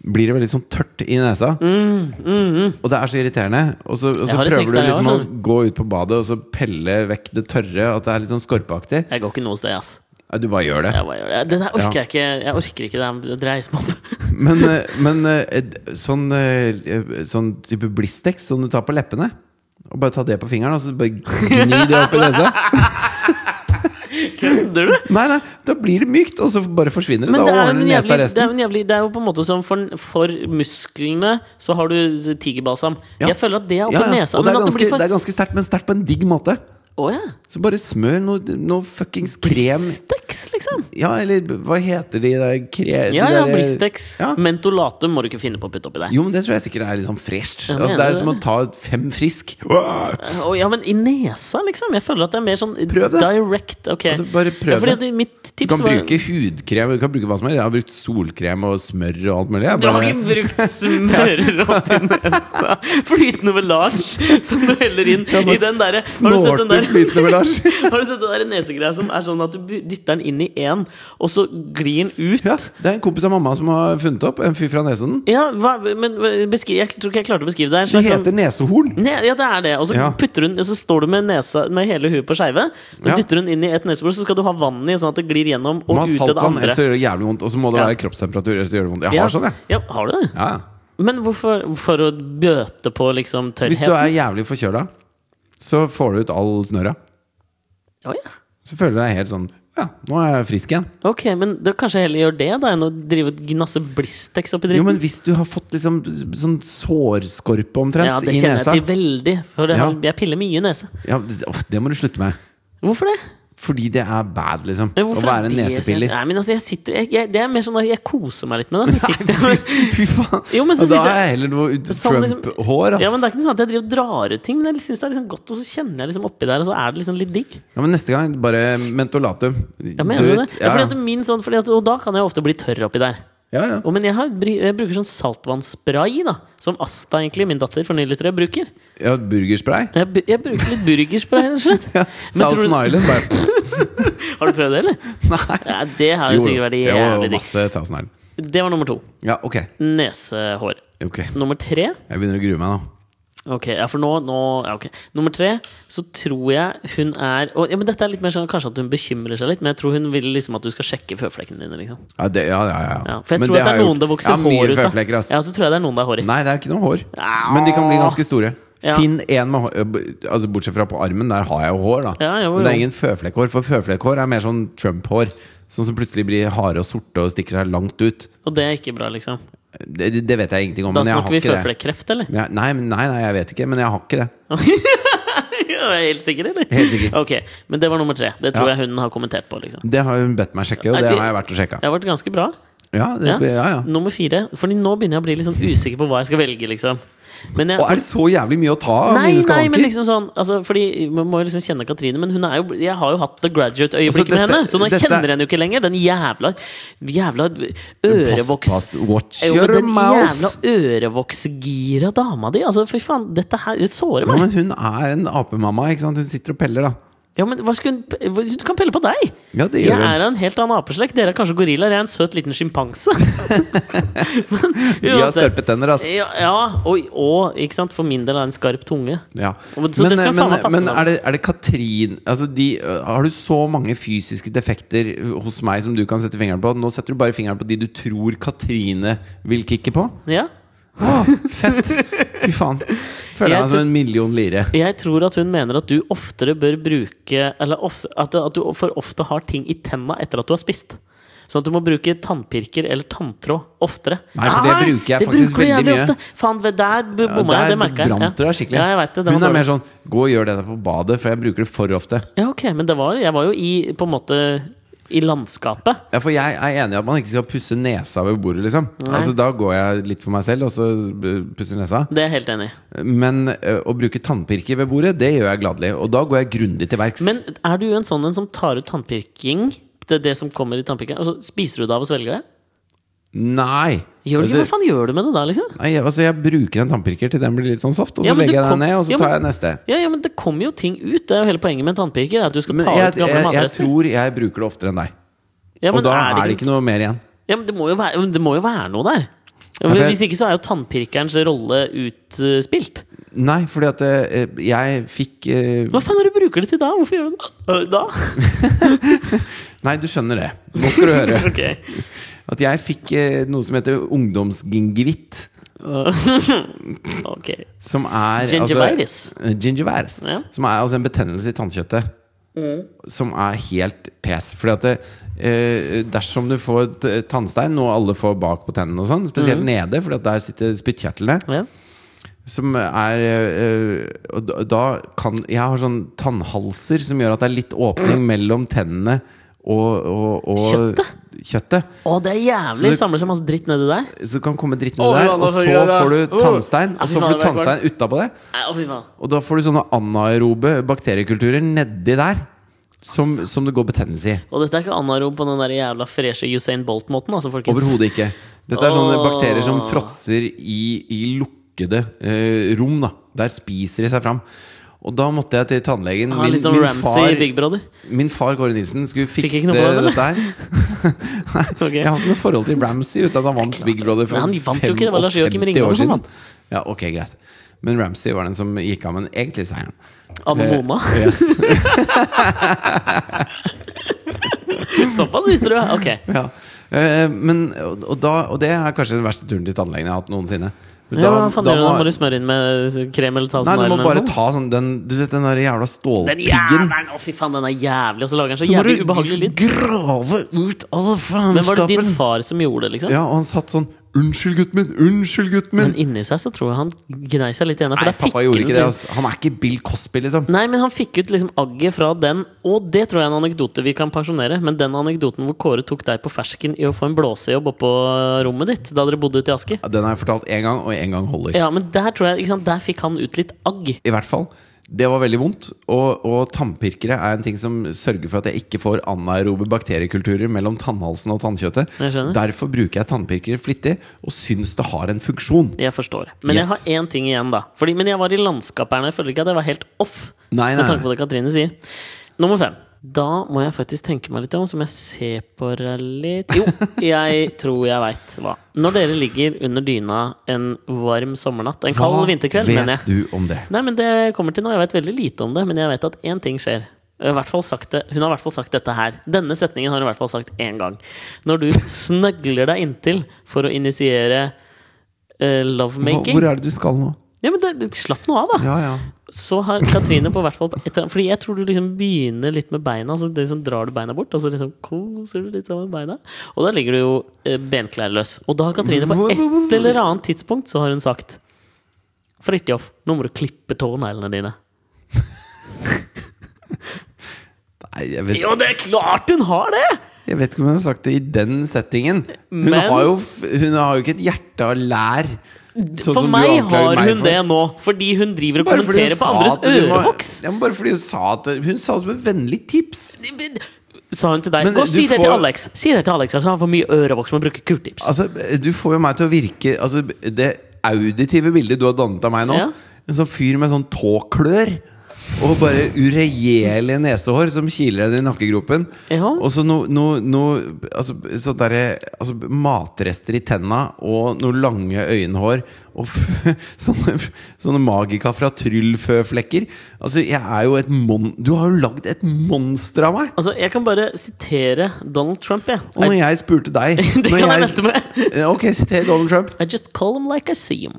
Speaker 1: blir det veldig sånn tørt i nesa. Og det er så irriterende. Og så, og
Speaker 2: Mm, Jeg
Speaker 1: så
Speaker 2: har et
Speaker 1: prøver
Speaker 2: triks
Speaker 1: du
Speaker 2: der, jeg
Speaker 1: liksom å
Speaker 2: også.
Speaker 1: gå ut på badet og så pelle vekk det tørre. At det er litt sånn skorpeaktig.
Speaker 2: Jeg går ikke noe sted, ass.
Speaker 1: Ja, Du bare gjør det.
Speaker 2: Jeg bare gjør det. Det der orker
Speaker 1: Ja.
Speaker 2: jeg ikke. Jeg orker ikke det. Det reiser meg opp.
Speaker 1: [laughs] Men, eh, men eh, sånn, eh, sånn type Blistex som du tar på leppene Og bare ta det på fingeren og så bare gni det opp i nesa.
Speaker 2: [laughs] [laughs] Kødder du?
Speaker 1: Nei, nei, da blir det mykt, og så bare forsvinner det. Da
Speaker 2: Men det er, jo
Speaker 1: ordner
Speaker 2: en
Speaker 1: nesa
Speaker 2: jævlig, det, er
Speaker 1: resten.
Speaker 2: jo en jævlig, det er jo på en måte som for, for musklene så har du tigerbalsam.
Speaker 1: Ja.
Speaker 2: Jeg føler at det er oppe
Speaker 1: Ja,
Speaker 2: i
Speaker 1: ja.
Speaker 2: nesa.
Speaker 1: Og det er
Speaker 2: Men at det
Speaker 1: ganske,
Speaker 2: blir for
Speaker 1: det er ganske sterkt, men sterkt på en digg måte.
Speaker 2: Å ja.
Speaker 1: Så bare smør noe, noe fuckings krem
Speaker 2: Blistex, liksom.
Speaker 1: Ja, eller hva heter de der kre... de
Speaker 2: Ja, ja,
Speaker 1: der- eh,
Speaker 2: Blistex.
Speaker 1: Ja.
Speaker 2: Mentolate må du ikke finne på å putte oppi der.
Speaker 1: Jo, men det tror jeg sikkert er litt sånn fresh.
Speaker 2: Ja,
Speaker 1: altså,
Speaker 2: mener
Speaker 1: det er
Speaker 2: du
Speaker 1: som å
Speaker 2: det?
Speaker 1: ta fem frisk. Åh!
Speaker 2: Å, ja, men i nesa, liksom. Jeg føler at det er mer sånn
Speaker 1: Prøv det.
Speaker 2: direct. Ok.
Speaker 1: Altså, bare prøv
Speaker 2: ja, fordi
Speaker 1: det.
Speaker 2: det. Mitt
Speaker 1: Du
Speaker 2: tips
Speaker 1: kan
Speaker 2: var
Speaker 1: bruke hudkrem, du kan bruke hva som helst. Jeg har brukt solkrem og smør og alt mulig. Jeg
Speaker 2: Du har
Speaker 1: bare-
Speaker 2: ikke brukt smører oppi nesa. Flytende melasje som du heller inn
Speaker 1: Ja,
Speaker 2: i
Speaker 1: men
Speaker 2: den derre Har du sett den
Speaker 1: snorter flytende
Speaker 2: der?
Speaker 1: melasje.
Speaker 2: [laughs] Har du sett den der nesegreia som er sånn at du bu- dytter den inn i én, og så glir den ut?
Speaker 1: Ja, det er en kompis av mamma som har funnet opp. En fyr fra Nesodden.
Speaker 2: Ja, hva, men hva- beskri, Jeg tror ikke jeg klarte å beskrive det.
Speaker 1: Det
Speaker 2: her, sånn-
Speaker 1: heter nesehorn.
Speaker 2: Ne ja, det er det. Og så,
Speaker 1: Ja.
Speaker 2: putter hun, og så står du med, nesa, med hele huet på skeive. og
Speaker 1: Ja.
Speaker 2: Dytter hun inn i et nesebor, så skal du ha vann i, sånn at det glir gjennom
Speaker 1: Man
Speaker 2: og
Speaker 1: har
Speaker 2: ut til det
Speaker 1: saltvann,
Speaker 2: andre.
Speaker 1: ellers så gjør det jævlig vondt. Og så må det
Speaker 2: Ja.
Speaker 1: være kroppstemperatur, ellers så gjør det vondt. Jeg
Speaker 2: Ja.
Speaker 1: har sånn, jeg.
Speaker 2: Ja, har du det?
Speaker 1: Ja. ja.
Speaker 2: Men hvorfor for å bøte på liksom
Speaker 1: Hvis du
Speaker 2: tørrheten?
Speaker 1: er jævlig forkjøla, så får du ut all snørra.
Speaker 2: Å, ja.
Speaker 1: Så føler du deg helt sånn Ja, nå er jeg frisk igjen.
Speaker 2: Ok, men da kanskje jeg heller gjør det da enn å drive og gnasse Blistex oppi
Speaker 1: Jo,
Speaker 2: dritten?
Speaker 1: men hvis du har fått liksom sånn sårskorpe omtrent
Speaker 2: ja, det
Speaker 1: i
Speaker 2: kjenner
Speaker 1: nesa
Speaker 2: jeg til veldig. For det,
Speaker 1: Ja.
Speaker 2: har- jeg piller mye i nese.
Speaker 1: ja, det, åh, det må du slutte med.
Speaker 2: Hvorfor det?
Speaker 1: Fordi det er bad, liksom. Å
Speaker 2: Men Hvorfor
Speaker 1: være
Speaker 2: er det så-
Speaker 1: nesepiller.
Speaker 2: Nei, men altså, jeg sitter jeg, jeg, Det er mer sånn at jeg koser meg litt med det. altså, Så
Speaker 1: [laughs] Nei,
Speaker 2: sitter
Speaker 1: fy,
Speaker 2: jeg
Speaker 1: fy faen.
Speaker 2: Jo, men så
Speaker 1: Og da
Speaker 2: sitter-
Speaker 1: har jeg heller noe ut-
Speaker 2: Sånn liksom-
Speaker 1: Trump-hår, ass.
Speaker 2: Ja, men Det er ikke sånn at jeg driver og drar ut ting, men jeg synes det er liksom godt, og så kjenner jeg liksom oppi der, og så er det liksom litt digg.
Speaker 1: neste gang, bare mentolatum.
Speaker 2: Jeg mener
Speaker 1: Du
Speaker 2: det.
Speaker 1: vet,
Speaker 2: Ja.
Speaker 1: Ja,
Speaker 2: Fordi at min sånn, fordi at, og da kan jeg ofte bli tørr oppi der.
Speaker 1: ja, ja.
Speaker 2: Og, men jeg, har, bry- jeg bruker sånn saltvannsspray, da. Som Asta, egentlig, min datter for nylig, tror jeg, bruker.
Speaker 1: ja burgerspray. [laughs]
Speaker 2: Jeg, bu- jeg bruker litt burgerspray, rett og slett.
Speaker 1: Ja,
Speaker 2: Men tror
Speaker 1: Thousand
Speaker 2: du-
Speaker 1: Island, bare [laughs]
Speaker 2: Har du prøvd det, eller?
Speaker 1: Nei.
Speaker 2: Ja, det har jo sikkert vært
Speaker 1: jo, jo,
Speaker 2: jævlig digg.
Speaker 1: masse Thousand Island.
Speaker 2: Det var nummer to.
Speaker 1: Ja, ok.
Speaker 2: Nesehår.
Speaker 1: Ok, Jeg
Speaker 2: Nummer tre
Speaker 1: begynner å grue meg nå.
Speaker 2: Ok, ja, for nå, nå ja, ok. Nummer tre, så tror jeg hun er og, ja, men Dette er litt mer sånn kanskje at hun bekymrer seg litt, men jeg tror hun vil liksom at du skal sjekke føflekkene dine. liksom
Speaker 1: Ja, det, ja, ja, ja.
Speaker 2: ja, For jeg
Speaker 1: Men
Speaker 2: tror at det
Speaker 1: har
Speaker 2: er
Speaker 1: jeg
Speaker 2: noen
Speaker 1: gjort.
Speaker 2: det vokser
Speaker 1: ja,
Speaker 2: hår
Speaker 1: Mye
Speaker 2: ut av.
Speaker 1: føflekker, ass.
Speaker 2: Ja, så tror jeg det er noen det er hår i.
Speaker 1: Nei, det er ikke noe hår.
Speaker 2: Ja.
Speaker 1: Men de kan bli ganske store.
Speaker 2: Ja.
Speaker 1: Finn én med hår Altså Bortsett fra på armen, der har jeg jo hår, da.
Speaker 2: Ja, jo,
Speaker 1: Men det er
Speaker 2: jo.
Speaker 1: ingen føflekkhår, for føflekkhår er mer sånn Trump-hår. Sånn som plutselig blir harde og sorte og stikker seg langt ut.
Speaker 2: Og det er ikke bra, liksom.
Speaker 1: Det, det- det vet jeg ingenting om,
Speaker 2: Da
Speaker 1: men jeg har
Speaker 2: snakker vi
Speaker 1: ikke det.
Speaker 2: føflekkreft, eller?
Speaker 1: Men jeg- Nei, men- nei, nei, jeg vet ikke, men jeg har ikke det.
Speaker 2: [laughs] Ja, jeg er helt sikker, eller?
Speaker 1: Helt sikker.
Speaker 2: Ok, Men det var nummer tre. Det tror
Speaker 1: Ja.
Speaker 2: jeg hun har kommentert på. liksom
Speaker 1: Det har hun bedt meg sjekke, og
Speaker 2: Er
Speaker 1: det
Speaker 2: det-
Speaker 1: har jeg vært og sjekka.
Speaker 2: Det har vært ganske bra.
Speaker 1: Ja, det,
Speaker 2: Ja.
Speaker 1: ja, ja.
Speaker 2: Nummer fire, Fordi nå begynner jeg å bli litt sånn usikker på hva jeg skal velge, liksom. Men jeg,
Speaker 1: Og er det så jævlig mye å ta av
Speaker 2: Nei,
Speaker 1: mine
Speaker 2: nei, men
Speaker 1: skavanker?
Speaker 2: liksom sånn altså, Fordi Man må jo liksom kjenne Katrine, men hun er jo, jeg har jo hatt the
Speaker 1: Altså,
Speaker 2: graduate-øyeblikket med
Speaker 1: dette-
Speaker 2: henne. Så nå
Speaker 1: dette-
Speaker 2: kjenner jeg henne jo ikke lenger. Den jævla jævla liksom, ørevoks...
Speaker 1: Pass, pass, watch
Speaker 2: Jo, men
Speaker 1: your
Speaker 2: den jævla
Speaker 1: mouth!
Speaker 2: ørevoksgira dama di! Altså, fy faen, dette her det sårer
Speaker 1: Ja,
Speaker 2: meg!
Speaker 1: men hun er en apemamma, ikke sant? Hun sitter og peller, da.
Speaker 2: Ja, men hva skulle hun hva- Hun kan pelle på deg!
Speaker 1: Ja, det
Speaker 2: Jeg
Speaker 1: gjør hun.
Speaker 2: er av en helt annen apeslekt. Dere er kanskje gorillaer. Jeg er en søt liten
Speaker 1: [laughs]
Speaker 2: sjimpanse. [laughs] Men
Speaker 1: De har
Speaker 2: uansett. Eh,
Speaker 1: skarpe tenner, ass.
Speaker 2: Ja, ja og, og ikke sant, for min del er det en skarp tunge.
Speaker 1: Ja.
Speaker 2: Og- så det
Speaker 1: Men, eh,
Speaker 2: skal
Speaker 1: men,
Speaker 2: faen meg passe
Speaker 1: men
Speaker 2: da.
Speaker 1: er, det, er det Katrin altså de, Har du så mange fysiske defekter hos meg som du kan sette fingeren på? Nå setter du bare fingeren på de du tror Katrine vil kikke på.
Speaker 2: Ja
Speaker 1: Åh, fett! Fy faen. Føler
Speaker 2: Jeg
Speaker 1: meg som en million lire.
Speaker 2: Jeg tror at hun mener at du oftere bør bruke Eller ofte, at, at du for ofte har ting i tenna etter at du har spist. Sånn at du må bruke tannpirker eller tanntråd oftere.
Speaker 1: Nei, for det bruker jeg
Speaker 2: det
Speaker 1: faktisk
Speaker 2: bruker du
Speaker 1: veldig
Speaker 2: jævlig
Speaker 1: mye.
Speaker 2: ofte. Faen, ved der b-
Speaker 1: Ja,
Speaker 2: bomma jeg.
Speaker 1: der
Speaker 2: Det merka jeg.
Speaker 1: brant du deg skikkelig.
Speaker 2: Ja, jeg vet det,
Speaker 1: Hun
Speaker 2: det var
Speaker 1: er
Speaker 2: dårlig.
Speaker 1: mer sånn 'gå og gjør dette på badet', for jeg bruker det for ofte.
Speaker 2: Ja, ok, men det var, jeg var jo i på en måte i landskapet.
Speaker 1: Ja, for jeg er enig i at man ikke skal pusse nesa ved bordet, liksom. Altså, da går jeg litt for meg selv, og så eh, pusser nesa.
Speaker 2: Det er jeg helt enig i.
Speaker 1: Men eh, å bruke tannpirker ved bordet, det gjør jeg gladelig. Og da går jeg grundig til verks.
Speaker 2: Men er du en sånn en som tar ut tannpirking? Det er det som kommer i tannpirkeren. Altså, spiser du det av og svelger det?
Speaker 1: Nei!
Speaker 2: Gjør du ikke,
Speaker 1: Altså,
Speaker 2: Hva faen gjør du med det da, liksom?
Speaker 1: Nei, altså jeg bruker en tannpirker til den blir litt sånn soft, og så
Speaker 2: Ja, men
Speaker 1: legger
Speaker 2: du
Speaker 1: jeg den
Speaker 2: kom-
Speaker 1: ned, og så
Speaker 2: Ja,
Speaker 1: tar jeg
Speaker 2: men-
Speaker 1: neste.
Speaker 2: Ja, ja, men det kommer jo ting ut. Det er jo hele poenget med en tannpirker. er At du skal
Speaker 1: Men
Speaker 2: ta
Speaker 1: jeg,
Speaker 2: ut
Speaker 1: jeg,
Speaker 2: gamle
Speaker 1: jeg
Speaker 2: matrester.
Speaker 1: tror jeg bruker det oftere enn deg.
Speaker 2: Ja,
Speaker 1: Og
Speaker 2: men
Speaker 1: da er det ikke noe mer igjen.
Speaker 2: Ja, men det må jo være, men det må jo være noe der. Ja, men
Speaker 1: for jeg-
Speaker 2: Hvis ikke så er jo tannpirkerens rolle utspilt.
Speaker 1: Nei, fordi at eh, jeg fikk eh,
Speaker 2: Hva faen er det du bruker det til da? Hvorfor gjør du det øh, da?
Speaker 1: Nei, du skjønner det. Nå skal du høre.
Speaker 2: [laughs] Ok.
Speaker 1: At jeg fikk eh, noe som heter ungdomsgingivitt.
Speaker 2: Ok.
Speaker 1: Som er
Speaker 2: Gingivitis.
Speaker 1: Altså, eh, gingivitis.
Speaker 2: Ja. Mm.
Speaker 1: Som er altså en betennelse i tannkjøttet. Som er helt pes. Fordi at det, eh, dersom du får t- tannstein, noe alle får bak på tennene og sånn,
Speaker 2: Mm.
Speaker 1: spesielt nede, fordi at der sitter spyttkjertlene,
Speaker 2: Ja.
Speaker 1: som er eh, Og da- da kan Jeg har sånn tannhalser som gjør at det er litt åpning mellom tennene og, og, og
Speaker 2: Kjøttet?
Speaker 1: kjøttet.
Speaker 2: Å, det er
Speaker 1: Så
Speaker 2: jævlig!
Speaker 1: det-
Speaker 2: Samler seg masse dritt nedi der.
Speaker 1: Så det kan komme dritt ned
Speaker 2: Å,
Speaker 1: der,
Speaker 2: ja, nå
Speaker 1: og
Speaker 2: så
Speaker 1: så
Speaker 2: gjør jeg
Speaker 1: får
Speaker 2: det.
Speaker 1: du tannstein,
Speaker 2: Ah,
Speaker 1: og
Speaker 2: fy
Speaker 1: så
Speaker 2: faen,
Speaker 1: får du
Speaker 2: det var
Speaker 1: tannstein utapå det.
Speaker 2: Nei, å, fy faen.
Speaker 1: Og da får du sånne anaerobe bakteriekulturer nedi der som, som det går betennelse i.
Speaker 2: Og dette er ikke anarom på den der jævla freshe Usain Bolt-måten, altså, folkens.
Speaker 1: Overhodet ikke. Dette er sånne
Speaker 2: Åh.
Speaker 1: bakterier som fråtser i, i lukkede eh, rom. da Der spiser de seg fram. Og da måtte jeg til tannlegen.
Speaker 2: Han er litt sånn Ramsay i Big Brother.
Speaker 1: min far Kåre Nilsen skulle fikse
Speaker 2: ikke noe på den, eller? [laughs]
Speaker 1: dette her.
Speaker 2: Ok.
Speaker 1: Jeg har ikke noe forhold til Ramsay uten at han vant Big Brother for
Speaker 2: Men han vant jo ikke, det var Lars Joakim
Speaker 1: 55
Speaker 2: Ringland
Speaker 1: år
Speaker 2: som
Speaker 1: siden.
Speaker 2: vant.
Speaker 1: Ja, ok, greit Men Ramsay var den som gikk av, men egentlig seieren.
Speaker 2: Anne Mona.
Speaker 1: Yes.
Speaker 2: [laughs] Såpass visste du! ja. Ok.
Speaker 1: Ja. Eh, men, og, og da, og det er kanskje den verste turen til tannlegen jeg har hatt noensinne. Da,
Speaker 2: Ja, hva faen
Speaker 1: da
Speaker 2: gjør du?
Speaker 1: må-
Speaker 2: Da må du smøre inn med krem eller ta
Speaker 1: Nei, du må
Speaker 2: snarlen
Speaker 1: bare
Speaker 2: eller noe sånt.
Speaker 1: ta sånn den, Du vet den der jævla
Speaker 2: liksom. Den
Speaker 1: stålpiggen?
Speaker 2: jævelen! Å, fy faen, den er jævlig! Og så lager den så,
Speaker 1: Så må
Speaker 2: jævlig
Speaker 1: du
Speaker 2: ubehagelig lyd.
Speaker 1: grave ut all
Speaker 2: Men var det din
Speaker 1: faenskapen.
Speaker 2: far som gjorde det, liksom?
Speaker 1: Ja, og han satt sånn 'Unnskyld, gutten min! Unnskyld, gutten min!'
Speaker 2: Men inni seg så tror jeg han gnei seg litt igjen.
Speaker 1: Nei,
Speaker 2: For da fikk
Speaker 1: pappa gjorde
Speaker 2: han
Speaker 1: ikke
Speaker 2: til-
Speaker 1: det. Altså. Han er ikke Bill Cosby, liksom.
Speaker 2: Nei, men han fikk ut liksom agget fra den, og det tror jeg er en anekdote vi kan pensjonere. Men den anekdoten hvor Kåre tok deg på fersken i å få en blåsejobb oppå rommet ditt da dere bodde ute i Asker.
Speaker 1: Den har jeg fortalt én gang, og én gang holder.
Speaker 2: Ja, men der tror jeg, ikke sant, der fikk han ut litt agg.
Speaker 1: I hvert fall. Det var veldig vondt. Og, og tannpirkere er en ting som sørger for at jeg ikke får anaerobe bakteriekulturer mellom tannhalsen og tannkjøttet.
Speaker 2: Jeg skjønner.
Speaker 1: Derfor bruker jeg tannpirkere flittig, og syns det har en funksjon.
Speaker 2: Jeg forstår. Men jeg
Speaker 1: Yes.
Speaker 2: har én ting igjen, da. Fordi, men jeg var i landskapet her, og jeg føler ikke at jeg var helt off.
Speaker 1: Nei, nei,
Speaker 2: Med
Speaker 1: nei.
Speaker 2: tanke på det Katrine sier. Nummer fem. Da må jeg faktisk tenke meg litt om, som jeg ser på deg litt
Speaker 1: [laughs]
Speaker 2: Jo, jeg tror jeg veit hva. Når dere ligger under dyna en varm sommernatt, en kald vinterkveld,
Speaker 1: vet
Speaker 2: mener jeg.
Speaker 1: du om det?
Speaker 2: Nei, men det kommer til nå. Jeg vet veldig lite om det, men jeg vet at én ting skjer. Jeg har i hvert fall sagt det. Hun har i hvert fall sagt dette her. Denne setningen har hun i hvert fall sagt én gang. Når du snøgler deg inntil for å initiere eh,
Speaker 1: Hva,
Speaker 2: lovemaking
Speaker 1: hvor er det du skal nå?
Speaker 2: Ja, men det, Slapp nå av, da!
Speaker 1: Ja, ja.
Speaker 2: Så har Katrine på hvert fall på et eller annet- Fordi jeg tror du liksom begynner litt med beina, så liksom drar du beina bort, og så liksom koser du litt sammen med beina. Og da ligger du jo eh, benklær løs. Og da har Katrine på et eller annet tidspunkt så har hun sagt Fridtjof, nå må du klippe tåneglene dine.
Speaker 1: Nei, jeg vet,
Speaker 2: Jo, det er klart hun har det!
Speaker 1: jeg vet ikke om hun har sagt det i den settingen. Hun,
Speaker 2: Men-
Speaker 1: har, jo, f- hun har jo ikke et hjerte av lær. sånn
Speaker 2: for
Speaker 1: som du
Speaker 2: meg
Speaker 1: anklager
Speaker 2: har
Speaker 1: meg
Speaker 2: hun
Speaker 1: for.
Speaker 2: det nå, fordi hun driver og
Speaker 1: Bare fordi hun
Speaker 2: kommenterer på
Speaker 1: sa
Speaker 2: andres
Speaker 1: at du må-
Speaker 2: ørevoks.
Speaker 1: Ja, men bare fordi hun sa at Hun sa det som et vennlig tips.
Speaker 2: Sa hun til deg.
Speaker 1: Men
Speaker 2: Gå og
Speaker 1: du
Speaker 2: si det til
Speaker 1: får-
Speaker 2: Alex. Si det til Alex, altså, han får mye ørevoks med å bruke q-tips.
Speaker 1: Altså, du får jo meg til å virke Altså, det auditive bildet du har dannet av meg nå
Speaker 2: Ja.
Speaker 1: En sånn fyr med sånn tåklør og bare uregjerlige nesehår som kiler deg i nakkegropen.
Speaker 2: Ja.
Speaker 1: Og så noe no, no, altså, sånn derre- altså, Matrester i tenna og noen lange øyenhår. Og [laughs] f sånne, sånne magika fra tryllføflekker. Altså, jeg er jo et mon... Du har jo lagd et monster av meg!
Speaker 2: Altså, jeg kan bare sitere Donald Trump, jeg.
Speaker 1: Og når jeg spurte deg
Speaker 2: [laughs] Det
Speaker 1: når
Speaker 2: kan jeg
Speaker 1: jeg- Eh,
Speaker 2: vente med.
Speaker 1: Ok, siter Donald Trump.
Speaker 2: I, I just call him like I see him.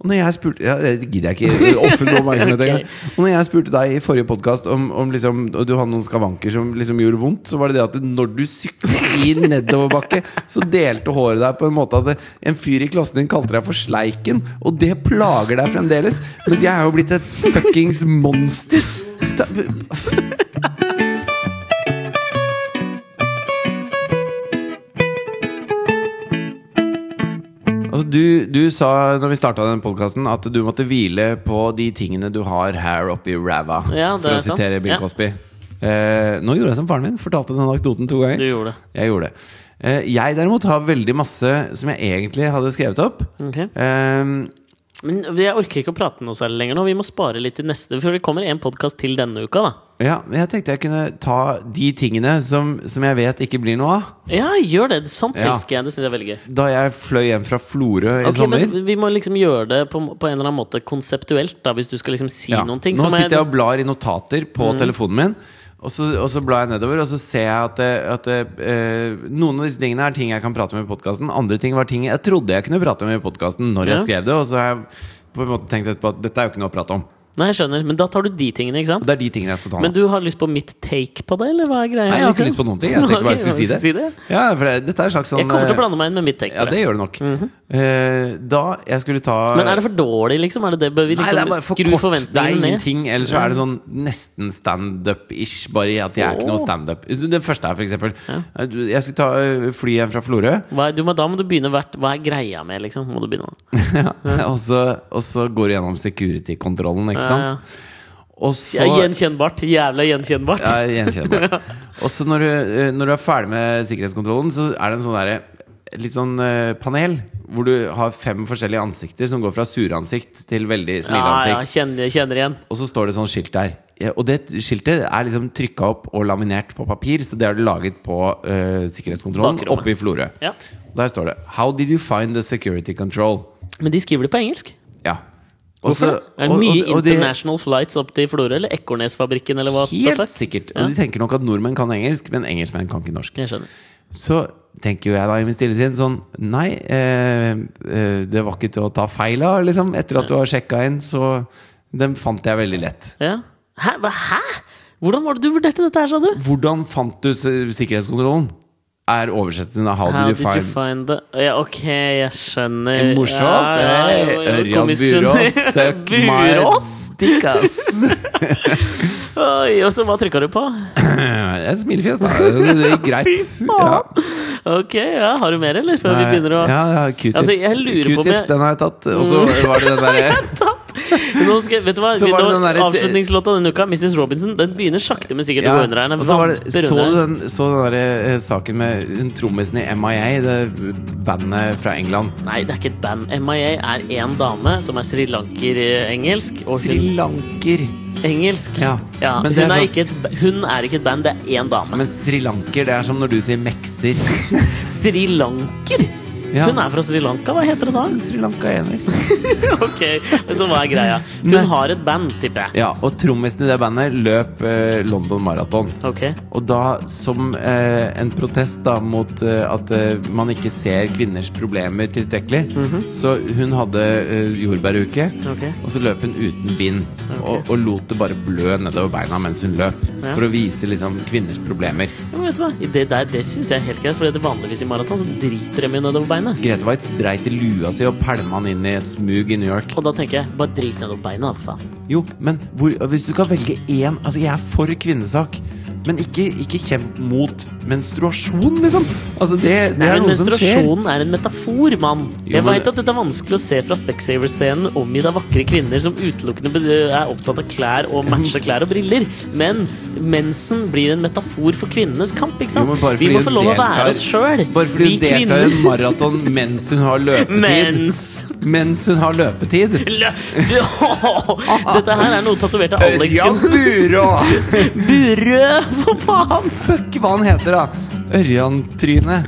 Speaker 1: Og når jeg spurte ja, Det gidder jeg ikke [laughs] offentlig oppmerksomhet engang. Og når jeg spurte deg i forrige podkast om, om liksom, og du hadde noen skavanker som liksom gjorde vondt, så var det det at når du sykla i nedoverbakke, så delte håret deg på en måte at det- en fyr i klassen din kalte deg for sleiken, og det plager deg fremdeles. Mens jeg er jo blitt et fuckings monster. Da- Altså, du, du sa når vi starta den podkasten, at du måtte hvile på de tingene du har her oppe i ræva.
Speaker 2: Ja, det
Speaker 1: for
Speaker 2: er
Speaker 1: å
Speaker 2: sant.
Speaker 1: sitere Bill
Speaker 2: Ja.
Speaker 1: Cosby. Eh, nå gjorde jeg som faren min. Fortalte den anekdoten to ganger.
Speaker 2: Du gjorde det.
Speaker 1: Jeg gjorde det. Eh, jeg derimot har veldig masse som jeg egentlig hadde skrevet opp.
Speaker 2: Ok.
Speaker 1: Eh,
Speaker 2: Men jeg orker ikke å prate noe særlig lenger nå. Vi må spare litt til neste, for det kommer en podkast til denne uka, da.
Speaker 1: ja, men jeg tenkte jeg kunne ta de tingene som, som jeg vet ikke blir noe av.
Speaker 2: Ja, gjør det! Sånt
Speaker 1: Ja.
Speaker 2: elsker jeg. Det syns jeg er veldig gøy.
Speaker 1: Da jeg fløy hjem fra Florø i
Speaker 2: Ok,
Speaker 1: sommer.
Speaker 2: men Vi må liksom gjøre det på, på en eller annen måte konseptuelt, da, hvis du skal liksom si
Speaker 1: Ja.
Speaker 2: noen ting. Mm.
Speaker 1: Nå
Speaker 2: så må
Speaker 1: sitter jeg og blar i notater på telefonen min. Og så, og så blar jeg nedover, og så ser jeg at, det, at det, eh, noen av disse tingene er ting jeg kan prate om i podkasten. Andre ting var ting jeg trodde jeg kunne prate om i podkasten når
Speaker 2: Ja.
Speaker 1: jeg skrev det. Og så har jeg på en måte tenkt etterpå at dette er jo ikke noe å prate om.
Speaker 2: Nei, jeg skjønner. Men da tar du de tingene, ikke sant?
Speaker 1: Og det er de tingene jeg skal ta
Speaker 2: Men
Speaker 1: nå.
Speaker 2: du har lyst på mitt take på det, eller hva er greia?
Speaker 1: Nei, jeg har
Speaker 2: liksom?
Speaker 1: ikke lyst på noen
Speaker 2: [laughs]
Speaker 1: ting. Jeg tenkte bare jeg
Speaker 2: Ok,
Speaker 1: skulle si det.
Speaker 2: si det.
Speaker 1: Ja, for det, dette er en slags sånn
Speaker 2: Jeg kommer til å
Speaker 1: eh,
Speaker 2: blande meg inn med mitt take.
Speaker 1: Ja, det
Speaker 2: på det. Mhm.
Speaker 1: gjør du nok. Eh, da jeg skulle ta
Speaker 2: Men er det for dårlig, liksom? Er det det? Bør vi liksom
Speaker 1: Nei, det er bare for
Speaker 2: skru
Speaker 1: kort. Det er
Speaker 2: forventningene ned?
Speaker 1: ingenting. Eller så er det sånn nesten standup-ish. Bare at jeg er ikke
Speaker 2: Åh.
Speaker 1: noe standup. Den første her, for eksempel. Jeg skulle ta ø, fly hjem fra Florø,
Speaker 2: Hva, er- du må, da må du begynne hvert Hva er greia med, liksom? Må du begynne da.
Speaker 1: [laughs] og, så, og så går du gjennom security-kontrollen, ikke
Speaker 2: Ja, ja.
Speaker 1: sant? Og så
Speaker 2: Ja, Eh, gjenkjennbart. Jævla gjenkjennbart.
Speaker 1: Ja,
Speaker 2: [laughs]
Speaker 1: gjenkjennbar. Og så når, du, eh, når du er ferdig med sikkerhetskontrollen, så er det en sånn derre et litt sånn eh, panel hvor du har fem forskjellige ansikter som går fra suransikt til veldig
Speaker 2: Ja, ja,
Speaker 1: smileansikt.
Speaker 2: kjenner, kjenner igjen.
Speaker 1: Og så står det sånn skilt der. Ja, Og det skiltet er liksom trykka opp og laminert på papir, så det har du laget på eh, sikkerhetskontrollen
Speaker 2: Bakrommet.
Speaker 1: oppe i Florø.
Speaker 2: Ja.
Speaker 1: Der står det 'How did you find the security control?'
Speaker 2: Men de skriver det på engelsk.
Speaker 1: Ja. Og
Speaker 2: Hvorfor
Speaker 1: så-
Speaker 2: det? Er det
Speaker 1: og-
Speaker 2: mye
Speaker 1: og- og de-
Speaker 2: international flights opp til Florø, eller Ekornesfabrikken, eller hva? the
Speaker 1: Helt
Speaker 2: fuck?
Speaker 1: sikkert.
Speaker 2: Ja.
Speaker 1: Og de tenker nok at nordmenn kan engelsk, men engelskmenn kan ikke norsk.
Speaker 2: Jeg skjønner.
Speaker 1: Så tenker jo jeg da i min stille sinn sånn Nei, eh, eh, det var ikke til å ta feil av, liksom. Etter at du har sjekka inn, så Den fant jeg veldig lett.
Speaker 2: Ja. Hæ? Hva- Hæ? Hvordan var det du vurderte dette her, sa du?
Speaker 1: Hvordan fant du s- sikkerhetskontrollen? Er oversettelsen av How,
Speaker 2: How
Speaker 1: did you find
Speaker 2: the ja, Ok, jeg skjønner.
Speaker 1: Eh, Morsomt!
Speaker 2: Ja, ja,
Speaker 1: Hey,
Speaker 2: jo, jo,
Speaker 1: Ørjan
Speaker 2: komisk
Speaker 1: Burås,
Speaker 2: [laughs] skjønner.
Speaker 1: søk
Speaker 2: Burås?
Speaker 1: meg dick, [laughs] ass!
Speaker 2: [laughs] Oi, og så hva trykka du på?
Speaker 1: Jeg smilefjes, da. Det gikk greit. Ja.
Speaker 2: Ok, ja, Har du mer, eller? Før vi
Speaker 1: Nei,
Speaker 2: begynner å
Speaker 1: Ja, ja, Q-tips.
Speaker 2: Altså, jeg lurer på om
Speaker 1: Q-tips,
Speaker 2: jeg- Mm.
Speaker 1: den har jeg tatt. Og så var det den
Speaker 2: [laughs]
Speaker 1: derre
Speaker 2: Nå skal, vet du
Speaker 1: [laughs]
Speaker 2: hva?
Speaker 1: Så var det
Speaker 2: Nå-
Speaker 1: den der-
Speaker 2: Avslutningslåta denne uka, Mrs. Robinson, den begynner sakte, men sikkert
Speaker 1: ja.
Speaker 2: å gå under her. Den
Speaker 1: Og så var det,
Speaker 2: vamper
Speaker 1: så
Speaker 2: under
Speaker 1: du
Speaker 2: her.
Speaker 1: den, så den derre eh, saken med hun trommisen i MIA, det bandet fra England.
Speaker 2: Nei, det er ikke et band. MIA er én dame som er srilanker-engelsk. Og hun
Speaker 1: Srilanker.
Speaker 2: engelsk.
Speaker 1: Ja, men
Speaker 2: hun,
Speaker 1: det
Speaker 2: er
Speaker 1: er sånn-
Speaker 2: ikke et, ba- hun er ikke et band, det er én dame.
Speaker 1: Men srilanker, det er som når du sier
Speaker 2: [laughs]
Speaker 1: mekser.
Speaker 2: Srilanker?
Speaker 1: Ja.
Speaker 2: Hun er fra Sri Lanka, hva heter det da? [laughs]
Speaker 1: Sri Lanka ener.
Speaker 2: ok, Så hva er greia? Hun
Speaker 1: Nei.
Speaker 2: har et band, tipper jeg.
Speaker 1: Ja, og trommisen i det bandet løp eh, London Marathon.
Speaker 2: Ok,
Speaker 1: Og da som eh, en protest da mot eh, at eh, man ikke ser kvinners problemer tilstrekkelig, så hun hadde eh, jordbæruke,
Speaker 2: Mhm. Ok.
Speaker 1: og så løp hun uten bind. Og, og lot det bare blø nedover beina mens hun løp,
Speaker 2: Ja.
Speaker 1: for å vise liksom kvinners problemer.
Speaker 2: ja, men vet du hva? Det, der, det syns jeg er helt greit, for det er vanligvis i maraton så driter de jo nedover beinet.
Speaker 1: Grete Waitz dreit i lua si og pælma han inn i et smug i New York.
Speaker 2: Og da tenker jeg, bare drit nedover beinet, da, for faen.
Speaker 1: Jo, men hvor, hvis du skal velge én Altså, jeg er for kvinnesak. Men ikke, ikke kjemp mot menstruasjon, liksom. Altså, det, det
Speaker 2: Nei,
Speaker 1: er
Speaker 2: men
Speaker 1: noe som skjer.
Speaker 2: Menstruasjonen er en metafor, mann. Jeg
Speaker 1: men-
Speaker 2: veit at dette er vanskelig å se fra Specsavers-scenen omgitt av vakre kvinner som utelukkende be- er opptatt av klær og matche klær og briller, men mensen blir en metafor for kvinnenes kamp, ikke
Speaker 1: Jo,
Speaker 2: sant?
Speaker 1: men bare
Speaker 2: Vi
Speaker 1: fordi
Speaker 2: må
Speaker 1: hun
Speaker 2: få lov å
Speaker 1: deltar-
Speaker 2: være oss sjøl.
Speaker 1: Bare fordi hun deltar i en maraton mens hun har løpetid.
Speaker 2: [laughs] Mens
Speaker 1: Mens hun har løpetid.
Speaker 2: Lø- du, Dette her er noe
Speaker 1: Eh,
Speaker 2: tatovert av Alex
Speaker 1: Ørjan
Speaker 2: kunne
Speaker 1: Burå!
Speaker 2: Burø, for faen!
Speaker 1: Fuck hva han heter, da! Ørjan-tryne.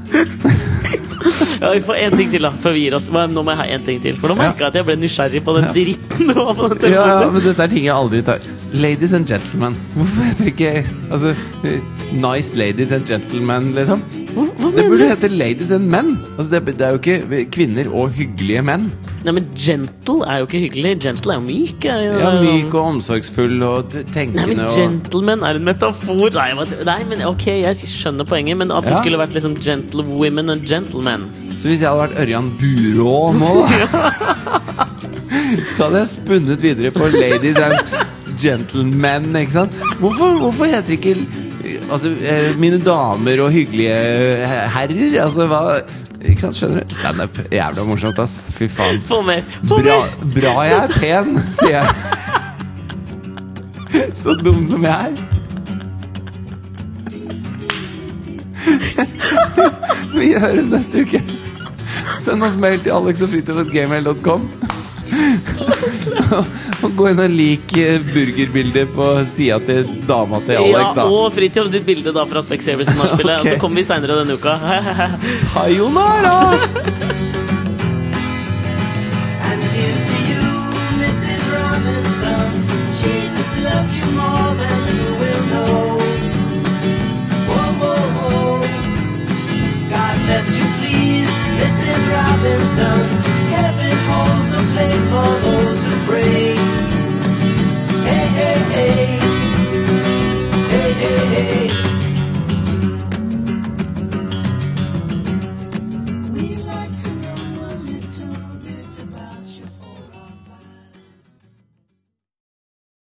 Speaker 2: Ja, vi får en ting til, da, før vi gir oss. Hva- Nå må jeg ha en ting til, for nå merka jeg at jeg ble nysgjerrig på den dritten du var på den
Speaker 1: Ja, ja,
Speaker 2: telefonen.
Speaker 1: men dette er ting jeg aldri tar. Ladies and gentlemen. Hvorfor heter det ikke Altså, Nice ladies and gentlemen, liksom?
Speaker 2: Hva, hva
Speaker 1: Det
Speaker 2: mener du?
Speaker 1: burde hete ladies and men. Altså, det, det er jo ikke kvinner og hyggelige menn.
Speaker 2: Nei, men gentle er jo ikke hyggelig. Gentle er jo myk. Er jo,
Speaker 1: Ja, Myk og omsorgsfull og t-
Speaker 2: Nei, men
Speaker 1: tenkende og
Speaker 2: gentleman er en metafor. Nei, hva- nei, men ok, jeg skjønner poenget, men at det
Speaker 1: Ja.
Speaker 2: skulle vært liksom gentle women and gentlemen
Speaker 1: Så hvis jeg hadde vært Ørjan Burå nå, da Så hadde jeg spunnet videre på ladies and gentlemen, ikke sant? Hvorfor, hvorfor heter det ikke Altså, eh, mine damer og hyggelige eh, herrer? Altså, hva Ikke sant, skjønner du? Standup. Jævla morsomt, ass. Fy faen.
Speaker 2: Få mer! Få
Speaker 1: Bra,
Speaker 2: mer!
Speaker 1: bra jeg er pen, sier jeg. Så dum som jeg er. Vi høres neste uke. Send oss mail til alexogfritid.gmail.com. Og gå inn og lik eh, burgerbildet på sida til dama til Alex,
Speaker 2: Ja,
Speaker 1: da.
Speaker 2: og Fridtjof sitt bilde da fra
Speaker 1: [laughs]
Speaker 2: Specsavers som har spillet.
Speaker 1: Ok.
Speaker 2: Og så kommer vi seinere denne uka. [laughs]
Speaker 1: Sayonara!
Speaker 4: And here's to you, Mrs. Robinson. Jesus loves you more than you will know. Whoa, whoa, whoa. God bless you, please, Mrs. Robinson. Heaven holds a place for those who pray.